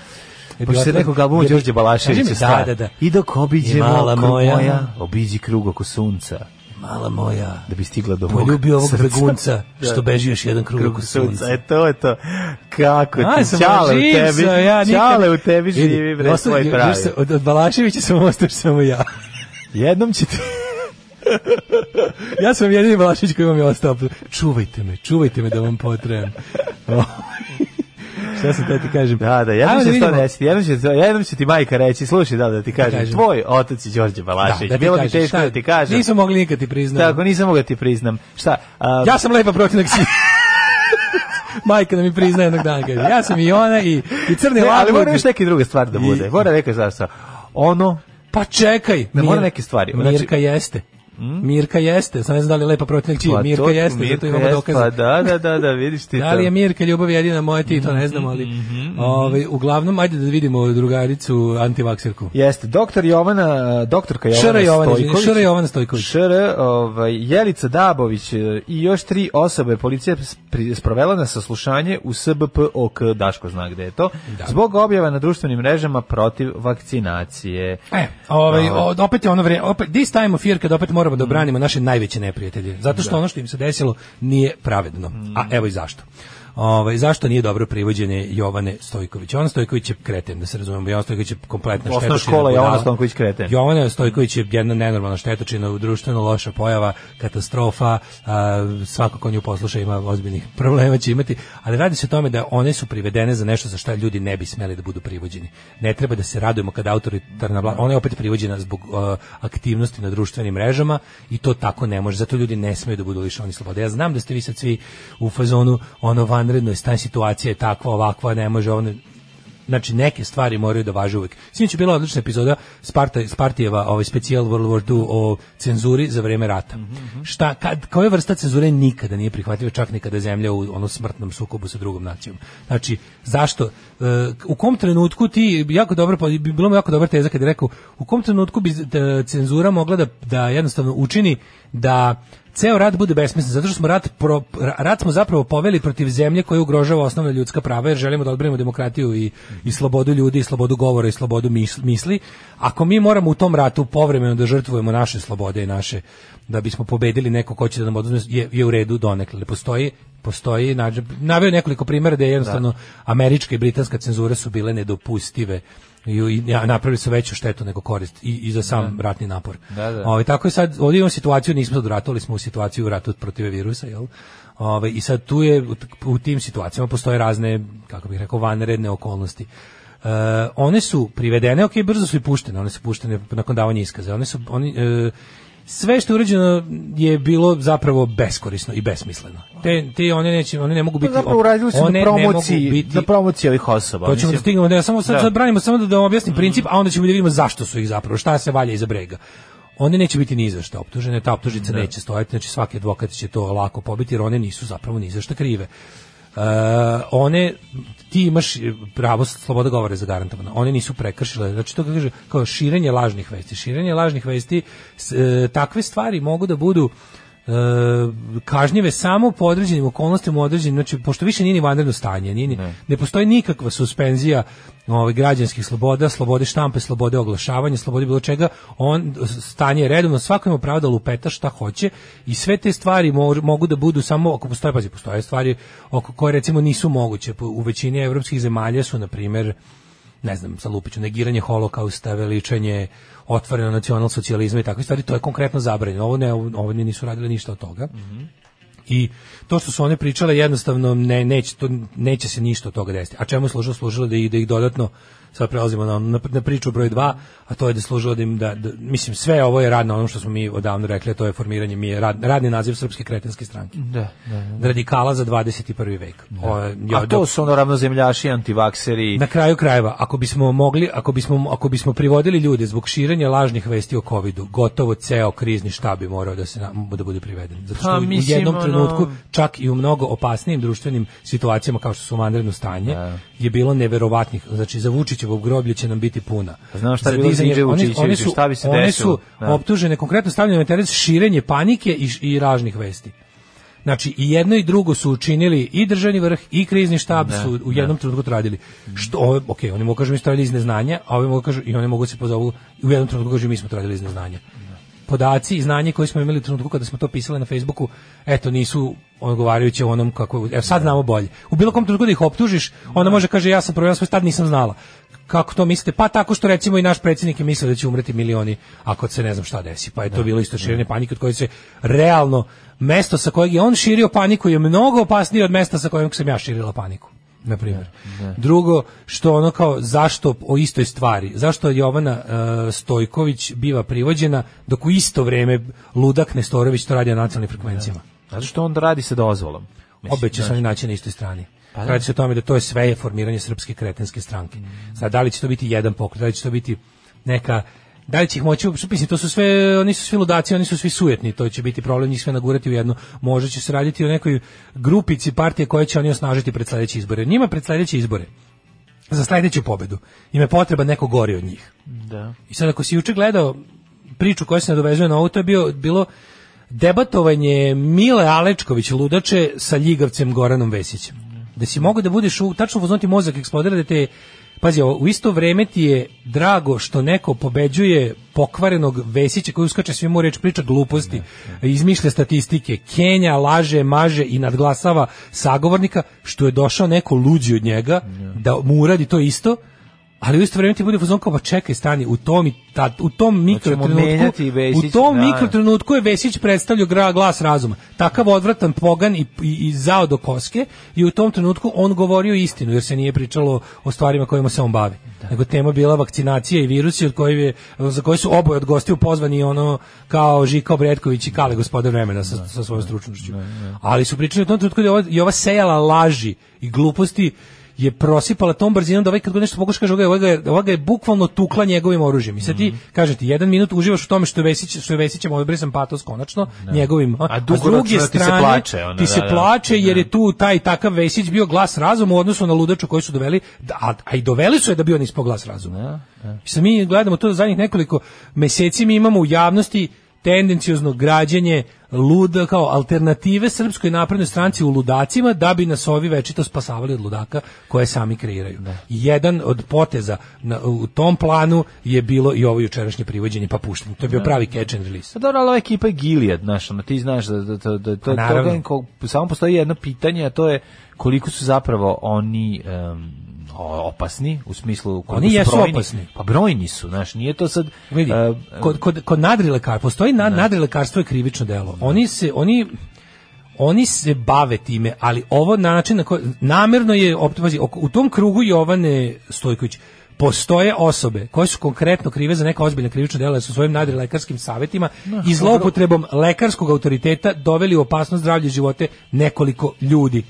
E: Baš
F: bila
E: se
F: to-
E: rekao galbom
F: je-
E: Đorđe Balaševića.
F: Kaži mi,
E: stvar.
F: da, da, da.
E: I dok obiđemo
F: I mala
E: krug
F: moja.
E: moja, obiđi krug oko sunca.
F: Mala moja,
E: da bi stigla do mog
F: poljubi ovog
E: srca.
F: begunca što
E: Da.
F: beži još jedan krug oko
E: Krug
F: sunca.
E: sunca. E to je to. Kako
F: A,
E: ti,
F: sam
E: čale u
F: živ
E: tebi,
F: sam, ja nikad-
E: čale u tebi
F: Vidi,
E: živi, bre,
F: ostao-
E: svoj
F: još
E: pravi.
F: sam- Od, od Balaševića sam ostao samo ja.
E: Jednom će ti... <laughs>
F: Ja sam jedini Balašić koji vam je ostao. Čuvajte me, čuvajte me da vam
E: <laughs>
F: potrebam. Šta sam te ti kažem?
E: Da, da,
F: Ajmo
E: jednom će se to
F: vidimo.
E: desiti, jednom će, jednom će ti majka reći, slušaj, da, da ti kažem,
F: kažem.
E: tvoj otac je Đorđe Balašević,
F: Da, da ti
E: bilo bi
F: kažeš,
E: teško
F: šta?
E: da ti kažem.
F: Nisam mogli nikad ti priznati.
E: Tako, nisam mogao da ti priznam. Šta? a,
F: Ja sam lepa protiv
E: <laughs>
F: naksija. Majka da mi prizna jednog dana. Kaže. Ja sam i ona i, i crni
E: ne, ali
F: labud.
E: mora još neke druge stvari da
F: I-
E: bude. Mora neka zašto. Ono,
F: Pa čekaj.
E: Ne, mora
F: Mir-
E: neke stvari. Znači- Mm?
F: Mirka jeste. Mirka jeste. Sad ne znam da li je lepa protiv naksija.
E: pa
F: Mirka
E: to-
F: jeste, zato
E: Mirka pa
F: imamo
E: jeste,
F: dokaze.
E: Pa da, da, da, da, vidiš ti
F: Da
E: to.
F: li je Mirka ljubav jedina moja, ti
E: Mm-hmm,
F: to ne znam, ali ovaj, uglavnom, ajde da vidimo drugaricu antivaksirku.
E: Jeste, doktor Jovana, eh, doktorka Jovana
F: Šr. Jovana, izvini,
E: Stojković.
F: Šr. Jovana Stojković.
E: Šr, ovaj, Jelica Dabović eh, i još tri osobe policija s- pri- sprovela na saslušanje u SBP OK, Daško zna gde je to, zbog objava na društvenim mrežama protiv vakcinacije.
F: E, ovaj, od- opet je ono vrijeme, opet, this time of year kad opet moramo
E: Mm.
F: da branimo naše najveće neprijatelje, zato što ono što im se desilo nije pravedno,
E: Mm.
F: a evo i zašto. Ovaj, zašto nije dobro privođenje Jovane Stojković? Jovan Stojković je kreten, da se razumemo, Jovan Stojković je kompletna
E: Osnovna
F: štetočina.
E: škola Jovana
F: budala.
E: Stojković kreten.
F: Jovana Stojković je jedna nenormalna štetočina, društveno loša pojava, katastrofa, a, svako ko nju posluša ima ozbiljnih <laughs> problema će imati, ali radi se o tome da one su privedene za nešto za šta ljudi ne bi smeli da budu privođeni. Ne treba da se radujemo kada autoritarna vlada, ona je opet privođena zbog a, aktivnosti na društvenim mrežama i to tako ne može, zato ljudi ne smeju da budu lišeni slobode. Ja znam da ste vi sad svi u fazonu ono vanredno je stan situacija je takva, ovakva, ne može ono Znači neke stvari moraju da važe uvek. Sinoć je bila odlična epizoda Sparta Spartijeva ovaj specijal World War II o cenzuri za vrijeme rata. Šta kad koja vrsta cenzure nikada nije prihvatljiva čak ni kada je zemlja u onom smrtnom sukobu sa drugom nacijom. Znači zašto e, u kom trenutku ti jako dobro pa bi bilo mu jako dobra teza kad je rekao u kom trenutku bi e, cenzura mogla da da jednostavno učini da ceo rat bude besmislen, zato što smo rat, pro, ra- rat smo zapravo poveli protiv zemlje koja ugrožava osnovna ljudska prava, jer želimo da odbranimo demokratiju i, i slobodu ljudi, i slobodu govora, i slobodu mis- misli. Ako mi moramo u tom ratu povremeno da žrtvujemo naše slobode i naše, da bismo pobedili neko ko će da nam oduzme, je, je u redu donekle. Ali Postoji, postoji, nađe- naveo je nekoliko primjera da je jednostavno američka i britanska cenzura su bile nedopustive i, i napravili su veću štetu nego korist i, i za sam ratni napor.
E: Da, da.
F: Ovaj, tako je sad, ovdje imamo situaciju, nismo sad u ratu, ali smo u situaciju u ratu protiv virusa, jel? Ovaj, I sad tu je, u t- u tim situacijama postoje razne, kako bih rekao, vanredne okolnosti. E, one su privedene, ok, brzo su i puštene, one su puštene nakon davanja iskaza. One su, oni, e, sve što je urađeno je bilo zapravo beskorisno i besmisleno. Te, te one, neće, one ne mogu biti...
E: Pa Zapravo uradili su na
F: one ne mogu
E: promociji,
F: biti-
E: na promociji ovih osoba.
F: to Pa ćemo da
E: Mislim,
F: stignemo, ne, samo sad,
E: Da. Mhm.
F: sad branimo samo da, da vam objasnim princip, a onda ćemo da vidimo zašto su ih zapravo, šta se valja iza brega. One neće biti ni za šta optužene, ta optužnica neće stojati, znači svaki advokat će to lako pobiti jer one nisu zapravo ni za šta krive. E, one, ti imaš pravo sloboda govora zagarantovana, one nisu prekršile, znači to kako kaže, kao širenje lažnih vesti, širenje lažnih vesti, s- e, takve stvari mogu da budu e, kažnjive samo po određenim okolnostima, u određenim, znači, pošto više nije ni vanredno stanje, nije, ni- ne. postoji nikakva suspenzija ovaj, građanskih sloboda, slobode štampe, slobode oglašavanja, slobode bilo čega, on, stanje je redovno, svako ima pravo da lupeta šta hoće i sve te stvari mo- mogu da budu samo, ako postoje, pazi, postoje stvari oko koje recimo nisu moguće, Po- u većini evropskih zemalja su, na primjer, ne znam, sa Lupiću, negiranje holokausta, veličanje otvoreno nacionalsocijalizma i takve stvari, to je konkretno zabranjeno. Ovo ne, ovo ovo nisu radili ništa od toga. I to što su one pričale jednostavno ne, neće, to, neće se ništa od toga desiti. A čemu je služilo? Služilo da, i, da ih dodatno sad prelazimo na, na, na priču broj 2, a to je da je služilo da im da, da- mislim sve ovo je rad na onom što smo mi odavno rekli, a to je formiranje mi je rad, radni naziv srpske kretenske stranke.
E: Da, Mhm. da,
F: Radikala za 21. vek. Ovo je-
E: A to su ono ravnozemljaši, antivakseri.
F: na kraju krajeva, ako bismo mogli, ako bismo, ako bismo privodili ljude zbog širenja lažnih vesti o covidu, gotovo ceo krizni štab bi morao da se na- da bude priveden. Zato što
E: Pa,
F: u- u
E: mislim,
F: jednom
E: ono-
F: trenutku, čak i u mnogo opasnijim društvenim situacijama kao što su vanredno stanje, je bilo neverovatnih. Znači za Vučićevo groblje će nam biti puna.
E: Znam šta
F: Za
E: je bilo s
F: dizanje-
E: Đinđe
F: oni- oni
E: Vučićevićem,
F: su-
E: šta bi se
F: one
E: desilo?
F: su
E: Da.
F: optužene konkretno stavljene u interes širenje panike i, š- i lažnih vesti. Znači i jedno i drugo su učinili i državni vrh i krizni štab su u jednom trenutku to radili. Što ove, ok, oni mogu kažu mi smo to radili iz neznanja, a ovi mogu kažu i oni mogu se pozovu i u jednom trenutku kažu mi smo to radili iz neznanja. Podaci i znanje koje smo imali u trenutku kada smo to pisali na Facebooku, eto nisu odgovarajuće onom kako evo sad znamo bolje. U bilo kom trenutku da ih optužiš, ona može kaže ja sam provjerila svoj tad nisam znala. Kako to mislite? Pa tako što recimo i naš predsjednik je mislio da će umreti milioni ako se ne znam šta desi. Pa je to bilo isto širenje panike od koje se realno mesto sa kojeg je on širio paniku je mnogo opasnije od mesta sa kojeg sam ja širila paniku na primjer. Drugo, što ono kao zašto o istoj stvari, zašto Jovana e, Stojković biva privođena dok u isto vrijeme Ludak Nestorović to radi na nacionalnim frekvencijama.
E: Zato što on radi sa dozvolom. Mislim,
F: Obe će se
E: znaš. Pa
F: oni naći na istoj strani. Radi se o tome da to je sve je formiranje srpske kretenske stranke.
E: Mm.
F: Sad, da li će to biti jedan pokret, da li će to biti neka da li će ih moći, uopšte- mislim, to su sve, oni su svi ludaci, oni su svi sujetni, to će biti problem njih sve nagurati u jednu, možda će se raditi o nekoj grupici partije koje će oni osnažiti pred sledeće izbore. Njima pred sledeće izbore, za sledeću pobedu, im je potreba neko gori od njih.
E: Da.
F: I sad ako si juče gledao priču koja se nadovezuje na ovo, to je bio, bilo debatovanje Mile Alečković ludače sa ljigavcem Goranom Vesićem. Da si mogao da budeš u, tačno upoznati mozak eksplodira da te Pazi, ovo, u isto vreme ti je drago što neko pobeđuje pokvarenog Vesića koji uskače svima u reč, priča gluposti, izmišlja statistike, Kenja, laže, maže i nadglasava sagovornika, što je došao neko luđi od njega da mu uradi to isto, ali u isto vrijeme ti bude fazon kao pa čekaj stani u tom i ta, u tom mikrotrenutku
E: Znači, menjati Vesić,
F: u tom
E: da.
F: mikrotrenutku je Vesić predstavljao gra glas razuma takav odvratan pogan i, i, i zao do koske i u tom trenutku on govorio istinu jer se nije pričalo o stvarima kojima se on bavi nego tema je bila vakcinacija i virusi od kojih je, za koje su oboje od gostiju pozvani ono kao Žika Bretković i Kale gospodar vremena sa, sa svojom stručnošću ali su pričali u tom trenutku da je ova, i ova sejala laži i gluposti je prosipala tom brzinom da ovaj kad god nešto pokušaš kaže ovaj ga je, ovaj ga je bukvalno tukla njegovim oružjem. I sad
E: Mhm.
F: ti kažem ti jedan minut uživaš u tome što je Vesić što je Vesićem obrisan patos konačno njegovim
E: A dugoročno ti se plače, ono,
F: ti se
E: da, da.
F: plače jer je tu taj takav Vesić bio glas razuma u odnosu na ludaču koji su doveli da- a, a i doveli su je da bio on ispao glas razuma. I sad mi gledamo to zadnjih nekoliko meseci mi imamo u javnosti tendencijozno građenje luda kao alternative srpskoj naprednoj stranci u ludacima da bi nas ovi večito spasavali od ludaka koje sami kreiraju. Jedan od poteza na, u tom planu je bilo i ovo jučerašnje privođenje pa puštanje. To je bio pravi catch and release.
E: Pa dobro, ali ova ekipa je Gilead, znaš, ono, ti znaš da, da, da, da to,
F: Pa naravno.
E: toga ko- samo postoji jedno pitanje, a to je koliko su zapravo oni em, o- opasni, u smislu koliko
F: Oni
E: su
F: jesu
E: brojni.
F: opasni.
E: Pa brojni su, znaš, nije to sad...
F: Vidi,
E: em, e,
F: kod, kod, kod nadrilekar, postoji na, nadrilekarstvo je krivično delo. Oni se, oni, oni se bave time, ali ovo na način na koji, namjerno je, opt- pazi, oko- u tom krugu Jovane Stojković, postoje osobe koje su konkretno krive za neka ozbiljna krivična dela su svojim nadrilekarskim savjetima i zloupotrebom lekarskog autoriteta doveli u opasnost zdravlje i živote nekoliko ljudi.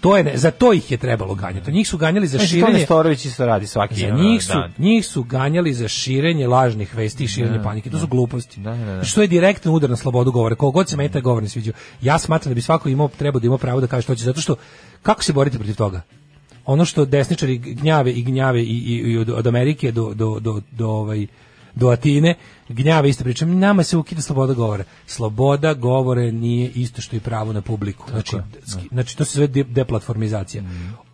F: To je ne, za to ih je trebalo ganjati. Njih su ganjali za
E: znaš, to
F: širenje
E: Nestorović isto radi svaki
F: za
E: ono,
F: njih su,
E: dan.
F: njih su ganjali za širenje lažnih vesti i širenje panike. To su gluposti.
E: Da, da, Mm. da.
F: Što je direktan udar na slobodu govora. Koliko god se meni taj govor ne sviđao. Ja smatram da bi svako imao, trebao da ima pravo da kaže što će. Zato što, kako se boriti protiv toga? Ono što desničari gnjave i gnjave i, i, i od, od Amerike do, do, do, do, ovaj, do Atine, gnjave iste priče. Nama se ukida sloboda govora. Sloboda govore nije isto što i pravo na publiku. Znači, ski- znači to se zove de- deplatformizacija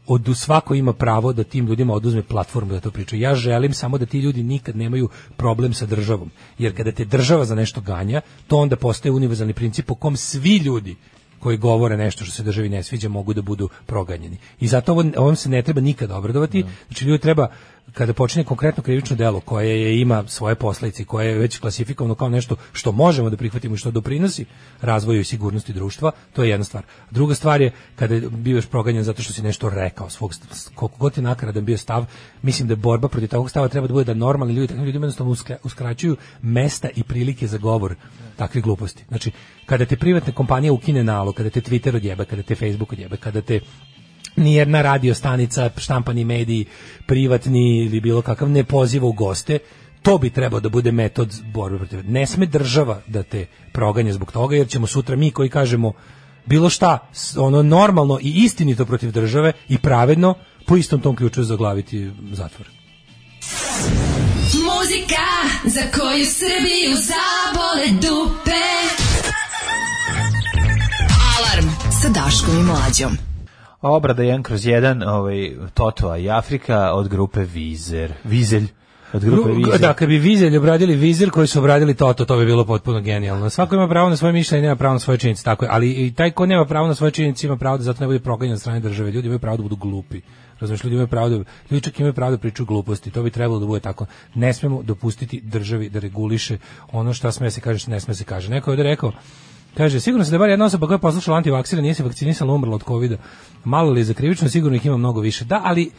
F: od svako ima pravo da tim ljudima oduzme platformu da to pričaju. Ja želim samo da ti ljudi nikad nemaju problem sa državom. Jer kada te država za nešto ganja, to onda postaje univerzalni princip po kom svi ljudi koji govore nešto što se državi ne sviđa mogu da budu proganjeni. I zato ovo- ovom se ne treba nikada obradovati. Znači ljudi treba kada počne konkretno krivično delo koje je, ima svoje posledice, i koje je već klasifikovano kao nešto što možemo da prihvatimo i što doprinosi razvoju i sigurnosti društva, to je jedna stvar. Druga stvar je kada je bioš proganjan zato što si nešto rekao svog st- koliko god je nakaradan bio stav, mislim da je borba protiv takvog stava treba da bude da normalni ljudi, takvim ljudima jednostavno uskra- uskraćuju mesta i prilike za govor takve gluposti. Znači, kada te privatna kompanija ukine nalog, kada te Twitter odjebe, kada te Facebook odjebe, kada te nijedna radio stanica, štampani mediji, privatni ili bilo kakav ne poziva u goste, to bi trebao da bude metod borbe protiv. Ne sme država da te proganja zbog toga, jer ćemo sutra mi koji kažemo bilo šta, s- ono normalno i istinito protiv države i pravedno, po istom tom ključu zaglaviti zatvor.
D: Muzika za koju Srbiju zabole dupe.
A: Alarm sa Daškom i Mlađom.
E: Obrada 1 kroz 1, ovaj, Totoa i Afrika od grupe Vizer. Vizelj. Od grupe
F: Gru-
E: Vizer.
F: Da, kad bi vizelj obradili vizir koji su obradili Toto, to bi bilo potpuno genijalno. Svako ima pravo na svoje mišljenje, nema pravo na svoje činjenice, tako je. Ali i taj ko nema pravo na svoje činjenice ima pravo da zato ne bude proganjan od strane države. Ljudi imaju pravo da budu glupi. Razumeš, ljudi imaju pravo da, ljudi čak imaju pravo da pričaju gluposti. To bi trebalo da bude tako. Ne smemo dopustiti državi da reguliše ono šta sme se kaže, šta ne sme se kaže. Neko je ovde rekao, Kaže, sigurno se da je bar jedna osoba koja je poslušala antivaksira nije se vakcinisala umrla od covida. Malo li je za krivično, sigurno ih ima mnogo više. Da, ali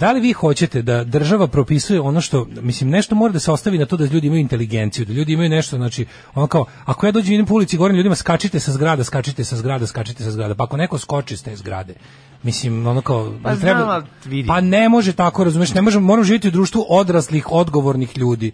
F: da li vi hoćete da država propisuje ono što, mislim, nešto mora da se ostavi na to da ljudi imaju inteligenciju, da ljudi imaju nešto, znači, ono kao, ako ja dođem i idem po ulici i govorim ljudima, skačite sa zgrada, skačite sa zgrada, skačite sa zgrada, pa ako neko skoči s te zgrade, mislim, ono kao,
E: Pa
F: jel treba-
E: znam, ali vidi.
F: pa ne može tako, razumeš, ne možemo, moramo živjeti u društvu odraslih, odgovornih ljudi,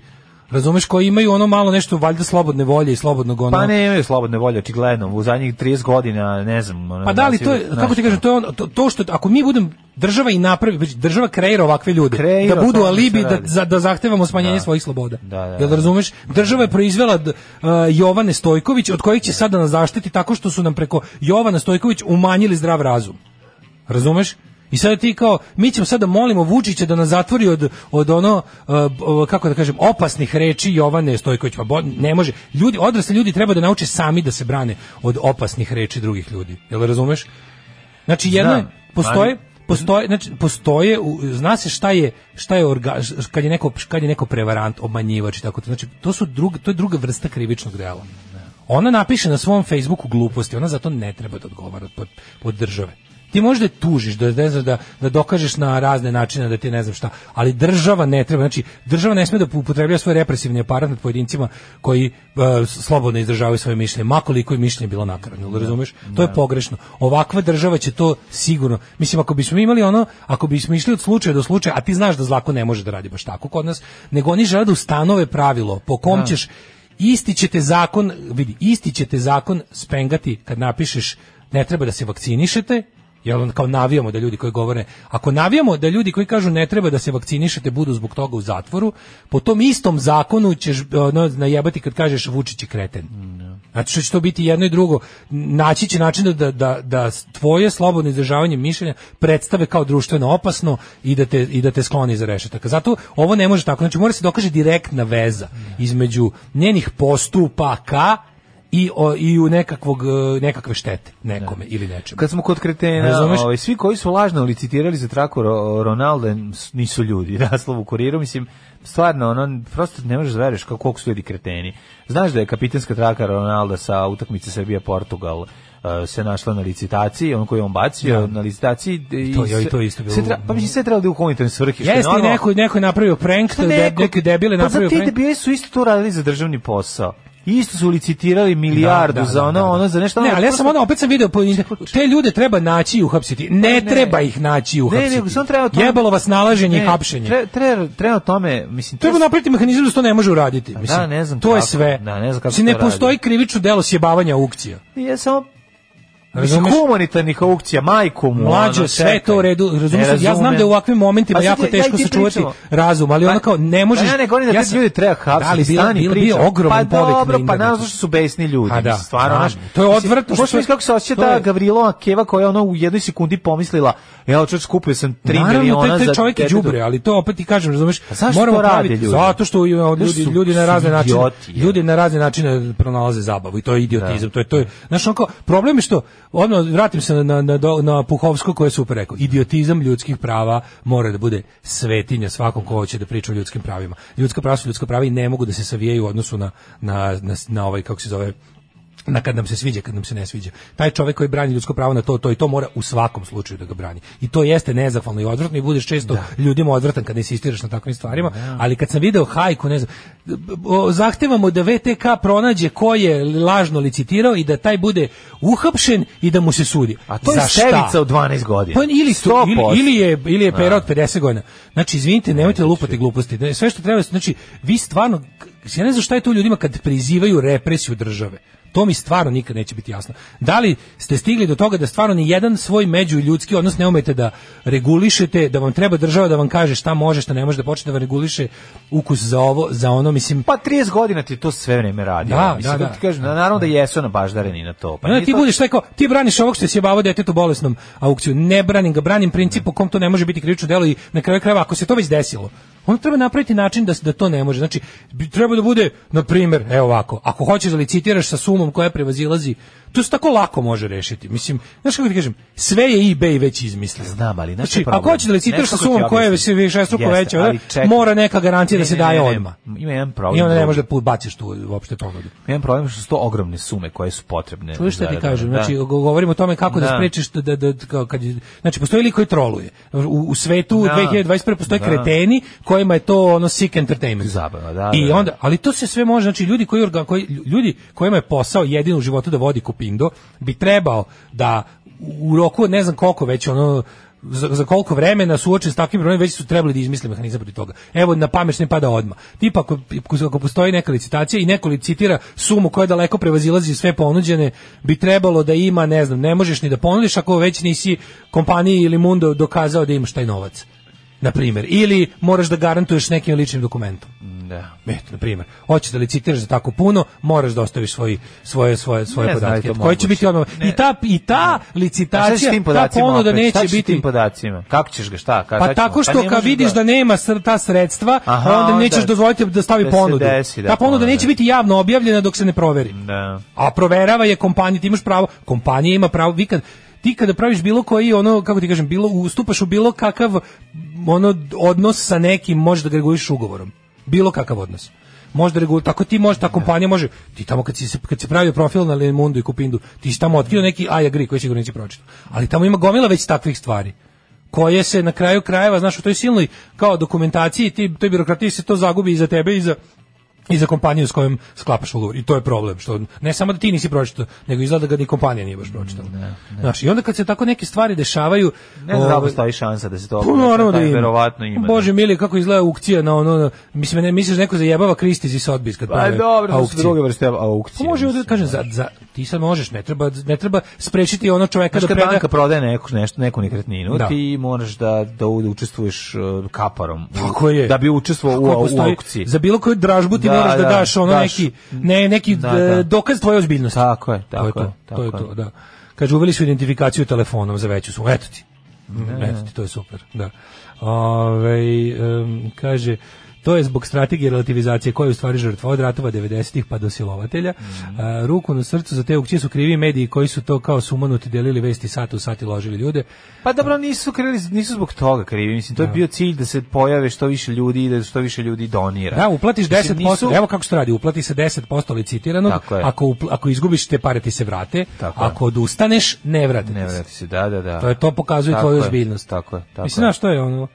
F: razumeš, koji imaju ono malo nešto, valjda, slobodne volje i slobodnog ono,
E: Pa ne imaju slobodne volje, očigledno. U zadnjih 30 godina, ne znam. ono,
F: pa da li to je,
E: znaš,
F: kako ti kažem, to je ono, to, to što, ako mi budem, država i napravi, znači, država kreira ovakve ljude,
E: Kreira,
F: da budu
E: to
F: alibi,
E: se
F: da,
E: radi.
F: za, da zahtevamo smanjenje svojih sloboda.
E: Da, da,
F: Jel
E: da.
F: razumeš? Država je proizvela d- uh, Jovane Stojković, od kojih će sada nas zaštiti tako što su nam preko Jovana Stojković umanjili zdrav razum. Razumeš? I sada ti kao, mi ćemo sada molimo Vučića da nas zatvori od, od ono, uh, b- kako da kažem, opasnih reči Jovane Stojković. Pa bo- ne može. Ljudi, odrasli ljudi treba da nauče sami da se brane od opasnih reči drugih ljudi. Jel razumeš? Znači jedno je,
E: Znam,
F: postoje,
E: ali-
F: postoje, znači postoje, u- zna se šta je, šta je orga, š- kad je neko kad je neko prevarant, obmanjivač i tako to. Znači to su druga to je druga vrsta krivičnog dela. Ona napiše na svom Facebooku gluposti, ona zato ne treba da odgovara pod, pod države. Ti možda je tužiš da ne znam, da da dokažeš na razne načine da ti ne znam šta, ali država ne treba, znači država ne sme da upotrebljava svoj represivni aparat nad pojedincima koji e, slobodno izražavaju svoje mišljenje, ma koliko je mišljenje bilo nakaradno, jel razumeš? To je pogrešno. Ovakva država će to sigurno. Mislim ako bismo imali ono, ako bismo išli od slučaja do slučaja, a ti znaš da zlako ne može da radi baš tako kod nas, nego oni žele da ustanove pravilo po kom ćeš isti će te zakon, vidi, isti će te zakon spengati kad napišeš ne treba da se vakcinišete, jer on kao navijamo da ljudi koji govore, ako navijamo da ljudi koji kažu ne treba da se vakcinišete budu zbog toga u zatvoru, po tom istom zakonu ćeš ono, najebati kad kažeš Vučić je kreten. Znači što će to biti jedno i drugo. Naći će način da, da, da tvoje slobodno izražavanje mišljenja predstave kao društveno opasno i da te, i da te skloni iza rešetaka. Zato ovo ne može tako. Znači mora se dokaže direktna veza između njenih postupaka i, o, i u nekakvog, e, nekakve štete nekome ili nečemu.
E: Kad smo kod kretena,
F: Razumeš?
E: ovaj, svi koji su lažno licitirali za traku Ro- Ronalda s- nisu ljudi, <laughs> naslov u kuriru, mislim, stvarno, ono, prosto ne možeš da veruješ kako, koliko su ljudi kreteni. Znaš da je kapitanska traka Ronalda sa utakmice Srbija-Portugal eh, se našla na licitaciji, on koji je on bacio na licitaciji. I
F: To je-
E: sve-
F: to je isto bilo-
E: sve tra- pa mislim, sve je trebalo da je u humanitarne svrhe. što je
F: Jeste i
E: normalno.
F: neko, neko je napravio prank,
E: Pa
F: da,
E: neko-
F: neki debil je
E: pa
F: napravio
E: za ti
F: prank.
E: debili su isto to radili za državni posao. Isto su licitirali milijardu
F: Da, da,
E: za ono,
F: da, da.
E: ono za nešto.
F: Ne,
E: ono,
F: ali ja sam
E: prosto-
F: ono opet sam video po inter- te ljude treba naći i uhapsiti. Ne,
E: Pa ne.
F: treba ih naći i uhapsiti.
E: nego samo treba to-
F: Jebalo vas nalaženje i
E: Ne,
F: hapšenje.
E: Tre, tre, treba o tome, mislim,
F: Treba
E: to-
F: napraviti mehanizam da se to ne može uraditi. Mislim,
E: ne znam
F: to je
E: kako.
F: sve.
E: Da, ne znam kako
F: Mislim,
E: to
F: ne postoji
E: radi.
F: krivično delo sjebavanja aukcija.
E: Ja samo Mislim,
F: Razumeš?
E: humanitarnih aukcija, majku mu.
F: Mlađe,
E: ono,
F: sve
E: čekaj.
F: je to u redu.
E: Ne
F: Razumeš, ja znam
E: razumem.
F: da je u ovakvim momentima
E: Pa sad
F: jako
E: ja- ja
F: teško
E: i ti
F: sačuvati
E: pričamo.
F: razum, ali
E: Pa-
F: ono kao ne možeš.
E: Pa ja ne govorim da te
F: sam-
E: ljudi treba hapsiti,
F: Da, ali bila-
E: stani
F: bila-
E: priča.
F: bio ogroman
E: pa
F: povik na
E: dobro, pa
F: internetu.
E: naravno zašto su besni ljudi.
F: A da,
E: mislim, stvarno,
F: da.
E: znaš,
F: To je
E: mislim,
F: odvratno što
E: Možeš
F: su-
E: misliti kako se osjeća
F: to je-
E: ta Gavrilo Keva koja je ono u jednoj sekundi pomislila, ja čovječ skupio sam 3
F: Naravno,
E: miliona
F: taj,
E: za
F: taj čovjek je
E: detetu."
F: đubre, ali to opet ti kažem, razumeš?
E: A zašto
F: moramo
E: to rade
F: praviti-
E: ljudi?
F: Zato što i, o,
E: Ljudi
F: ljudi
E: su-
F: ljudi na
E: su
F: razne načine,
E: idioti, je.
F: ljudi na razne načine pronalaze zabavu i to je idiotizam, to je to je. Znaš, onako, problem je što odmah vratim se na na na, do- na Puhovsko koje je super rekao. Idiotizam ljudskih prava mora da bude svetinja svakom ko hoće da priča o ljudskim pravima. Ljudska prava su ljudska prava i ne mogu da se savijaju u odnosu na na na, na ovaj kako se zove na kad nam se sviđa, kad nam se ne sviđa. Taj čovjek koji brani ljudsko pravo na to, to i to mora u svakom slučaju da ga brani. I to jeste nezahvalno i odvratno i budeš često ljudima odvratan kad insistiraš na takvim stvarima, ali kad sam video hajku, ne znam, o, zahtevamo da VTK pronađe ko je lažno licitirao i da taj bude uhapšen i da mu se sudi.
E: A to je
F: Za šta?
E: ševica od 12 godina.
F: Pa ili su,
E: 100%.
F: ili, ili je ili je pera od 50 godina. Znači izvinite, nemojte lupati gluposti. Ne, Sve što treba, znači vi stvarno ja ne znam šta je to ljudima kad prizivaju represiju države. To mi stvarno nikad neće biti jasno. Da li ste stigli do toga da stvarno ni jedan svoj međuljudski odnos ne umete da regulišete, da vam treba država da vam kaže šta može, šta ne može, da počne da vam reguliše ukus za ovo, za ono, mislim,
E: Pa 30 godina ti to sve vreme radi.
F: Da,
E: ono, mislim,
F: da,
E: kako
F: da.
E: Ti kažem, na- naravno da jesu ono baždareni na to. Pa
F: Pa onda
E: nije
F: ti
E: to-
F: budeš taj kao, ti braniš ovog što se jebavo detetu bolesnom aukciju. Ne branim ga, branim princip po kom to ne može biti krivično delo i na kraju krajeva ako se to već desilo. Ono treba napraviti način da, se- da to ne može. Znači, bi- treba da bude, na primjer, evo ovako, ako hoćeš da licitiraš sa sumom koja prevazilazi, to se tako lako može rešiti. Mislim, znaš kako ti kažem, sve je eBay već izmislio.
E: Znam, ali znaš šta je
F: znači,
E: problem?
F: ako hoćeš da licitiraš
E: Nešto
F: sa
E: kako ti
F: sumom koja je
E: objasnim.
F: višestruko
E: Jeste,
F: veća,
E: ali čekaj.
F: mora neka garancija
E: Ne,
F: da se
E: ne,
F: daje
E: ne, ne,
F: odmah.
E: Ima jedan problem.
F: I onda ne
E: drugi.
F: može da pu- baciš tu uopšte ponudu.
E: Imam problem što su to ogromne sume koje su potrebne.
F: Čuješ šta ti
E: za-
F: kažem?
E: da.
F: Znači, go- govorimo o tome kako da,
E: Da.
F: sprečiš da, da, da- kao kad, je- znači, postoji lik koji troluje. U, u svetu
E: Da.
F: 2021. postoje
E: Da.
F: kreteni kojima je to ono sick entertainment.
E: Zabava, da,
F: I
E: da, da.
F: onda, ali to se sve može, znači, ljudi, koji, orga- koji, ljudi kojima je posao jedin u životu da vodi kupindo, bi trebao da u roku, od ne znam koliko već, ono, za, za koliko vremena suočen s takvim problemom već su trebali da izmisle mehanizam protiv toga. Evo na pamet ne pada odma. Tipa ako, ako postoji neka licitacija i neko licitira sumu koja daleko prevazilazi sve ponuđene, bi trebalo da ima, ne znam, ne možeš ni da ponudiš ako već nisi kompaniji ili Mundo dokazao da imaš taj novac. Na primjer, ili moraš da garantuješ nekim ličnim dokumentom.
E: Da.
F: Eto, Eh, na primjer, hoćeš da licitiraš za tako puno, moraš da ostaviš svoji, svoje svoje svoje
E: Ne znam da li je
F: podatke.
E: to
F: Koji će
E: moguće.
F: biti odmah. I ta i ta
E: A šta ćeš s
F: licitacija,
E: tim
F: ta
E: podacima?
F: ponuda
E: opet?
F: neće
E: Šta ćeš s tim
F: biti
E: podacima. Kako ćeš ga šta? Ka,
F: pa
E: šta ćemo?
F: tako što
E: ne
F: kad
E: možeš
F: vidiš da nema sr- ta sredstva,
E: Aha,
F: onda nećeš
E: onda
F: dozvoliti da stavi
E: da se
F: ponudu.
E: desi, da,
F: ta ponuda
E: ponuda.
F: neće biti javno objavljena dok se ne proveri.
E: Da.
F: A proverava je kompanija, ti imaš pravo, kompanija ima pravo, vi kad, ti kada praviš bilo koji ono kako ti kažem bilo ustupaš u bilo kakav ono odnos sa nekim možeš da ga reguliš ugovorom bilo kakav odnos možda reguliš tako ti može ta kompanija može ti tamo kad si se- kad si pravio profil na Lemundu i Kupindu ti si tamo otkrio neki aj agri koji sigurno nisi pročitao ali tamo ima gomila već takvih stvari koje se na kraju krajeva znaš u toj silnoj kao dokumentaciji ti toj birokratiji se to zagubi i za tebe i za i za kompaniju s kojom sklapaš ugovor. I to je problem, što ne samo da ti nisi pročitao, nego izgleda da ga ni kompanija nije
E: Mm,
F: baš pročitala. Znaš, i onda kad se tako neke stvari dešavaju...
E: Ne znam da li
F: ovaj,
E: postoji šansa da se to
F: pa naravno da
E: Taj
F: ima. Pa
E: Verovatno ima.
F: Bože mili, kako izgleda aukcija na ono... na- mislim, ne, misliš da neko zajebava Kristiz i Sotbis kad
E: Pa
F: prave
E: dobro, to su
F: aukcije.
E: druge vrste aukcije.
F: Pa može da kažem za, za ti sad možeš, ne treba ne treba sprečiti ono čoveka
E: Znaš,
F: da
E: kad
F: preda
E: banka prodaje neku, nešto, neku nekretninu,
F: Da.
E: ti moraš da, da u- da učestvuješ uh, kaparom.
F: Tako je.
E: Da bi učestvovao u,
F: Ako
E: u
F: postoji-
E: aukciji.
F: Za bilo koju dražbu ti
E: Da,
F: moraš da,
E: da,
F: daš ono
E: daš.
F: neki, ne, neki
E: Da, da.
F: e, dokaz tvoje ozbiljnosti.
E: Tako je, tako
F: to
E: je,
F: je. To, to je
E: tako
F: to, da. Kaže, uveli su identifikaciju telefonom za veću sumu. Eto ti. Mm, Eto ti, to je super. Da. Ove, em, kaže, To je zbog strategije relativizacije koja je u stvari žrtva od ratova 90-ih pa do silovatelja.
E: Mm.
F: A, ruku na srcu za te ukće su krivi mediji koji su to kao sumanuti delili vesti sat u sat i ložili ljude.
E: Pa dobro, nisu krili, nisu zbog toga krivi, mislim, to je bio cilj da se pojave što više ljudi i da što više ljudi donira.
F: Da, uplatiš
E: Mislim,
F: 10%,
E: nisu-
F: evo kako se to radi, uplati se 10% licitiranog,
E: Tako je.
F: ako, upl- ako izgubiš te pare ti se vrate,
E: Tako je.
F: ako odustaneš ne vrate ti
E: Ne
F: se.
E: vrati se, da, da, da.
F: To je to pokazuje
E: Tako
F: tvoju
E: je,
F: ozbiljnost.
E: Tako je, tako
F: Mislim,
E: je. Mm.
F: znaš, to je ono,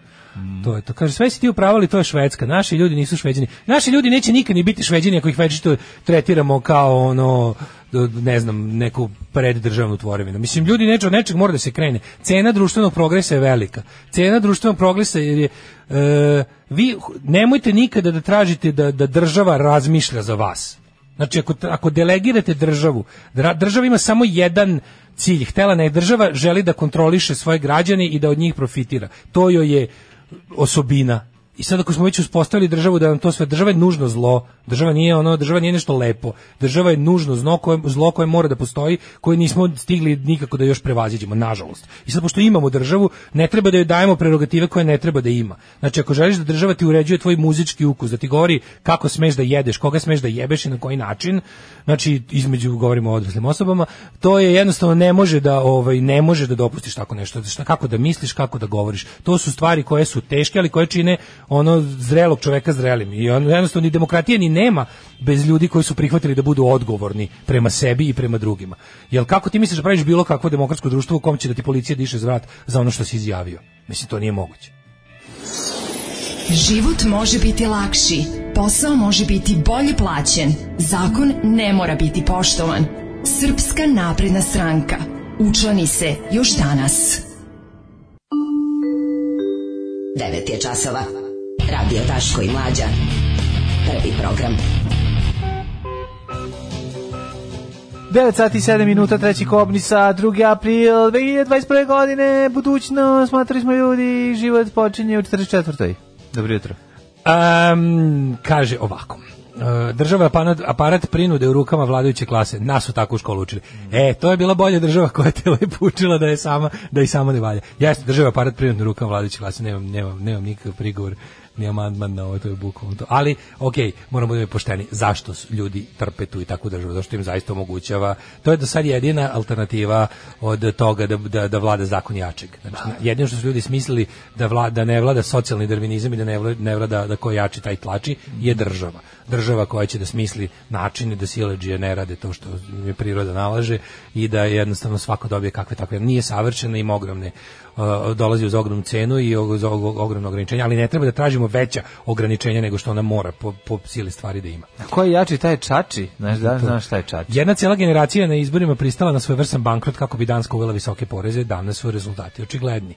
F: to je to. Kaže, sve si ti upravali, to je Švedska. Naši ljudi nisu šveđani. Naši ljudi neće nikad ni biti šveđani ako ih već to tretiramo kao ono, d- ne znam, neku preddržavnu tvorevinu. Mislim, ljudi neće, od nečeg mora da se krene. Cena društvenog progresa je velika. Cena društvenog progresa je... e, vi h- nemojte nikada da tražite da, da država razmišlja za vas. Znači, ako, ako delegirate državu, dra- država ima samo jedan cilj. Htela ne država želi da kontroliše svoje građane i da od njih profitira. To joj je osobina. I sad ako smo već uspostavili državu da nam to sve država je nužno zlo, država nije ono, država nije nešto lepo. Država je nužno zlo koje, zlo koje mora da postoji, koje nismo stigli nikako da još prevaziđemo, nažalost. I sad pošto imamo državu, ne treba da joj dajemo prerogative koje ne treba da ima. Znači ako želiš da država ti uređuje tvoj muzički ukus, da ti govori kako smeš da jedeš, koga smeš da jebeš i na koji način, znači između govorimo o odraslim osobama, to je jednostavno ne može da ovaj ne može da dopustiš tako nešto. Šta kako da misliš, kako da govoriš. To su stvari koje su teške, ali koje čine ono zrelog čoveka zrelim. I on jednostavno ni demokratije ni nema bez ljudi koji su prihvatili da budu odgovorni prema sebi i prema drugima. Jel kako ti misliš da praviš bilo kakvo demokratsko društvo u kom će da ti policija diše zvrat za ono što si izjavio? Mislim to nije moguće.
D: Život može biti lakši, posao može biti bolje plaćen, zakon ne mora biti poštovan. Srpska napredna stranka. Učlani se još danas.
A: 9 je časova. Radio Daško i Mlađa. Prvi program.
E: 9 sati i 7 minuta, treći kobni sa 2. april 2021. godine, budućnost, smatrali smo ljudi, život počinje u 44. Dobro jutro.
F: Um, kaže ovako. E, Država je aparat, aparat prinude u rukama vladajuće klase. Nas su tako u školu učili. E, to je bila bolja država koja te <laughs> lepo učila da je sama, da i sama ne valja. Jeste, država je aparat prinude u rukama vladajuće klase. Nemam, nemam, nemam nikakav prigovor ni amandman na ovo, to je bukvalno to. Ali, okej, moramo da budemo pošteni. Zašto su ljudi trpe tu i takvu državu? Zašto im zaista omogućava? To je do sad jedina alternativa od toga da, da, da vlada zakon jačeg. Znači, jedino što su ljudi smislili da, vla, da ne vlada socijalni darvinizam i da ne vlada, ne vlada da ko jači taj tlači je država. Država koja će da smisli načine da sileđije ne rade to što im je priroda nalaže i da jednostavno svako dobije kakve takve. Nije savršena ima ogromne uh, dolazi uz ogromnu cenu i og- uz og- ogromno ograničenje, ali ne treba da tražimo veća ograničenja nego što ona mora po, po sili stvari da ima.
E: Ko je jači, taj je čači. Znaš, da, znaš šta je čači.
F: Jedna cijela generacija je na izborima pristala na svoj vrsan bankrot kako bi Danska uvela visoke poreze, danas su rezultati očigledni.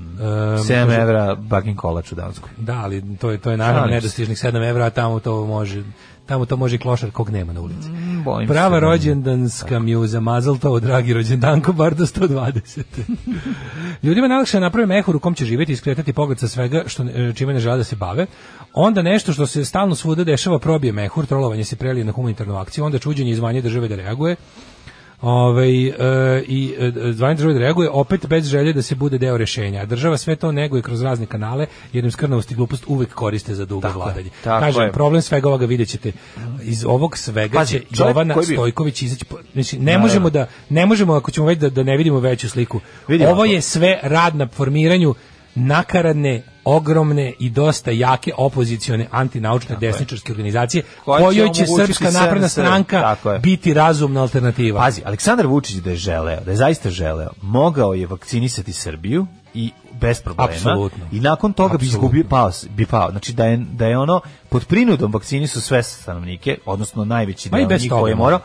F: Ehm,
E: 7 evra bakin kolač u Danskoj.
F: Da, ali to je to je naravno
E: Šalim se.
F: nedostižnih 7 evra, a tamo to može tamo to može i klošar kog nema na ulici.
E: bojim
F: Mm, Prava
E: se da ne.
F: rođendanska mjuza Mazeltov, dragi rođendanko, bar do 120.
E: <laughs>
F: Ljudima je najlakše da naprave mehur u kom će živjeti, iskretati pogled sa svega što, e, čime ne žele da se bave. Onda nešto što se stalno svuda dešava probije mehur, trolovanje se prelije na humanitarnu akciju, onda čuđenje iz vanje države da reaguje. Ove, i e, zvanje države da reaguje opet bez želje da se bude deo rešenja. Država sve to neguje kroz razne kanale jer im skrnavost i glupost uvek koriste za dugo vladanje.
E: tako
F: Kažem,
E: je.
F: problem svega ovoga vidjet ćete. Iz ovog svega
E: Pazi,
F: će
E: čovjek
F: Jovana
E: koji bi-
F: Stojković izaći. po- Znači, ne možemo da, ne možemo ako ćemo već da, da ne vidimo veću sliku.
E: Vidi
F: Ovo
E: ovako.
F: je sve rad na formiranju nakaradne ogromne i dosta jake opozicione antinaučne desničarske organizacije
E: Koja će
F: kojoj će
E: omogućiti
F: Srpska napredna
E: SNS,
F: stranka
E: tako je.
F: biti razumna alternativa.
E: Pazi, Aleksandar Vučić da je želeo, da je zaista želeo, mogao je vakcinisati Srbiju i bez problema.
F: Apsolutno.
E: I nakon toga bi
F: Apsolutno.
E: izgubio pao, s- bi pao. Znači da je, da je ono pod prinudom vakcinisu sve stanovnike, odnosno najveći
F: Ma Pa i
E: deo
F: bez
E: njih
F: toga,
E: koji je morao.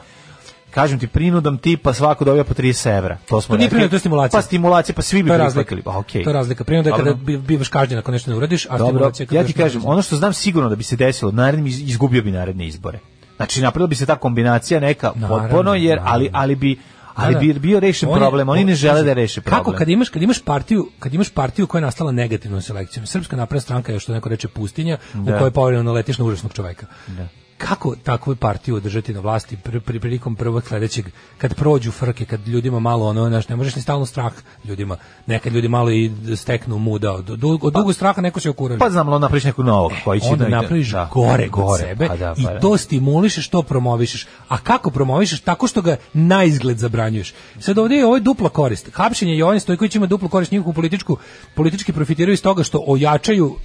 E: Kažem ti, prinudom tipa svako dobija po 30 evra. To smo
F: To nije
E: rekli.
F: prinuda, to je stimulacija.
E: Pa stimulacija, pa svi bi
F: to je razlika.
E: prihvatili. Pa, okej.
F: To je razlika. Primjer da je
E: Dobro.
F: kada bi- bivaš kažnjen ako nešto ne uradiš, a
E: Dobro,
F: stimulacija kada
E: ja
F: još
E: ti
F: ne
E: kažem,
F: uradiš.
E: ono što znam sigurno da bi se desilo, narednim iz- izgubio bi naredne izbore. Znači, napravila bi se ta kombinacija neka
F: Naravno,
E: potpuno, jer, ali,
F: naravno.
E: ali bi ali
F: Da,
E: bi
F: da.
E: bio rešen
F: On je-
E: problem, oni ne
F: on-
E: žele
F: pazi,
E: da reše problem.
F: Kako kad imaš kad imaš partiju, kad imaš partiju koja je nastala negativnom selekcijom. Srpska napredna stranka je što neko reče pustinja u kojoj povremeno letiš na užasnog čoveka. kako takvu partiju održati na vlasti pri, pri prilikom prvog sledećeg kad prođu frke kad ljudima malo ono znaš ne možeš ni stalno strah ljudima nekad ljudi malo i steknu muda od, od, od dugo straha neko se okuraži
E: Pa znam, ali on napraviš nekog novog koji će
F: E, onda
E: da...
F: napraviš
E: da,
F: gore gore sebe
E: pa da,
F: i
E: pa da.
F: to stimulišeš, to promovišeš. A kako promovišeš? Tako što ga na izgled zabranjuješ. Sad ovdje je ovo je dupla korist. Hapšenje Jovana Stojković ima duplu korist njihovu političku, politički profitiraju iz toga što ojačaju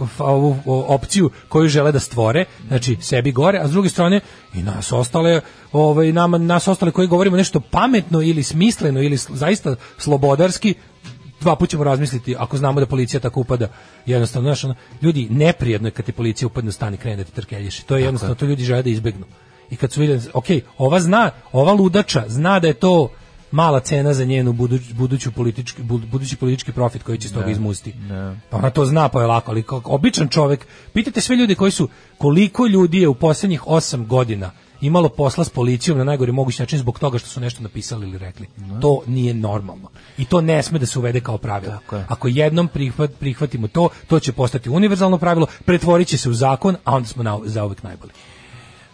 F: f- ovu o, opciju koju žele da stvore, znači sebi gore, a s druge strane i nas ostale, ovaj nama nas ostale koji govorimo nešto pametno ili smisleno ili sl- zaista slobodarski, dva put ćemo razmisliti ako znamo da policija tako upada. Jednostavno, znaš, ono, ljudi, neprijedno je kad ti policija upadne u stan i krene da ti trkeljiši. To je jednostavno, to ljudi žele da izbegnu. I kad su vidjeli, ok, ova zna, ova ludača zna da je to mala cena za njenu buduć, buduću politički, bud- budući politički profit koji će iz toga izmusti. Pa ona to zna, pa je lako, ali kao običan čovek, pitajte sve ljude koji su, koliko ljudi je u posljednjih osam godina imalo posla s policijom na najgori mogući način zbog toga što su nešto napisali ili rekli. To nije normalno. I to ne sme da se uvede kao pravilo. Ako jednom prihvat, prihvatimo to, to će postati univerzalno pravilo, pretvorit će se u zakon, a onda smo na, zauvek najbolji.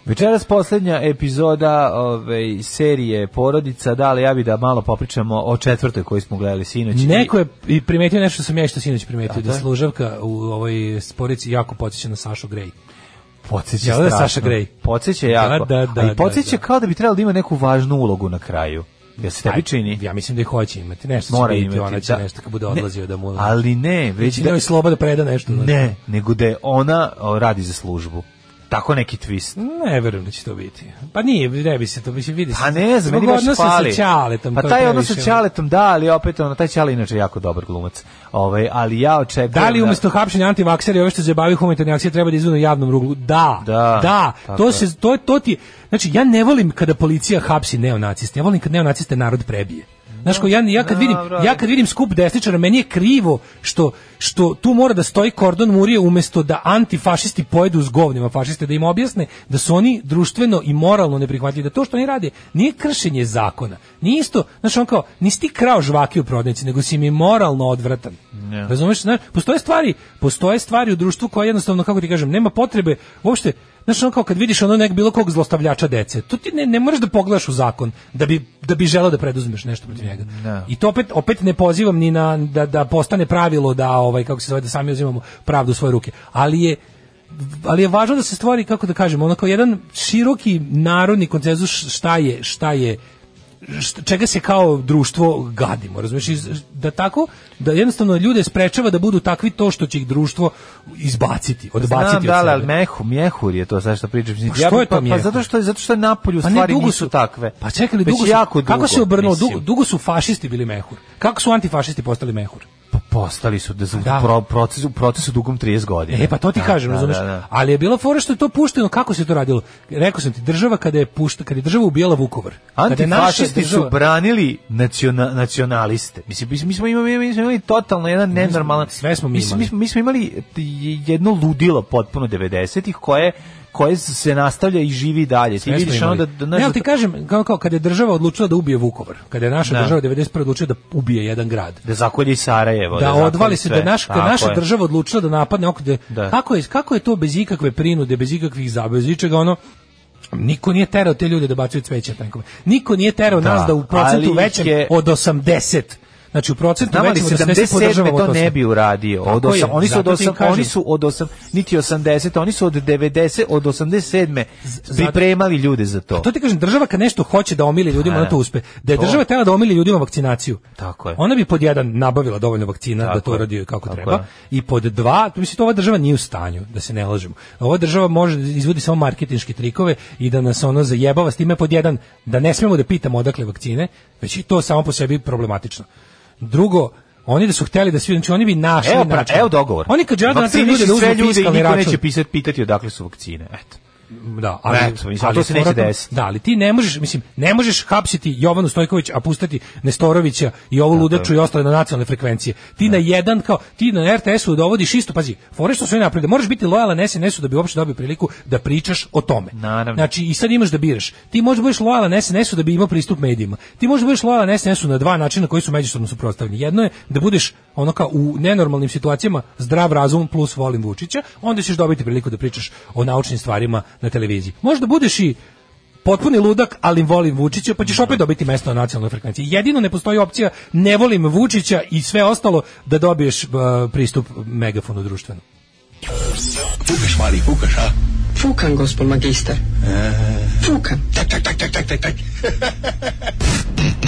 E: Večeras posljednja epizoda ove, serije Porodica, da, ali ja bi da malo popričamo o četvrtoj koju smo gledali sinoć.
F: Neko je i primetio nešto što sam ja i što sinoć primetio, da služavka u ovoj sporici jako podsjeća na Sašu Grej.
E: Podsjeća
F: Jel da je
E: strašno.
F: Saša Grey?
E: Podsjeća jako.
F: Da, da,
E: A
F: da,
E: i podsjeća
F: da, da.
E: kao da bi trebalo da ima neku važnu ulogu na kraju. Jel se tebi čini?
F: Ja mislim da ih hoće imati. Nešto
E: Mora
F: će biti,
E: imati.
F: ona će
E: da.
F: nešto kad bude
E: Ne,
F: odlazio da mu...
E: Ali ne, već
F: da,
E: da,
F: joj sloba da preda nešto. znači? znaš.
E: ne, nego da je ona o, radi za službu. Tako neki twist.
F: Ne verujem da će to biti. Pa nije, ne bi se to, mislim, vidi se.
E: Pa ne znam,
F: Zbog
E: meni baš
F: odnosa
E: fali.
F: sa Ćaletom.
E: pa
F: to je
E: taj odnos sa
F: previše, ono.
E: Ćaletom, da, ali opet ono, taj Ćale je inače jako dobar glumac. Ovaj, ali ja očekujem...
F: Da li umjesto hapšenja antivaksera i ove što se bavi humanitarne akcije treba da izvedu na javnom ruglu? Da.
E: Da, tako
F: to se to to ti znači ja ne volim kada policija hapsi neonaciste. Ja volim kad neonaciste narod prebije. Znaš ko, ja, ja kad vidim,
E: Dobro.
F: ja kad vidim skup desničara, meni je krivo što, što tu mora da stoji kordon murije umjesto da antifašisti pojedu s govnima fašiste, da im objasne da su oni društveno i moralno neprihvatljivi, da to što oni rade nije kršenje zakona. Nije isto, znaš on kao, nisi ti krao žvake u prodnici, nego si mi moralno odvratan. Razumeš, znaš, postoje stvari, postoje stvari u društvu koje jednostavno, kako ti kažem, nema potrebe uopšte, znaš, ono kao kad vidiš ono nek bilo kog zlostavljača dece, to ti ne, ne moraš da pogledaš u zakon da bi, da bi želeo da preduzmeš nešto protiv njega. I to opet, opet ne pozivam ni na, da, da postane pravilo da, ovaj, kako se zove, da sami uzimamo pravdu u svoje ruke, ali je ali je važno da se stvori kako da kažemo onako jedan široki narodni konsenzus šta je šta je št- čega se kao društvo gadimo, razumiješ, da tako, da jednostavno ljude sprečava da budu takvi to što će ih društvo izbaciti, odbaciti
E: Znam,
F: od
E: da,
F: sebe.
E: li, ali mehu, mjehur je to sad što pričam. Pa
F: što je to
E: pa,
F: mjehur?
E: zato što je zato što je napolju
F: Pa ne,
E: stvari
F: dugo
E: nisu takve.
F: Pa čekali,
E: Već
F: dugo su,
E: jako dugo,
F: kako se obrnulo,
E: mislim.
F: dugo, dugo su fašisti bili mehur. Kako su antifašisti postali mehur?
E: Pa postali su da,
F: Da.
E: da. Pro, proces, u procesu dugom 30 godina.
F: E, pa to ti
E: Da,
F: kažem,
E: da,
F: razumeš?
E: da, da.
F: Ali je bila fora što je to pušteno, kako se to radilo? Rekao sam ti, država kada je, pušta, kada je država ubijala Vukovar. kada je naša
E: Antifašisti su
F: država-
E: branili naciona, nacionaliste. Mislim, mi smo- mi smo imali, mi smo imali totalno jedan nenormalan...
F: sve smo mi
E: mislim,
F: imali.
E: Mi smo, mi smo imali t- jedno ludilo potpuno 90-ih koje, koje se nastavlja i živi dalje. Ti
F: Sve smo
E: vidiš
F: imali.
E: onda... Da,
F: ne, ali ti kažem, kao, kao kada je država odlučila da ubije Vukovar, kada je naša
E: Da.
F: država 91 odlučila da ubije jedan grad,
E: da zakolji Sarajevo.
F: da
E: zakolji
F: odvali se
E: sve.
F: da naš, da
E: Tako
F: naša
E: je.
F: država odlučila da napadne oko da,
E: Da.
F: kako je kako je to bez ikakve prinude bez ikakvih zabava bez ičega ono Niko nije terao te ljude da bacaju cveće tenkove. Niko nije terao
E: Da,
F: nas da u procentu
E: ali
F: većem
E: je-
F: od 80. Znači u procentu
E: Znam ali
F: većem od 80
E: 77
F: podržavamo
E: to ne
F: sve.
E: bi uradio. Od
F: Tako je,
E: osam, oni su od
F: zato ti
E: osam,
F: kažem.
E: oni su od osam, niti 80, oni su od 90, od 87 pripremali ljude za to.
F: To ti kažem, država kad nešto hoće da omili ljudima,
E: Pa,
F: ona to uspe. Da je
E: to.
F: država tela da omili ljudima vakcinaciju.
E: Tako je.
F: Ona bi pod jedan nabavila dovoljno vakcina da
E: Tako
F: to
E: je.
F: radi kako
E: Tako
F: treba.
E: je.
F: I pod dva, mislim to ova država nije u stanju, da se ne lažemo. Ova država može da izvodi samo marketinške trikove i da nas ono zajebava s time pod jedan da ne smemo da pitamo odakle vakcine, već i to samo po sebi problematično. Drugo, Oni da su hteli da svi, znači oni bi našli
E: Evo, pra,
F: način.
E: evo dogovor.
F: Oni kad žele da nateraju
E: Vakciniši
F: ljude da
E: sve
F: uzmu
E: ljude i
F: fiskalni
E: niko
F: račun.
E: neće pisati, pitati odakle su vakcine. Eto.
F: Da, ali,
E: Pa Eto, mislim, to se neće
F: fora to-
E: desiti.
F: Da, ali ti ne možeš, mislim, ne možeš hapsiti Jovanu Stojković, a pustati Nestorovića i ovu ludaču i ostale na nacionalne frekvencije. Ti na jedan, kao, ti na RTS-u dovodiš isto, pazi, fore što su oni napravili, da moraš biti lojalan SNS-u da bi uopšte dobio priliku da pričaš o tome.
E: Naravno.
F: Znači, i sad imaš da biraš. Ti možeš da budeš lojalan SNS-u da bi imao pristup medijima. Ti možeš da budeš lojalan SNS-u na dva načina koji su međusobno suprotstavljeni. Jedno je da budeš ono kao u nenormalnim situacijama zdrav razum plus volim Vučića, onda ćeš dobiti priliku da pričaš o naučnim stvarima na televiziji. Možda budeš i potpuni ludak, ali volim Vučića, pa ćeš opet dobiti mesto na nacionalnoj frekvenciji. Jedino ne postoji opcija ne volim Vučića i sve ostalo da dobiješ uh, pristup megafonu društvenu.
G: Fukaš, mali, fukaš, a?
H: Fukan, gospod magister. Fukan.
G: Tak, tak, tak, tak, tak, tak, tak.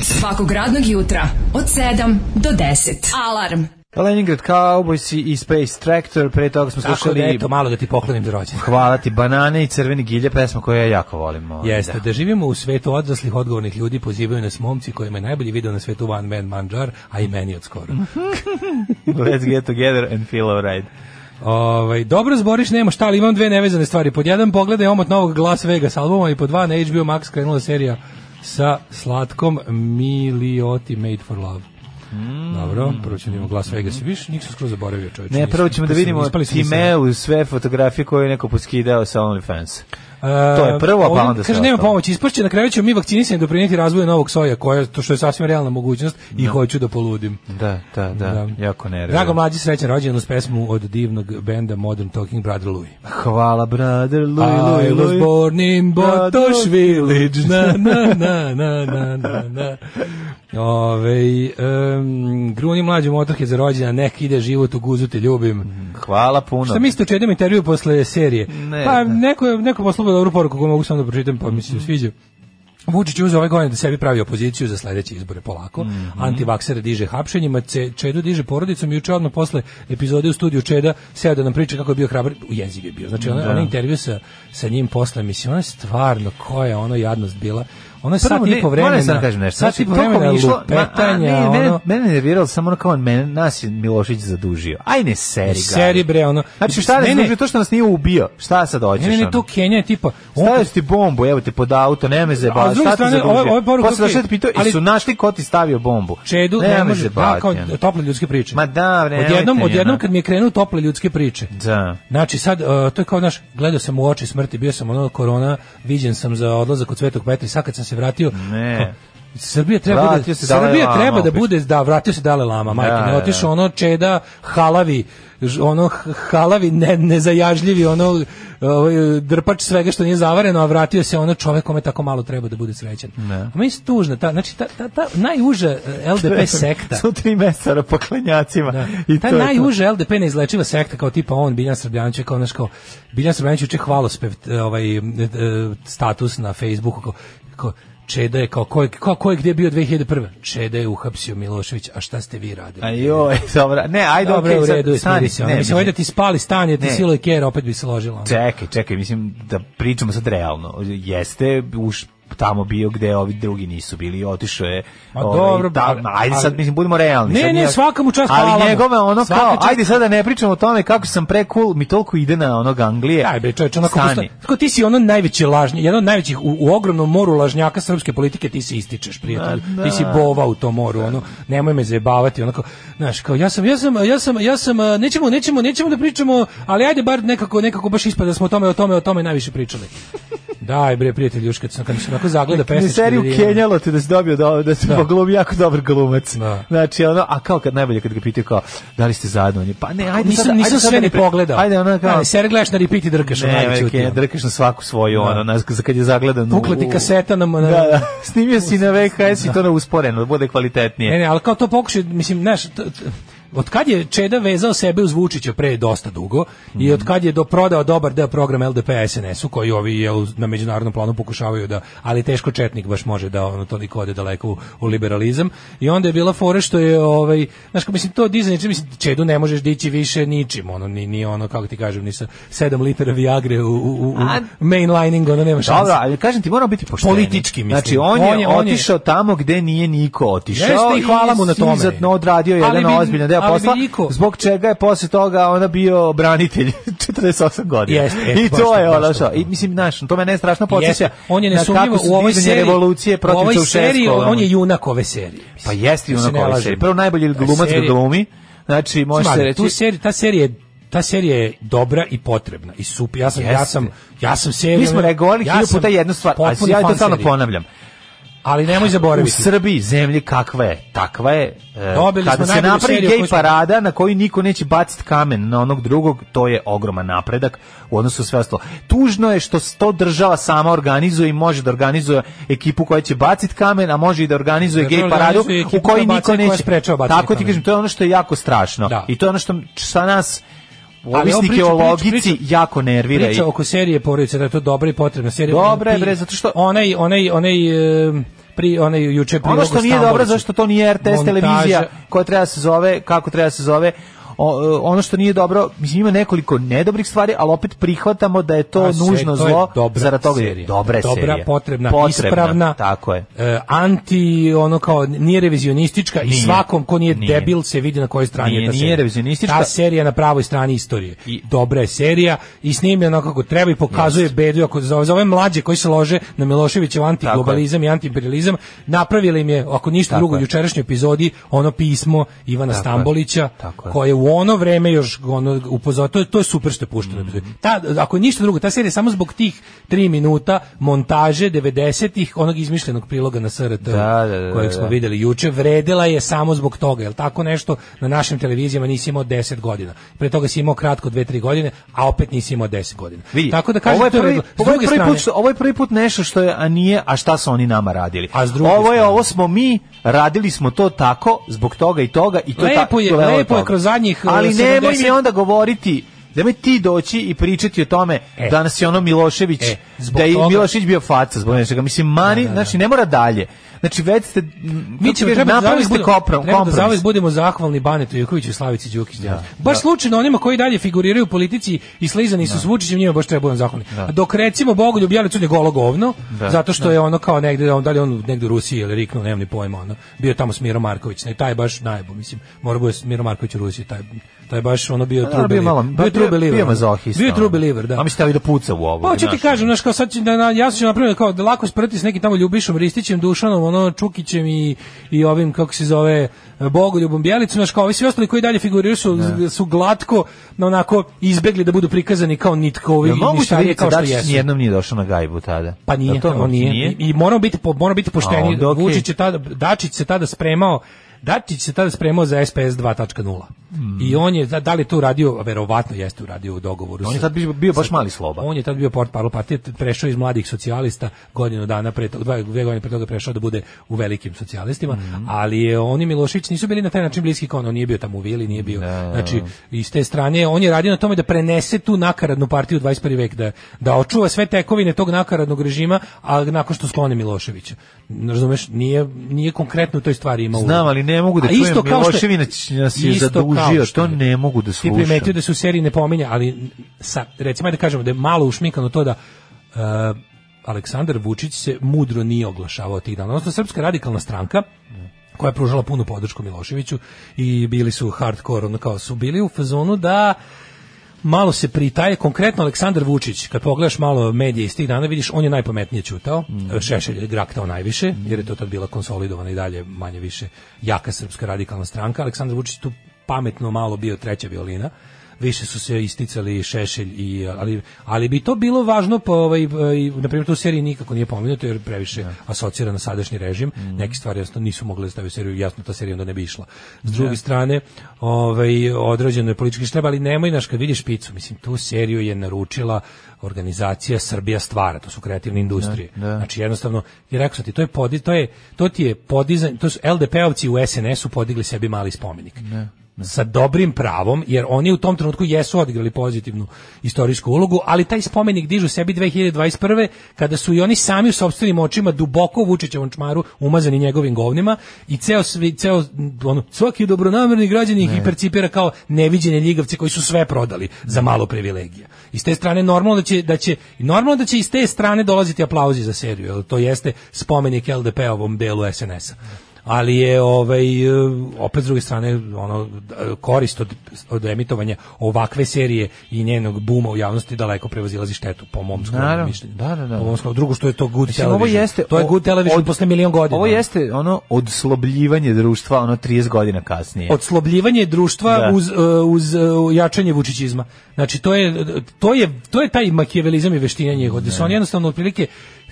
D: Svakog radnog jutra od 7 do 10. Alarm.
E: Leningrad Cowboys i Space Tractor, pre toga smo
F: Tako da,
E: slušali
F: eto, malo da ti poklonim za rođendan.
E: Hvala ti, banane i crvene gilje, pesma koju ja jako volim. ovaj,
F: Jeste,
E: da.
F: da. živimo u svetu odraslih odgovornih ljudi, pozivaju nas momci kojima je najbolji video na svetu One Man Manjar, a i meni od skoro.
E: Mm. <laughs> Let's get together and feel alright.
F: Ovaj, dobro zboriš, nema šta, ali imam dve nevezane stvari. Pod jedan pogledaj omot novog Las Vegas albuma i pod dva na HBO Max krenula serija sa slatkom Milioti Made for Love. Dobro, prvo ćemo da imamo Las Vegas. Viš, njih sam skroz zaboravio čovječe.
E: Mm. Ne,
F: Nisam,
E: prvo ćemo da
F: ispali smo-
E: vidimo
F: ispali smo iz sebe.
E: Timelu sve fotografije koje je neko poskidao sa OnlyFans. To je prvo, pa
F: Ovdje
E: onda sve
F: Kaže, nema
E: ostalo.
F: pomoći, ispašće, na kraju ćemo mi vakcinisanje doprinijeti razvoju novog soja, koja, to što je sasvim realna mogućnost, i hoću da poludim.
E: Da, da, da, jako nervio.
F: Drago mlađi srećan rođen uz pesmu od divnog benda Modern Talking Brother Louie.
E: Hvala, brother, Louis, Louis,
F: I was
E: Louis.
F: born in Botoš
E: Botoš
F: Village. Na, na, na, na, na, na, na. Ove, um, gruni mlađi motorke za rođena, nek ide život u guzu, te ljubim.
E: Hvala puno.
F: Šta mislite o čednom intervju posle serije?
E: Ne,
F: pa
E: ne. Mhm.
F: neko, je- neko poslao dobru poruku koju mogu samo da pročitam, pa mi se sviđa. Vučić je uzeo ove godine da sebi pravi opoziciju za sledeće izbore polako.
E: Mhm.
F: Antivaksere diže hapšenjima, Ce- Čedu diže porodicom i juče odmah posle epizode u studiju Čeda seo da nam priča kako je bio hrabar. U jeziv je bio. Znači, ona, ona intervju sa, sa njim posle emisije, ona je stvarno, koja je ona jadnost bila. Ona je
E: Prvo,
F: sat
E: ne,
F: i po
E: moram
F: vremena,
E: sad da kažem nešto.
F: sat i
E: Znači,
F: po
E: toliko
F: vremena
E: mi je išlo- ma, a,
F: lupetanja,
E: ne, mene-
F: ono-
E: Mene je nerviralo samo ono kao on, mene, nas je Milošić zadužio. Aj ne seri ga.
F: Seri, bre, ono-
E: Znači šta nas
F: Ne, ne.
E: zadužio, to što nas nije ubio. Šta sad hoćeš?
F: Ne, ne, ne,
E: ono?
F: to Kenja je tipa... on-
E: Stavio si ti bombu, evo te pod auto, nema me
F: A
E: zebala,
F: s druge
E: šta ti
F: strane,
E: zadužio?
F: ovo- ovo je poruka,
E: Posle
F: okej,
E: došao ti pitao,
F: ali-
E: jesu našli ko ti stavio bombu?
F: Čedu
E: Nema
F: ne
E: me
F: može da
E: zebala,
F: kao
E: ono.
F: tople ljudske priče.
E: Ma da, bre,
F: Odjednom,
E: nemojte mi,
F: odjednom
E: ono.
F: kad mi je krenuo tople ljudske priče.
E: Da.
F: Znači sad e, to je kao naš gledao sam u oči smrti, bio sam ono korona, viđen sam za odlazak od Svetog Petra i sad kad sam se vratio.
E: Ne.
F: Srbija treba
E: Vratio
F: da,
E: se Dalaj
F: Srbija
E: Lama
F: treba da
E: opet.
F: bude da vratio se Dale Lama, majke,
E: Da,
F: ne
E: da.
F: otišao ono čeda halavi ž- ono h- halavi ne, nezajažljivi ono ovaj, drpač svega što nije zavareno a vratio se ono čovek kome tako malo treba da bude srećan. A meni je tužno ta znači ta, ta, ta
E: <laughs>
F: najuža e, LDP sekta.
E: Su tri mesara poklanjacima.
F: Da.
E: I
F: Ta
E: to je to.
F: najuža LDP neizlečiva sekta kao tipa on Biljan Srbljanić je kao naš kao Biljan Srbljanić juče hvalospev t- ovaj e, e, status na Facebooku kao, kao Čeda je kao ko je, kao ko je gdje bio 2001. Čeda je uhapsio Milošević, a šta ste vi radili?
E: A joj, <laughs> dobro. Ne, ajde,
F: Dobro,
E: okej,
F: u
E: sad
F: redu, je,
E: stani,
F: smiri se. ono.
E: ne,
F: Mislim,
E: ne.
F: ovdje da ti spali stan, jer ti
E: Ne.
F: silo i kjer, opet bi se ložilo. ono.
E: Čekaj, čekaj, mislim da pričamo sad realno. Jeste už tamo bio gde ovi drugi nisu bili, otišao je. ovaj,
F: Ma dobro,
E: ta-
F: ali-
E: ajde sad,
F: ali-
E: mislim, budimo realni.
F: Ne,
E: sad
F: ne,
E: nije-
F: svaka mu čast, hvala mu.
E: Ali njegove ono
F: Svaka
E: kao,
F: čast.
E: ajde sad da ne pričamo o tome kako sam pre cool, mi toliko ide na onog Anglije.
F: Aj bre, čoveče, onako
E: E, Stani.
F: postoji- Tako ti si ono najveći lažnji, jedan od najvećih u, u ogromnom moru lažnjaka srpske politike, ti se ističeš, prijatelju. Ti si bova u tom moru, ono. Nemoj me zajebavati, onako. Znaš, kao ja sam, ja sam, ja sam, ja sam, a, nećemo, nećemo, nećemo da pričamo, ali ajde bar nekako, nekako baš ispada da smo o tome, o tome, o tome najviše pričali. Daj bre, prijatelju, još kad sam kad mi se onako zagleda
E: Ne
F: pesnički.
E: seriju
F: vidi, ono.
E: Kenjalo te da si dobio da, da si da. jako dobar glumac.
F: Da.
E: Znači ono, a kao kad najbolje kad ga pitaju kao da li ste zajedno on je pa ne, ajde
F: Nisam,
E: sad,
F: nisam
E: ajde sad
F: sve
E: da
F: ni
E: pre-
F: pogledao.
E: Ajde ona kao
F: Da, Ser gledaš na repeat i drkaš. ono,
E: Ne,
F: najveći
E: ne,
F: utjecaj.
E: Kenja, drkaš na svaku svoju, ono, na, za kad je zagledan. u-
F: Pukla ti
E: u-
F: kaseta na- na-
E: Da, da. <laughs> Snimio si na VHS i to na usporeno, da bude
F: Ne,
E: kvalitetnije.
F: ne, ali kao to pokušaj, mislim, znaš, t- t- od kad je Čeda vezao sebe uz Vučića pre dosta dugo
E: Mhm.
F: i od kad je do prodao dobar deo programa LDP SNS-u koji ovi jel, na međunarodnom planu pokušavaju da, ali teško Četnik baš može da ono toliko ode daleko u, u liberalizam i onda je bila fora što je ovaj, znaš, kao, mislim, to dizanje, čini, mislim, Čedu ne možeš dići više ničim, ono, ni, ni ono, kako ti kažem, ni sa 7 litara Viagre u, u, u, u
E: A-
F: mainlining, ono, nema šanse.
E: Dobro, ali kažem ti, moramo biti pošteni.
F: Politički, mislim.
E: Znači, on je,
F: On je- on je-
E: otišao tamo gde nije niko otišao.
F: Jeste, i hvala mu na
E: i
F: tome.
E: Izatno odradio
F: Ali
E: jedan
F: bi-
E: ozbiljan deo
F: ali bi
E: posla,
F: niko-
E: zbog čega je posle toga ona bio branitelj <laughs> 48 godina.
F: Jeste,
E: I
F: eto, baš
E: to
F: to,
E: je
F: baš
E: ono
F: to.
E: što. I, mislim, znaš, to me ne strašno podsjeća.
F: Jeste, on je
E: na
F: nesumnjivo
E: kako su
F: u ovoj
E: dizanje
F: seriji,
E: revolucije protiv
F: u ovoj
E: Čaušesku,
F: seriji,
E: ono.
F: on je junak ove serije.
E: Pa jeste i
F: Da se
E: onako
F: ne
E: ovaj
F: lažemo.
E: serij. Prvo najbolji
F: Ta
E: glumac da
F: serija-
E: glumi. Znači, može se
F: Smatra,
E: reći...
F: tu seri, ta serija je ta serija je dobra i potrebna i super. Ja sam ja
E: Jeste.
F: sam ja sam serija.
E: Mi smo regovali
F: ja
E: hiljadu
F: sam
E: puta jednu stvar, a
F: potpuni
E: ja to
F: fan
E: stalno
F: serije.
E: ponavljam.
F: Ali nemoj
E: U
F: zaboraviti.
E: Srbiji zemlji kakva je, takva je. E,
F: Dobili
E: kada
F: smo
E: se
F: najbolju
E: napravi
F: seriju
E: gej
F: koju smo-
E: parada na koju niko neće baciti kamen na onog drugog, to je ogroman napredak u odnosu na sve ostalo. Tužno je što to država sama organizuje i može da organizuje ekipu koja će baciti kamen, a može i da organizuje
F: Da
E: gej paradu
F: organizuje ekipu
E: u kojoj
F: koja
E: niko
F: bacanje, koja
E: neće.
F: sprečava bacanje
E: Tako ti
F: kamena.
E: kažem, to je ono što je jako strašno.
F: Da.
E: I to je ono što sa nas
F: ovo
E: ovisnike
F: priča-
E: o
F: priča-
E: logici
F: priča-
E: jako nervira. i-
F: Priča oko serije porodice, da je to dobra i potrebna serija.
E: Dobra je,
F: Pri-
E: bre, zato što-
F: Onaj, onaj, onaj, em, pri, onaj juče prilogu
E: Ono što nije dobro zašto to nije RTS
F: Montaža.
E: televizija koja treba se zove, kako treba se zove, o, e, ono što nije dobro, mislim ima nekoliko nedobrih stvari, ali opet prihvatamo da je to
F: A sve-
E: nužno
F: to je
E: zlo
F: dobra
E: zarad toga.
F: serija.
E: Dobra je
F: Dobra,
E: serija.
F: potrebna, ispravna.
E: Tako je.
F: e, anti ono kao nije revizionistička i
E: Nije.
F: svakom ko nije,
E: Nije.
F: debil se vidi na kojoj strani je
E: Nije,
F: ta
E: nije
F: serija.
E: revizionistička.
F: Ta serija je na pravoj strani istorije.
E: I-
F: Dobra je serija i snimlja onako kako treba i pokazuje bedu ako za, za ove mlađe koji se lože na Miloševićev antiglobalizam i antiimperializam napravili im je ako ništa
E: Tako
F: drugo u
E: je.
F: jučerašnjoj epizodi ono pismo Ivana
E: Tako je.
F: Stambolića
E: Tako je.
F: koje je u ono vreme još ono upozor to, je- to je super što je pušteno.
E: Mhm.
F: Ta ako ništa drugo ta serija je samo zbog tih 3 minuta montaže 90-ih onog izmišljenog priloga na SRT
E: Da, da, da,
F: kojeg smo
E: da.
F: videli juče, vredela je samo zbog toga, jer tako nešto na našim televizijama nisi imao 10 godina. Pre toga si imao kratko 2-3 godine, a opet nisi imao 10 godina.
E: Vidi,
F: tako da kažem,
E: ovo je
F: to je
E: prvi,
F: vredelo. S
E: ovo je
F: druge
E: prvi
F: strane-
E: put, što- ovo je prvi put nešto što je, a nije, a šta su oni nama radili.
F: A s druge
E: ovo je,
F: strane-
E: ovo smo mi, radili smo to tako, zbog toga i toga, i to
F: Lepo je-
E: tako, dovelo do
F: lepo je
E: toga.
F: kroz zadnjih, e,
E: Ali nemoj
F: 70
E: mi onda govoriti, nemoj ti doći i pričati o tome
F: E.
E: da nas je ono Milošević,
F: E, zbog
E: da je
F: toga-
E: Milošević bio faca zbog nečega. Mislim, mani, znači ne mora dalje. Znači već ste,
F: mi ćemo treba da
E: napravili
F: zauvek
E: ste
F: budemo,
E: komprom-
F: treba da
E: kompromis.
F: zauvek budemo zahvalni Banetu Jokoviću i Slavici Đukić. baš slučajno onima koji dalje figuriraju u politici i slizani su s Vučićem, njima baš treba budem zahvalni. A Dok recimo Bogoljub Jelicu je golo govno, zato što je ono kao negde, on, da li je on negde u Rusiji ili riknuo, nemam ni pojma, ono, bio tamo s Miro Marković, ne, taj je baš najbo, mislim, mora bude s Miro Marković u Rusiji, taj, taj je baš ono bio
E: Da,
F: true
E: bio je
F: believer.
E: malo,
F: Bio je true believer,
E: bio
F: ono.
E: mazohista,
F: Bio je true
E: ono.
F: believer, da.
E: A mi ste da puca u ovo.
F: Pa hoću ti
E: znaš.
F: kažem, znaš, kao sad će, da, na, ja sam napravio kao da lako sprati s nekim tamo Ljubišom Ristićem, Dušanom, ono, Čukićem i, i ovim, kako se zove, Bogoljubom Bjelicom, znaš, kao ovi svi ostali koji dalje figuriraju su, su glatko, no, onako, izbegli da budu prikazani kao nitkovi
E: Jel
F: i
E: moguće da
F: ništarije
E: Ivica
F: kao što
E: Dačić
F: jesu.
E: nijednom nije došao na gajbu tada?
F: Pa nije,
E: Jel to
F: on nije. I, i moramo biti po- moramo biti
E: A,
F: pošteni.
E: onda okej.
F: Vučić je tada Dačić se tada spremao Dačić se tada spremao za SPS 2.0.
E: Hmm.
F: I on je da, da li je to uradio, A verovatno jeste uradio u dogovoru.
E: On je
F: sa-
E: tad bio, bio baš mali sloba.
F: on je tad bio port parol partije, t- prešao iz mladih socijalista godinu dana pre toga, dve, dve godine pre toga prešao da bude u velikim socijalistima,
E: Mhm.
F: ali je on i Milošević nisu bili na taj način bliski kao on, on nije bio tamo u Vili, nije bio. Znači, iz te strane on je radio na tome da prenese tu nakaradnu partiju u 21. vek, da, da očuva sve tekovine tog nakaradnog režima, a nakon što sklone Miloševića. Razumeš, nije, nije konkretno u toj stvari imao.
E: Znam,
F: ulogu.
E: ali ne mogu da
F: A
E: čujem,
F: isto kao što je-
E: Milošević nas je
F: isto kao
E: zadužio,
F: što
E: to
F: je.
E: ne mogu da
F: Ti
E: slušam.
F: primetio da se u seriji ne pominja, ali sa, recimo ajde da kažemo da je malo ušminkano to da e, Aleksandar Vučić se mudro nije oglašavao tih dana. Odnosno, Srpska radikalna stranka, koja je pružala punu podršku Miloševiću i bili su hardcore, ono kao su bili u fazonu da malo se pritaje, konkretno Aleksandar Vučić, kad pogledaš malo medije iz tih dana, vidiš, on je najpametnije čutao, Šešelj je graktao najviše, jer je to tad bila konsolidovana i dalje manje više jaka srpska radikalna stranka, Aleksandar Vučić tu pametno malo bio treća violina, više su se isticali Šešelj i ali ali bi to bilo važno po ovaj i, na primjer tu seriji nikako nije pomenuto jer previše asocira na sadašnji režim neke stvari jasno nisu mogle da stave u seriju jasno ta serija onda ne bi išla s druge strane ovaj odrađeno je politički štreb ali nemoj naš kad vidiš picu mislim tu seriju je naručila organizacija Srbija stvara to su kreativne industrije znači jednostavno i rekao sam ti to je podi to je to ti je podizanje to su LDP-ovci u SNS-u podigli sebi mali spomenik sa dobrim pravom, jer oni u tom trenutku jesu odigrali pozitivnu istorijsku ulogu, ali taj spomenik dižu sebi 2021. kada su i oni sami u sopstvenim očima duboko u Vučićevom čmaru umazani njegovim govnima i ceo, svi, ceo ono, svaki dobronamerni građanin ih i percipira kao neviđene ljigavce koji su sve prodali za malo privilegija. I s te strane normalno da će, da će, normalno da će iz te strane dolaziti aplauzi za seriju, jer to jeste spomenik LDP-ovom delu SNS-a ali je ovaj e, opet s druge strane ono d- korist od, od emitovanja ovakve serije i njenog buma u javnosti daleko prevazilazi štetu po mom skromnom
E: Naravno,
F: mišljenju.
E: da, da, da.
F: Po mom skromnom- drugo što je to good
E: Mislim,
F: television.
E: ovo jeste
F: to je
E: o-
F: good television
E: od-
F: posle milion godina.
E: Ovo jeste ono odslobljivanje društva, ono 30 godina kasnije.
F: odslobljivanje društva
E: Da.
F: uz, e, uz e, jačanje vučićizma. Znači to je to je to je taj makijavelizam i veštinanje od on jednostavno otprilike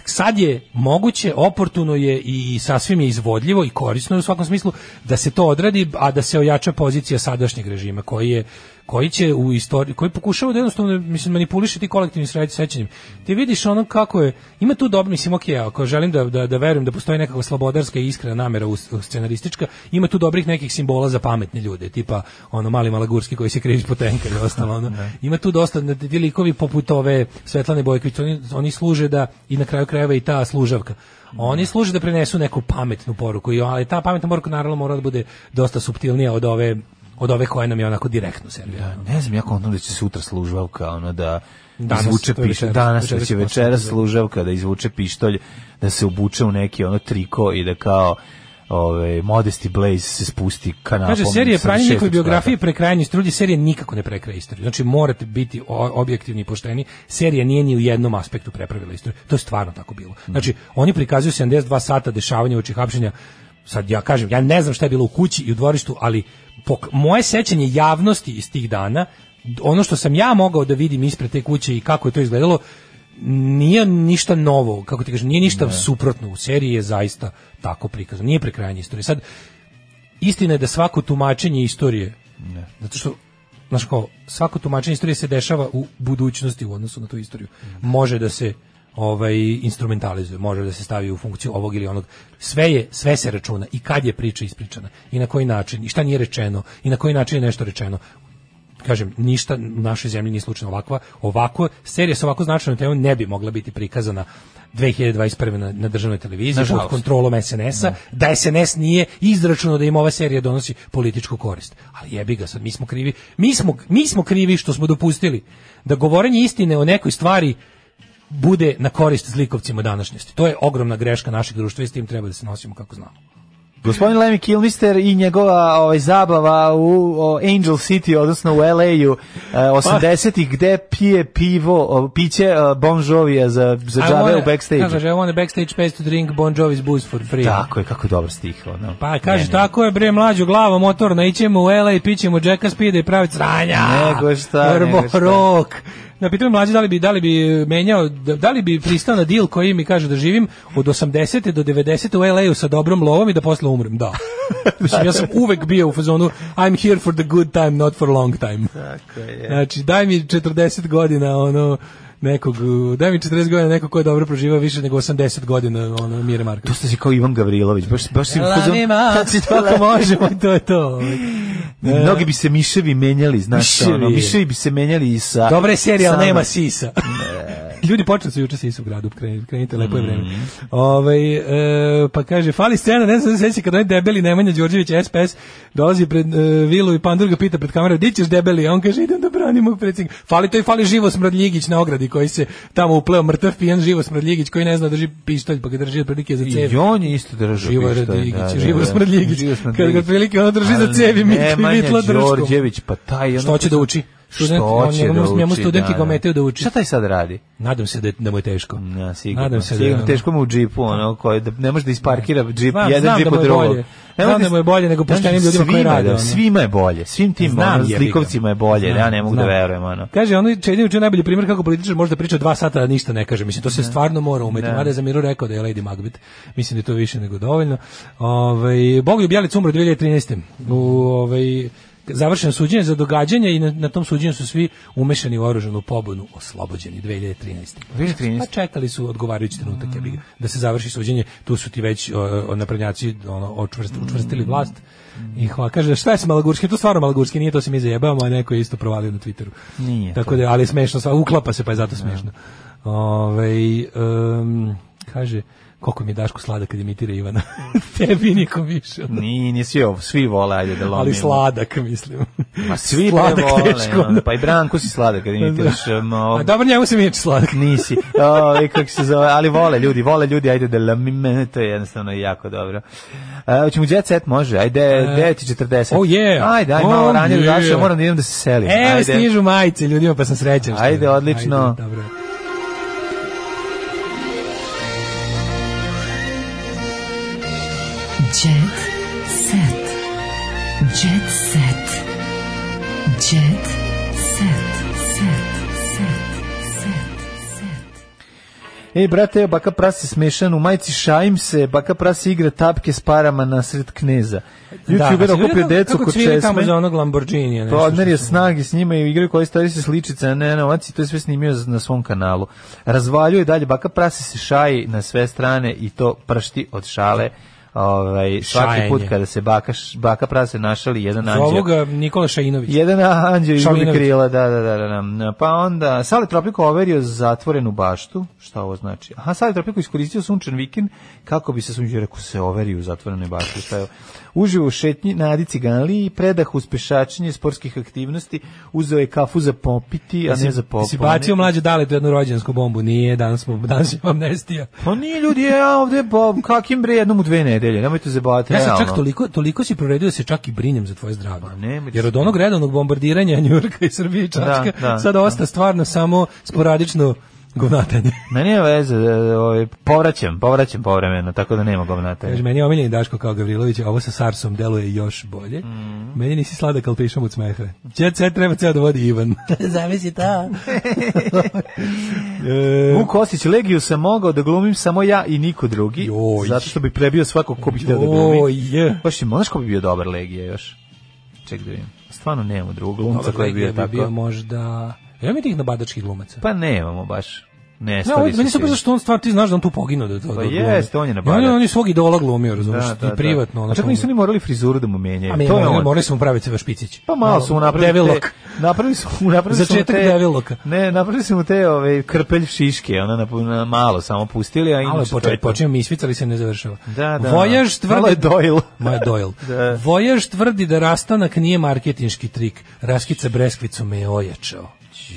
F: sad je moguće, oportuno je i sasvim je izvodljivo i korisno je u svakom smislu da se to odradi, a da se ojača pozicija sadašnjeg režima koji je koji će u istoriji, koji pokušava da jednostavno mislim manipuliše ti kolektivni sreć sećanjem. Ti vidiš ono kako je, ima tu dobro, mislim okej, ako želim da da da verujem da postoji nekakva slobodarska i iskrena namera u, u scenaristička, ima tu dobrih nekih simbola za pametne ljude, tipa ono mali malagurski koji se krije ispod tenka i ostalo ono. Ima tu dosta <laughs> da ti likovi poput ove Svetlane Bojković, oni oni služe da i na kraju krajeva i ta služavka. Oni služe da prenesu neku pametnu poruku, i ali ta pametna poruka naravno mora da bude dosta suptilnija od ove od ove koje nam je onako direktno servirana.
E: Ne znam, jako ono da će sutra služavka, ono da
F: Danas,
E: izvuče
F: to je
E: pištolj,
F: večeras,
E: danas
F: večeras
E: će
F: posle
E: večera
F: podne.
E: služavka da izvuče pištolj, da se obuče u neki ono triko i da kao ovaj Modesty Blaze se spusti kanapom.
F: Kaže, serije
E: sa
F: pranje
E: šestog
F: njihove
E: sprata.
F: biografije prekrajanje strudi, serija nikako ne prekraja istoriju. Znači, morate biti o- objektivni i pošteni. Serija nije ni u jednom aspektu prepravila istoriju. To je stvarno tako bilo.
E: Mhm.
F: Znači, oni prikazuju 72 sata dešavanja oči hapšenja. Sad ja kažem, ja ne znam šta je bilo u kući i u dvorištu, ali pok- moje sećanje javnosti iz tih dana, d- ono što sam ja mogao da vidim ispred te kuće i kako je to izgledalo, nije ništa novo, kako ti kažem, nije ništa suprotno u seriji je zaista tako prikazano. Nije prekrajanje istorije. Sad, istina je da svako tumačenje istorije ne. zato što znaš kao, svako tumačenje istorije se dešava u budućnosti u odnosu na tu istoriju može da se ovaj instrumentalizuje, može da se stavi u funkciju ovog ili onog. Sve je, sve se računa i kad je priča ispričana i na koji način i šta nije rečeno i na koji način je nešto rečeno kažem, ništa u našoj zemlji nije slučajno ovakva. Ovako, serija sa ovako značajnom temom ne bi mogla biti prikazana 2021. na, na državnoj televiziji pod
E: Nažalost.
F: kontrolom SNS-a, da SNS nije izračunao da im ova serija donosi političku korist. Ali jebi ga sad, mi smo krivi. Mi smo, mi smo krivi što smo dopustili da govorenje istine o nekoj stvari bude na korist zlikovcima današnjosti. To je ogromna greška našeg društva i s tim treba da se nosimo kako znamo.
E: Gospodin Lemmy Kilmister i njegova ovaj, zabava u o, Angel City, odnosno u LA-u e,
F: Pa.
E: 80-ih, gde pije pivo, o, piće e, Bon Jovija za, za džave u
F: Kaže,
E: backstage.
F: I want a backstage space to drink Bon Jovi's booze for free.
E: Tako je, kako je dobar stih. Ono.
F: Pa kaže, tako je bre mlađu glava motorna, ićemo u LA, pićemo Jacka Speeda i pravit sranja.
E: Nego šta,
F: Vrbo
E: nego šta.
F: rok. Da pitam mlađi da li bi da li bi menjao da, da li bi pristao na deal koji mi kaže da živim od 80. do 90. u LA-u sa dobrom lovom i da posle
E: <laughs>
F: umrem, da. Mislim, ja sam uvek bio u fazonu I'm here for the good time, not for long time.
E: Tako je.
F: Znači, daj mi 40 godina, ono, nekog, daj mi 40 godina nekog ko je dobro proživao više nego 80 godina, ono, Mire Marković.
E: To ste si kao Ivan Gavrilović, baš, baš si... kad-
F: Lamima.
E: kad si
F: Kako
E: <laughs> tako
F: možemo, to ovaj. je to.
E: Mnogi bi se miševi menjali, znaš miševi. ono,
F: E. Miševi.
E: miševi bi se menjali i sa...
F: Dobra je serija, ali
E: sama-
F: <laughs> nema sisa. Ljudi počeli su juče sisa u gradu, krenite, krenite lepo je vreme.
E: Mhm.
F: Ovaj, e, pa kaže, fali scena, ne znam se seća kad onaj debeli Nemanja Đorđević, SPS, dolazi pred e, vilu i Pandur ga pita pred kamerom, di ćeš debeli? A on kaže, idem da branim mog predsjednika. Fali to i fali živo smradljigić na ogradi koji se tamo upleo mrtav pijan živo smradljigić koji ne zna da drži pištolj pa ga drži otprilike za cev.
E: I on je isto držao
F: Živo
E: pištolj,
F: Radljigić,
E: da, da,
F: Živo
E: da.
F: Smrdljigić.
E: Živo
F: Kad ga otprilike ono drži za
E: Ali
F: cevi, Mik-
E: Nemanja
F: Mitla Drško.
E: Đorđević, pa taj... Ono
F: Što će da uči? Student, on
E: će
F: njemu-
E: da
F: njemu
E: uči,
F: studenti ga ometaju da uči.
E: Šta taj sad radi?
F: Nadam se da, je- da mu je teško.
E: Ja, sigurno.
F: Nadam se da je
E: sigurno,
F: ono-
E: teško mu u džipu, ono, koji, da ne može da isparkira džip,
F: Znam-
E: jedan
F: znam
E: džip
F: da mu
E: od
F: je
E: drugog.
F: bolje.
E: Ne
F: Znam
E: može
F: da mu je bolje nego
E: Znači,
F: poštenim ljudima koji
E: svima je,
F: rade,
E: da,
F: ono.
E: Svima je bolje, svim tim
F: Znam,
E: ono,
F: jebi ga.
E: zlikovcima je bolje, ja ne mogu da
F: Znam.
E: verujem. Ono.
F: Kaže, ono Čedin je najbolji primjer kako političar može da priča dva sata da ništa ne kaže. Mislim, to se stvarno mora umeti. Mada je za Miru rekao da je Lady Macbeth. Mislim da je to više nego dovoljno. Ovaj Bog Bjelic umro 2013. U, ovaj, završeno suđenje za događanje i na, na tom suđenju su svi umešani u oružanu pobunu oslobođeni 2013.
E: 2013.
F: Pa čekali su odgovarajući trenutak jebi ga, da se završi suđenje. Tu su ti već o, naprednjaci ono, očvrst, učvrstili vlast. I hva, kaže, šta je s Malagurski? To stvarno Malagurski nije, to se mi zajebavamo, a neko je isto provalio na Twitteru.
E: Nije
F: Tako da, ali je smešno, sva, uklapa se, pa je zato smešno. Ovaj em, kaže, koliko mi je Daško slada kad imitira Ivana. <laughs> Tebi nikom više.
E: Ni, ni svi, ovo, svi vole, ajde da lomimo.
F: Ali sladak, mislim.
E: Ma svi
F: sladak
E: te vole,
F: teško.
E: ono, pa i Branko si sladak,
F: <laughs>
E: kad imitiraš, ono,
F: A dobro, njemu se mi je sladak.
E: Nisi. O, i kako se zove, ali vole ljudi, vole ljudi, ajde da lamime, to je jednostavno jako dobro. E, Hoćemo u jet set, može, ajde, 9.40.
F: E. oh yeah.
E: Ajde, aj,
F: Oh
E: malo ranije da
F: yeah. E,
E: zašao, moram da idem da se selim.
F: Evo stižu majice ljudima, pa sam srećan. što je.
E: Ajde, odlično.
F: Ajde, dobro.
D: Jet set. Jet set. Jet set. Set. Set. Set. Set.
E: E, brate, evo, baka prase smešan, u majici šajim se, baka prase igra tapke s parama na sred kneza. Youtuber da, okupio decu kod
F: Kako tamo
E: česme.
F: za onog Lamborghini.
E: Pa odmerio snage s njima i igraju koji stari se sličica, ne, ne, ovac i to je sve snimio z- na svom kanalu. Razvaljuje dalje, baka prase se šaji na sve strane i to pršti od šale. Ovaj, svaki
F: Šajanje.
E: put kada se baka, š- baka prase našali, jedan anđeo.
F: Ovoga Nikola Šajinović.
E: Jedan anđeo izgubi
F: Šalinović.
E: krila, da, da, da, da, da. Pa onda, Sale Tropiko overio zatvorenu baštu, šta ovo znači? Aha, Sale Tropiko iskoristio sunčan vikend, kako bi se sunđe, rekao, se overio u zatvorenoj bašti, šta je ovo? Uživo u šetnji na Adi Ciganli i predah uz pešačenje sportskih aktivnosti, uzeo je kafu za popiti, a ne za popone.
F: Si bacio mlađe dale tu jednu rođensku bombu. Nije, danas, smo, danas je amnestija.
E: Pa nije ljudi, ja ovde, pa, kakim bre, jednom u dve nedelje, nemojte zabavati,
F: Ja
E: realno.
F: sam čak toliko, toliko si proredio da se čak i brinem za tvoje zdravlje.
E: nemoj da
F: Jer od onog redovnog bombardiranja Njurka i Srbije i Čačka,
E: Da, da,
F: sad osta stvarno samo sporadično govnatanje.
E: Ne, nije veze, e, ovaj, povraćam, povraćam povremeno, tako da nema govnata.
F: Kaže, meni je omiljeni Daško kao Gavrilović, a ovo sa Sarsom deluje još bolje.
E: Mm.
F: Meni nisi sladak, ali pišem od smeha. Jet set treba ceo da vodi Ivan. Zamisli to. <laughs> E,
E: Vuk Kostić, Legiju sam mogao da glumim samo ja i niko drugi,
F: Joj.
E: zato što bi prebio svakog ko bi htio da glumi.
F: Joj,
E: Baš ima, znaš ko bi bio dobar Legija još? Ček da vidim. Stvarno nemamo drugog glumca
F: Dobar
E: koji bi bio
F: Legija bi
E: tako.
F: bio možda... Ja mi tih nabadačkih glumaca.
E: Pa nemamo baš. Ne,
F: Ne,
E: stari
F: ovo je
E: su
F: meni
E: svi.
F: super zašto on stvar, ti znaš da on tu poginuo. Da, da, da,
E: Pa
F: glumi.
E: jeste, on je
F: I
E: napadač.
F: On, on je svog idola glumio, razumiješ,
E: Da, da, da.
F: i privatno. ono
E: A čak
F: što-
E: nisu ni morali frizuru da mu menjaju.
F: A mi
E: to je
F: morali,
E: on.
F: morali smo praviti sve špicić.
E: Pa malo su mu napravili te,
F: Devilok.
E: napravili su mu napravili su mu
F: Začetak
E: te-
F: deviloka.
E: Ne, napravili su mu te ove krpelj šiške, ona na, na malo samo pustili, a
F: Malo je
E: inače to
F: počeo,
E: je to.
F: počeo mi isficali se ne završava.
E: Da, da.
F: Vojaž
E: Malo
F: tvrdi...
E: je Doyle.
F: Malo je Doyle.
E: <laughs> Da.
F: Vojaž tvrdi da rastanak nije marketinški trik. Raskica breskvicu me je ojačao.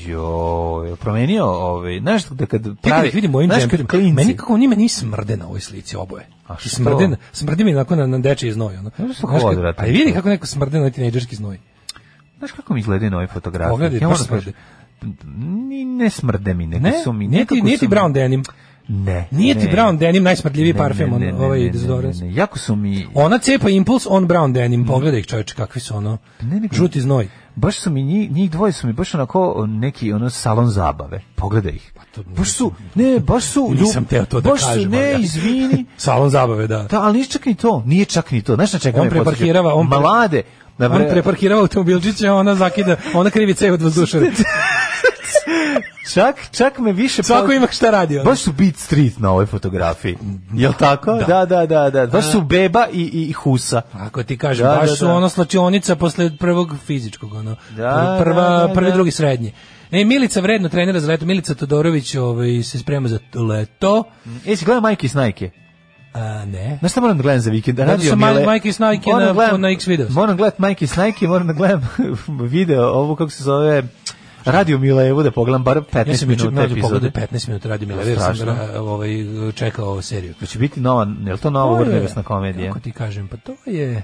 E: Jo, je promenio ovaj, znaš da kad
F: Ti kad
E: pravi,
F: ih vidim u ovim
E: znaš kad
F: džemperima,
E: klinci-
F: meni kako oni meni smrde na ovoj slici oboje.
E: A što?
F: I Smrde, na- smrdi mi onako na, na dečiji znoj. Ono.
E: Znaš što
F: Znaš kad-
E: odvratno
F: pa i vidi
E: to.
F: kako neko smrde na tinejdžerski znoj.
E: Znaš kako mi izgledaju nove fotografije?
F: Pogledaj,
E: moram
F: baš
E: da kažem, Ni, ne smrde mi, nego
F: Ne,
E: Pa su mi...
F: nije ti,
E: nekako
F: nije ti
E: su mi-
F: brown denim.
E: Ne.
F: Nije
E: ne,
F: ti brown denim najsmrdljiviji
E: ne,
F: parfem,
E: ne,
F: on,
E: ne, ne,
F: ovaj
E: ne, ne,
F: dezodorans.
E: ne, ne. Jako su mi...
F: Ona cepa impuls, on brown denim. Pogledaj ih čoveče, kakvi su ono.
E: Pa Ne, nego-
F: Žuti znoj.
E: Baš su mi, njih, njih dvoje su mi baš onako neki ono salon zabave. Pogledaj ih. Baš su, ne, baš su...
F: Pa Nisam
E: ljub-
F: teo to da
E: baš
F: kažem,
E: su,
F: ali
E: ne,
F: ja-
E: izvini.
F: Salon zabave, da.
E: Da, ali nije čak ni to. Nije čak ni to. Znaš na čega
F: On
E: me podsjeća?
F: preparkirava, on pre-
E: Malade. Na
F: On preparkirava automobilčiće, a ona zakida, ona krivi cev od
E: <laughs>
F: vazdušara.
E: čak, čak me više...
F: Svako
E: pod-
F: ima šta radi. ono.
E: Baš su Beat Street na ovoj fotografiji. Jel tako? Da, da, da, da. Baš su Beba i, i, i Husa.
F: Ako ti kažem,
E: Da,
F: baš
E: da,
F: su
E: da.
F: ono slačionica posle prvog fizičkog, ono.
E: Da,
F: prva,
E: da, da,
F: prvi,
E: da.
F: drugi, srednji. E, Milica vredno trenira za leto. Milica Todorović ovaj, se sprema za leto.
E: E, si gledao Majke i Snajke?
F: A, ne.
E: Znaš šta moram da gledam za vikend?
F: Zato
E: Radio
F: sam
E: Mile.
F: Maj- Majke i Snajke
E: Moram da
F: na-
E: gledam-
F: na X videos.
E: Moram gledati Majke i Snajke, moram da gledam <laughs> video, ovo kako se zove... Radio Milevu da pogledam bar 15
F: Ja sam juče
E: minuta
F: mlađe
E: epizode.
F: pogledao 15 minuta radi Miller, jer sam
E: Strašno.
F: ra- ovaj, čekao seriju.
E: Hoće biti nova, je li to nova
F: To je,
E: urnebesna komedija?
F: Kako ti kažem, pa to je...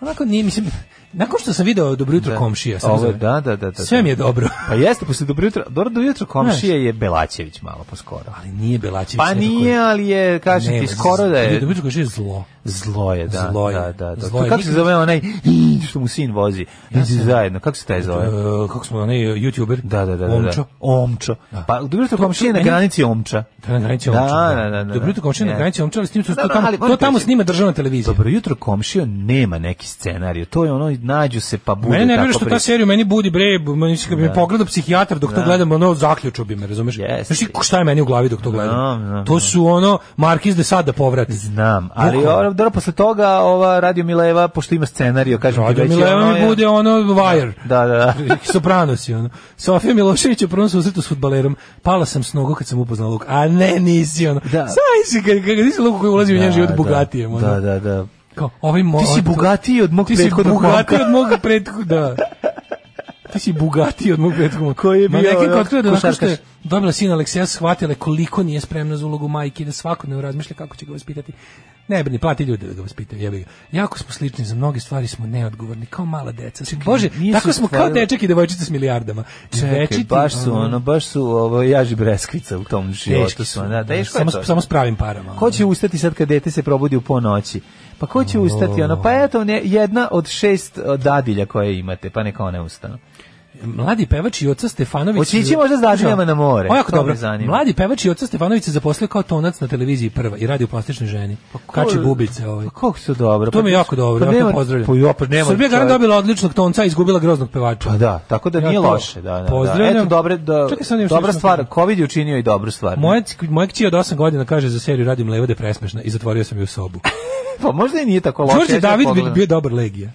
F: Onako nije, mislim, nakon što sam video Dobro jutro komšija, sam
E: Ovo,
F: zove.
E: da, da, da, da, da.
F: Sve mi je dobro.
E: Pa jeste, posle dobro jutro, dobro do jutro komšije je Belaćević malo poskoro.
F: Ali nije Belačević.
E: Pa nije, ali je, kažem ti, skoro da je...
F: znači, Dobro jutro komšija je zlo.
E: Zlo je, da.
F: Zlo je.
E: Da, da, da.
F: Zlo je.
E: Kako se zove onaj <clears throat> "Ih", što mu sin vozi? Iđi zajedno. Kako se taj
F: E,
E: zove?
F: kako smo, onaj youtuber.
E: Da, da, da. da,
F: Omčo.
E: Da. Omčo. Pa, dobro jutro komšije na
F: meni-
E: granici Omča.
F: To je na granici
E: Da,
F: omča.
E: da, da, da,
F: Dobro jutro
E: da.
F: komšija na
E: Je.
F: granici omča, ali s tim što
E: Da,
F: to
E: da,
F: tamo,
E: ali moram
F: to tamo
E: reći-
F: snima državna televizija.
E: Dobro jutro komšije nema neki scenarij. To je ono, nađu se pa bude
F: Mene nervira
E: tako
F: što ta
E: priča.
F: serija meni budi bre, meni se kad bi me pogledao psihijatar dok to gledam, ono zaključio bi me, razumeš?
E: Jeste.
F: Znaš ti šta je meni u glavi dok to gledam?
E: Znam, znam,
F: to su ono Markiz de Sada povrati.
E: Znam, ali ono-
F: Bukvalno.
E: ovo- dobro, posle toga ova Radio Mileva, pošto ima scenariju, kažem ti
F: Radio
E: već je
F: Mileva
E: ono
F: mi
E: je-
F: bude ono Wire.
E: Da,
F: <laughs>
E: da, da.
F: Soprano si, ono. Sofija Milošević je prvom susretu s futbalerom. Pala sam s nogu kad sam upoznala Luka. A ne, nisi, ono.
E: Da.
F: Saj si, kad, kad nisi Luka koji ulazi u njen
E: Da,
F: život
E: da.
F: bogatijem, ono.
E: Da, da, da.
F: Kao, ovaj mo,
E: Ti si
F: ovaj-
E: bogatiji od mog
F: Ti si
E: prethodnog
F: bogatiji
E: momka.
F: od mog prethodnog, da. Ti si bogatiji od mog prethodnog momka.
E: Koji je bio,
F: Manekenka
E: ono,
F: otkrila da nakon što je
E: košarkaš.
F: dobila sina Alekseja shvatila je koliko nije spremna za ulogu majke i da svakodnevno razmišlja kako će ga vaspitati. Ne brini, plati ljude da ga vaspitaju, jebi ga. Jako smo slični, za mnoge stvari smo neodgovorni, kao mala deca. Bože,
E: nisu
F: tako smo kao
E: stvarno-
F: dečak i devojčica s milijardama.
E: Čekaj,
F: Večiti,
E: baš su ono, baš su ovo jaži breskvica u tom životu.
F: teški
E: su,
F: su.
E: ono, Da, teško je
F: samo,
E: to.
F: samo s pravim parama. ono.
E: Ko će ustati sad kad dete se probudi u ponoći? Pa ko će ustati ono? Pa eto, ne, jedna od šest e, dadilja koje imate, pa neka one ustanu.
F: Mladi pevač i oca Stefanović.
E: Hoće ići možda s Dadinama na more?
F: O, jako
E: To me
F: dobro.
E: zanima.
F: Mladi pevač i oca Stefanović se zaposlio kao tonac na televiziji prva i radi u plastičnoj ženi. Kači bubice ovaj.
E: Pa kako su dobro.
F: To mi je jako dobro, ja to pozdravljam.
E: Pa, jo, pa nema
F: Srbija je
E: čovjek-
F: dobila odličnog tonca i izgubila groznog pevača.
E: Pa da, tako da
F: Ja
E: nije
F: to
E: loše, da, da, da.
F: pozdravljam.
E: Eto, dobre, da,
F: Čekaj, sad imam što
E: dobra
F: sam
E: stvar,
F: htio.
E: COVID je učinio i dobru stvar.
F: Moja, moja kći od 8 godina kaže za seriju radim levo da je presmešna i zatvorio sam ju u sobu.
E: Pa možda i nije tako <laughs> loše.
F: Đorđe
E: ja ću da
F: David bi
E: pogledam.
F: bio dobar legija.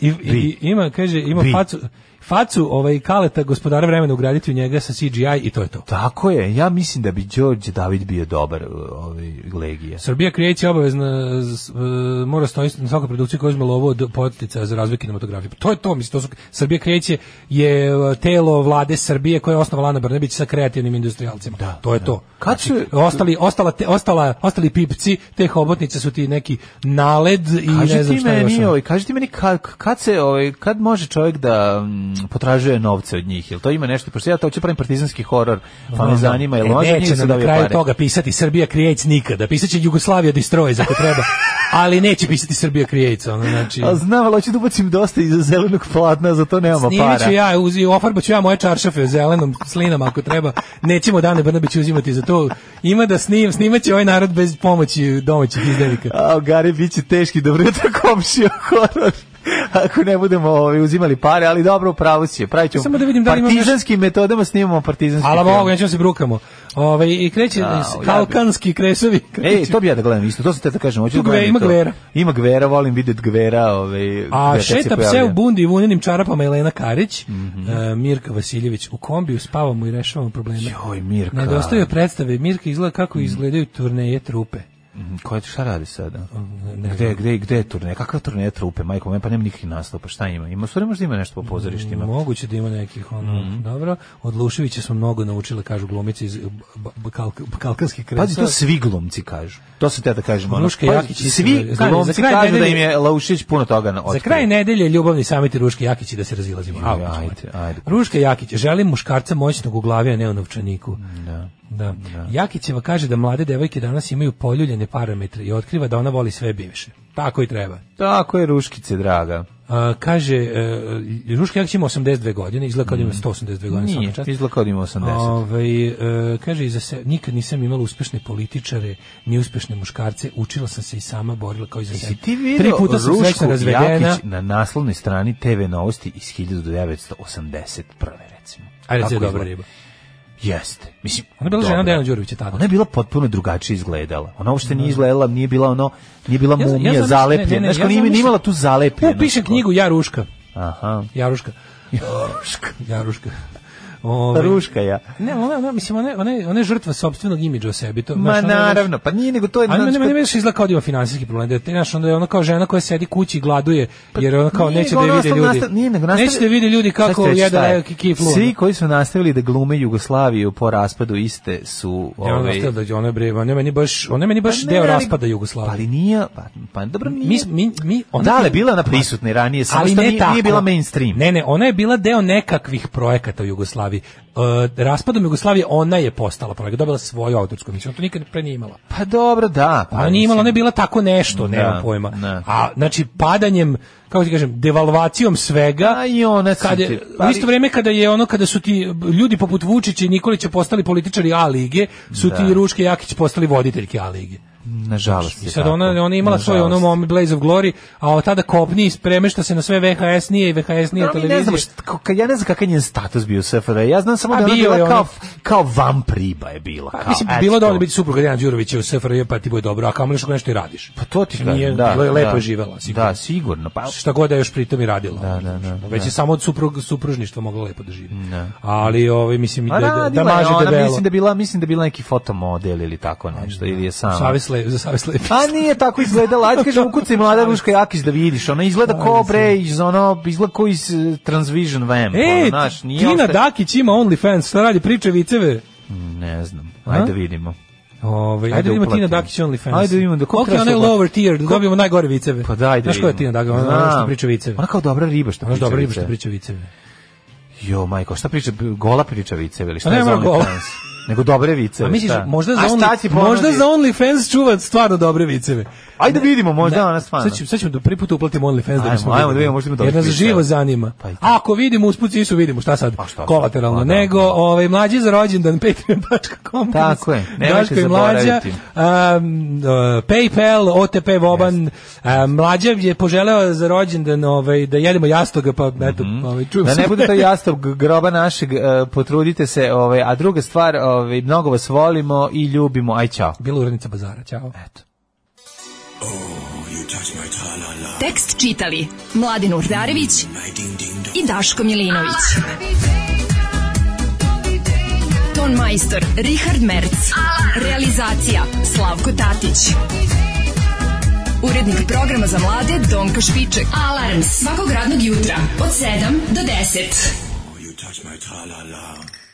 F: I, i, i ima, kaže, ima
E: Bi.
F: facu, facu ovaj, kaleta gospodara vremena ugraditi u njega sa CGI i to je to.
E: Tako je, ja mislim da bi Đorđe David bio dobar uh, ovaj, legije.
F: Srbija kreće obavezno z- e, mora stoji na svakoj produkciji koja uzme lovo od potica za razvoj kinematografije. Pa To je to, mislim, to su, Srbija kreće je e, telo vlade Srbije koje je osnovala Ana Brnabić sa kreativnim industrijalcima. to je to.
E: Kad
F: Znači,
E: su-
F: ostali, ostala, te, ostala, ostali pipci te hobotnice su ti neki naled i ne
E: Kaži
F: znam
E: ti
F: šta je još.
E: meni,
F: ono.
E: ovaj, kaži ti meni kad, kad se, ovaj, kad može čovjek da mm, potražuje novce od njih, jel to ima nešto, pošto ja to hoću pravim partizanski horor, pa me zanima, jel
F: E,
E: može od
F: neće
E: njih se
F: nam na
E: dobije
F: kraju
E: pare?
F: toga pisati Srbija Creates nikada. Pisaće Jugoslavia Destroys ako treba. Ali neće pisati Srbija Creates. Ono, znači...
E: A znam, ali hoću da ubacim dosta iza zelenog platna, za to nemamo
F: Snimit ću
E: Pa para.
F: ja, uzi, ofarbat ću ja moje čaršafe zelenom slinom ako treba. Nećemo Dane Brnabić uzimati za to. Ima da snim, snimat će ovaj narod bez pomoći domaćih izdelika.
E: A, Gari, bit će teški, dobro jutro komšija horor. <laughs> Ako ne budemo ovaj, uzimali pare, ali dobro, pravo si je. Pravit ćemo
F: Samo da vidim da li imam
E: partizanskim metodama snimamo partizanski
F: Ali
E: film.
F: mogu, nećemo se brukamo. Ove, I kreće
E: Au,
F: s- kalkanski kresovi.
E: <laughs> Ej,
F: kreću.
E: E, to bi ja da gledam isto, to sam te da kažem. Hoću
F: Tu
E: da gledam
F: gve-
E: i
F: ima
E: to.
F: Gvera.
E: Ima Gvera, volim vidjeti Gvera. Ovaj,
F: A
E: gde kad se
F: šeta pse
E: pojavlja. Mhm.
F: u bundi i vunenim čarapama Elena Karić, e, Mirka Vasiljević. U kombiju spavamo i rešavamo probleme.
E: Joj, Mhm. Mirka.
F: Nedostaju predstave. Mirka izgleda kako izgledaju turneje trupe.
E: Mhm, Ko je, šta radi sada?
F: ne
E: Gde, gde, gde je turneja? Kakva turneja trupe? Majko, moja, pa nema nikakvih nastupa. Šta ima? Ima, u stvari možda ima nešto po pozorištima.
F: Moguće da ima nekih ono,
E: Mhm.
F: dobro. Od Luševića smo mnogo naučili, kažu glumici iz ba- ba- kalk- Balkanskih kresa.
E: Pazi, to svi glumci kažu. To se te da kažem. Ono.
F: Ruška
E: Pazi,
F: Jakić isto
E: svi
F: gleda. Stani, za
E: glumci
F: kraj
E: kažu da
F: nedelje-
E: im je Laušić puno toga na
F: Za kraj nedelje ljubavni samit Ruške Jakić i da se razilazimo.
E: Joj,
F: Au,
E: ajde,
F: ćemo.
E: ajde.
F: Ruška Jakić, želim muškarca moćnog u glavi, a ne u novčaniku.
E: Da.
F: Da. Jakićeva kaže da mlade devojke danas imaju poljuljene parametre i otkriva da ona voli sve bivše. Tako i treba.
E: Tako je, Ruškice, draga.
F: A, kaže, e, Ruška Jakić ima 82 godine, izgleda kao da ima 182 godine. svaka
E: Mm. Nije,
F: čast.
E: izgleda kao da ima 80.
F: Ovaj, e, kaže, iza se, nikad nisam imala uspešne političare, ni uspešne muškarce, učila sam se i sama, borila kao i za
E: Jesi
F: sebe.
E: ti vidio
F: Tri puta sam srećno
E: Rušku
F: razvedena.
E: Jakić na naslovnoj strani TV novosti iz 1981. recimo.
F: Ajde,
E: Tako
F: je dobra
E: izgleda.
F: riba.
E: Jeste. Mislim,
F: Ona je bila
E: dobra.
F: žena Dejana Đurovića tada.
E: Ona je bila potpuno drugačije izgledala. Ona uopšte nije izgledala, nije bila ono, nije bila
F: Ja- ja
E: mumija,
F: zamišljam- ne, ne,
E: zalepljena.
F: ne,
E: Znaš,
F: ja
E: kao nije
F: zamišljam-
E: imala tu zalepljenost.
F: Ja pišem knjigu Ja Ruška.
E: Aha.
F: Ja Ruška. Ja Ruška. Ovaj,
E: <laughs> Ruška ja.
F: Ne, ona, ona, mislim, ona, je- ona, je- ona je žrtva sobstvenog imidža o sebi. To,
E: Ma
F: znaš, ona je-
E: naravno, pa nije nego to je...
F: Ali mene,
E: znaš,
F: mene, mene više izgleda kao da ima finansijski problem. Da je, te, znaš, onda je ona kao žena koja sedi kući i gladuje, jer ona kao
E: Pa Nije,
F: neće
E: nego
F: da je vide
E: nastav-
F: ljudi.
E: nastav- nije, nego nastavi-
F: neće da je vide ljudi kako
E: Sad ću reći šta
F: jedan
E: je.
F: veliki kiflu. ono.
E: Svi koji su nastavili da glume Jugoslaviju po raspadu iste su...
F: Ja ono
E: ovaj, Pa
F: ostalo da ona bre, ona je meni baš, ona je meni baš
E: ne,
F: deo
E: ali-
F: raspada Jugoslavije.
E: Pa ali nije, pa, pa dobro nije.
F: mi mi mi ona
E: da, ali bila je ona prisutna i ranije, samo
F: ali
E: što
F: ne
E: nije,
F: tako.
E: nije bila mainstream.
F: Ne, ne, ona je bila deo nekakvih projekata u Jugoslaviji. E, raspadom Jugoslavije ona je postala projekat, dobila svoju autorsku emisiju, ona to nikad pre nije imala.
E: Pa dobro, da. Pa,
F: Ona nije imala, ona je
E: mislim,
F: bila tako nešto, nema
E: Da,
F: pojma.
E: da.
F: A znači padanjem, kako ti kažem, devalvacijom svega.
E: A i ona su
F: kad je,
E: ti- pa ali-
F: u isto vrijeme kada je ono kada su ti ljudi poput Vučića i Nikolića postali političari A lige, su ti i Ruške Jakić postali voditeljke A lige.
E: Nažalost.
F: I
E: je
F: sad
E: tako.
F: ona, ona je imala svoj ono
E: Nažalost.
F: mom Blaze of Glory, a od tada kopni i spremešta se na sve VHS nije i VHS nije
E: Dobro, mi ne
F: televizije.
E: znam, šta- ko- kad ja ne znam kakav je njen status bio u SFRJ, ja znam samo
F: A
E: da je ona
F: bio
E: bila
F: je ona-
E: kao, kao vamp riba je bila.
F: Pa,
E: Kao,
F: mislim,
E: eto
F: bilo
E: to.
F: dobro biti supruga Dejana Đurovića u SFRJ, pa ti bude dobro, a kamoli što nešto i radiš.
E: Pa to ti kažem,
F: Nije,
E: da.
F: bilo je lepo
E: da.
F: je živela, sigurno.
E: Da, sigurno. Pa,
F: šta god da je još pritom i radila. ono,
E: Da, da, da,
F: Već je samo od suprug, supružništva mogla lepo da živi. Ali, ovaj, mislim, da,
E: A
F: da, da
E: Pa radila je
F: maže
E: ona,
F: debelo.
E: mislim da je bila, mislim da je bila neki fotomodel ili tako nešto, ili je Pa, sama.
F: Savez le- za savez lepi.
E: A nije tako izgledala. Ajde kaže ukucaj mlada Ruška Jakić da vidiš. Ona izgleda ko bre iz ono izgleda ko iz eh, Transvision Vamp. ono,
F: E,
E: znaš, nije
F: Tina
E: ošte-
F: Dakić ima OnlyFans, šta radi, priče viceve.
E: Ne znam. Ajde da vidimo.
F: Ovaj
E: Ajde
F: ajde, vidimo
E: uplatimo.
F: Tina Dakić i OnlyFans.
E: Ajde vidimo da- ko
F: koliko je
E: krasa
F: onaj
E: ubla-
F: lower tier, da dobijemo najgore viceve.
E: Pa da ajde.
F: Znaš ko je Tina
E: vidimo.
F: Dakić, ona
E: Znam.
F: ona što priča viceve.
E: Ona kao dobra riba što
F: Ona
E: priča.
F: dobro riba
E: viceve.
F: što priča viceve.
E: Jo, majko, šta priča gola priča viceve ili šta
F: A ne
E: je za
F: mora
E: ono
F: gola.
E: trans? Nego dobre vice.
F: A Pa misliš, možda za,
E: šta ti
F: only,
E: ponudi?
F: možda za OnlyFans čuva stvarno dobre viceve.
E: Ajde vidimo, možda
F: Ne,
E: ona stvarno.
F: Sad ćemo, sad ćemo da prvi put uplatimo OnlyFans da
E: Ajmo,
F: bismo
E: ajmo da vidimo, možda ima dobrih
F: Jer nas
E: videa.
F: živo zanima.
E: Pa i tako.
F: Ako vidimo, usput su vidimo, šta sad?
E: Pa šta sad?
F: Kolateralno.
E: Pa da.
F: Nego, ovaj, mlađi za rođendan, <laughs> patreon.com.
E: Tako je, nemojte
F: Daško i mlađa,
E: zaboraviti.
F: um, uh, PayPal, OTP Voban, uh, mlađa je poželeo za rođendan ovaj, da jedemo jastoga, pa eto, ovaj, čujem
E: Mhm. Da
F: se.
E: ne bude to jastav g- groba našeg, e, potrudite se, ovaj, a druga stvar, ovaj, mnogo vas volimo i ljubimo, aj čao.
F: Bila urednica bazara, ćao.
E: Eto.
D: Tekst čitali Mladin Urdarević i Daško Milinović. Ton majstor Richard Merc. Realizacija Slavko Tatić. Urednik programa za mlade Donka Špiček. Alarms svakog radnog jutra od 7 do 10.
G: Oh, you touch my tra-la-la.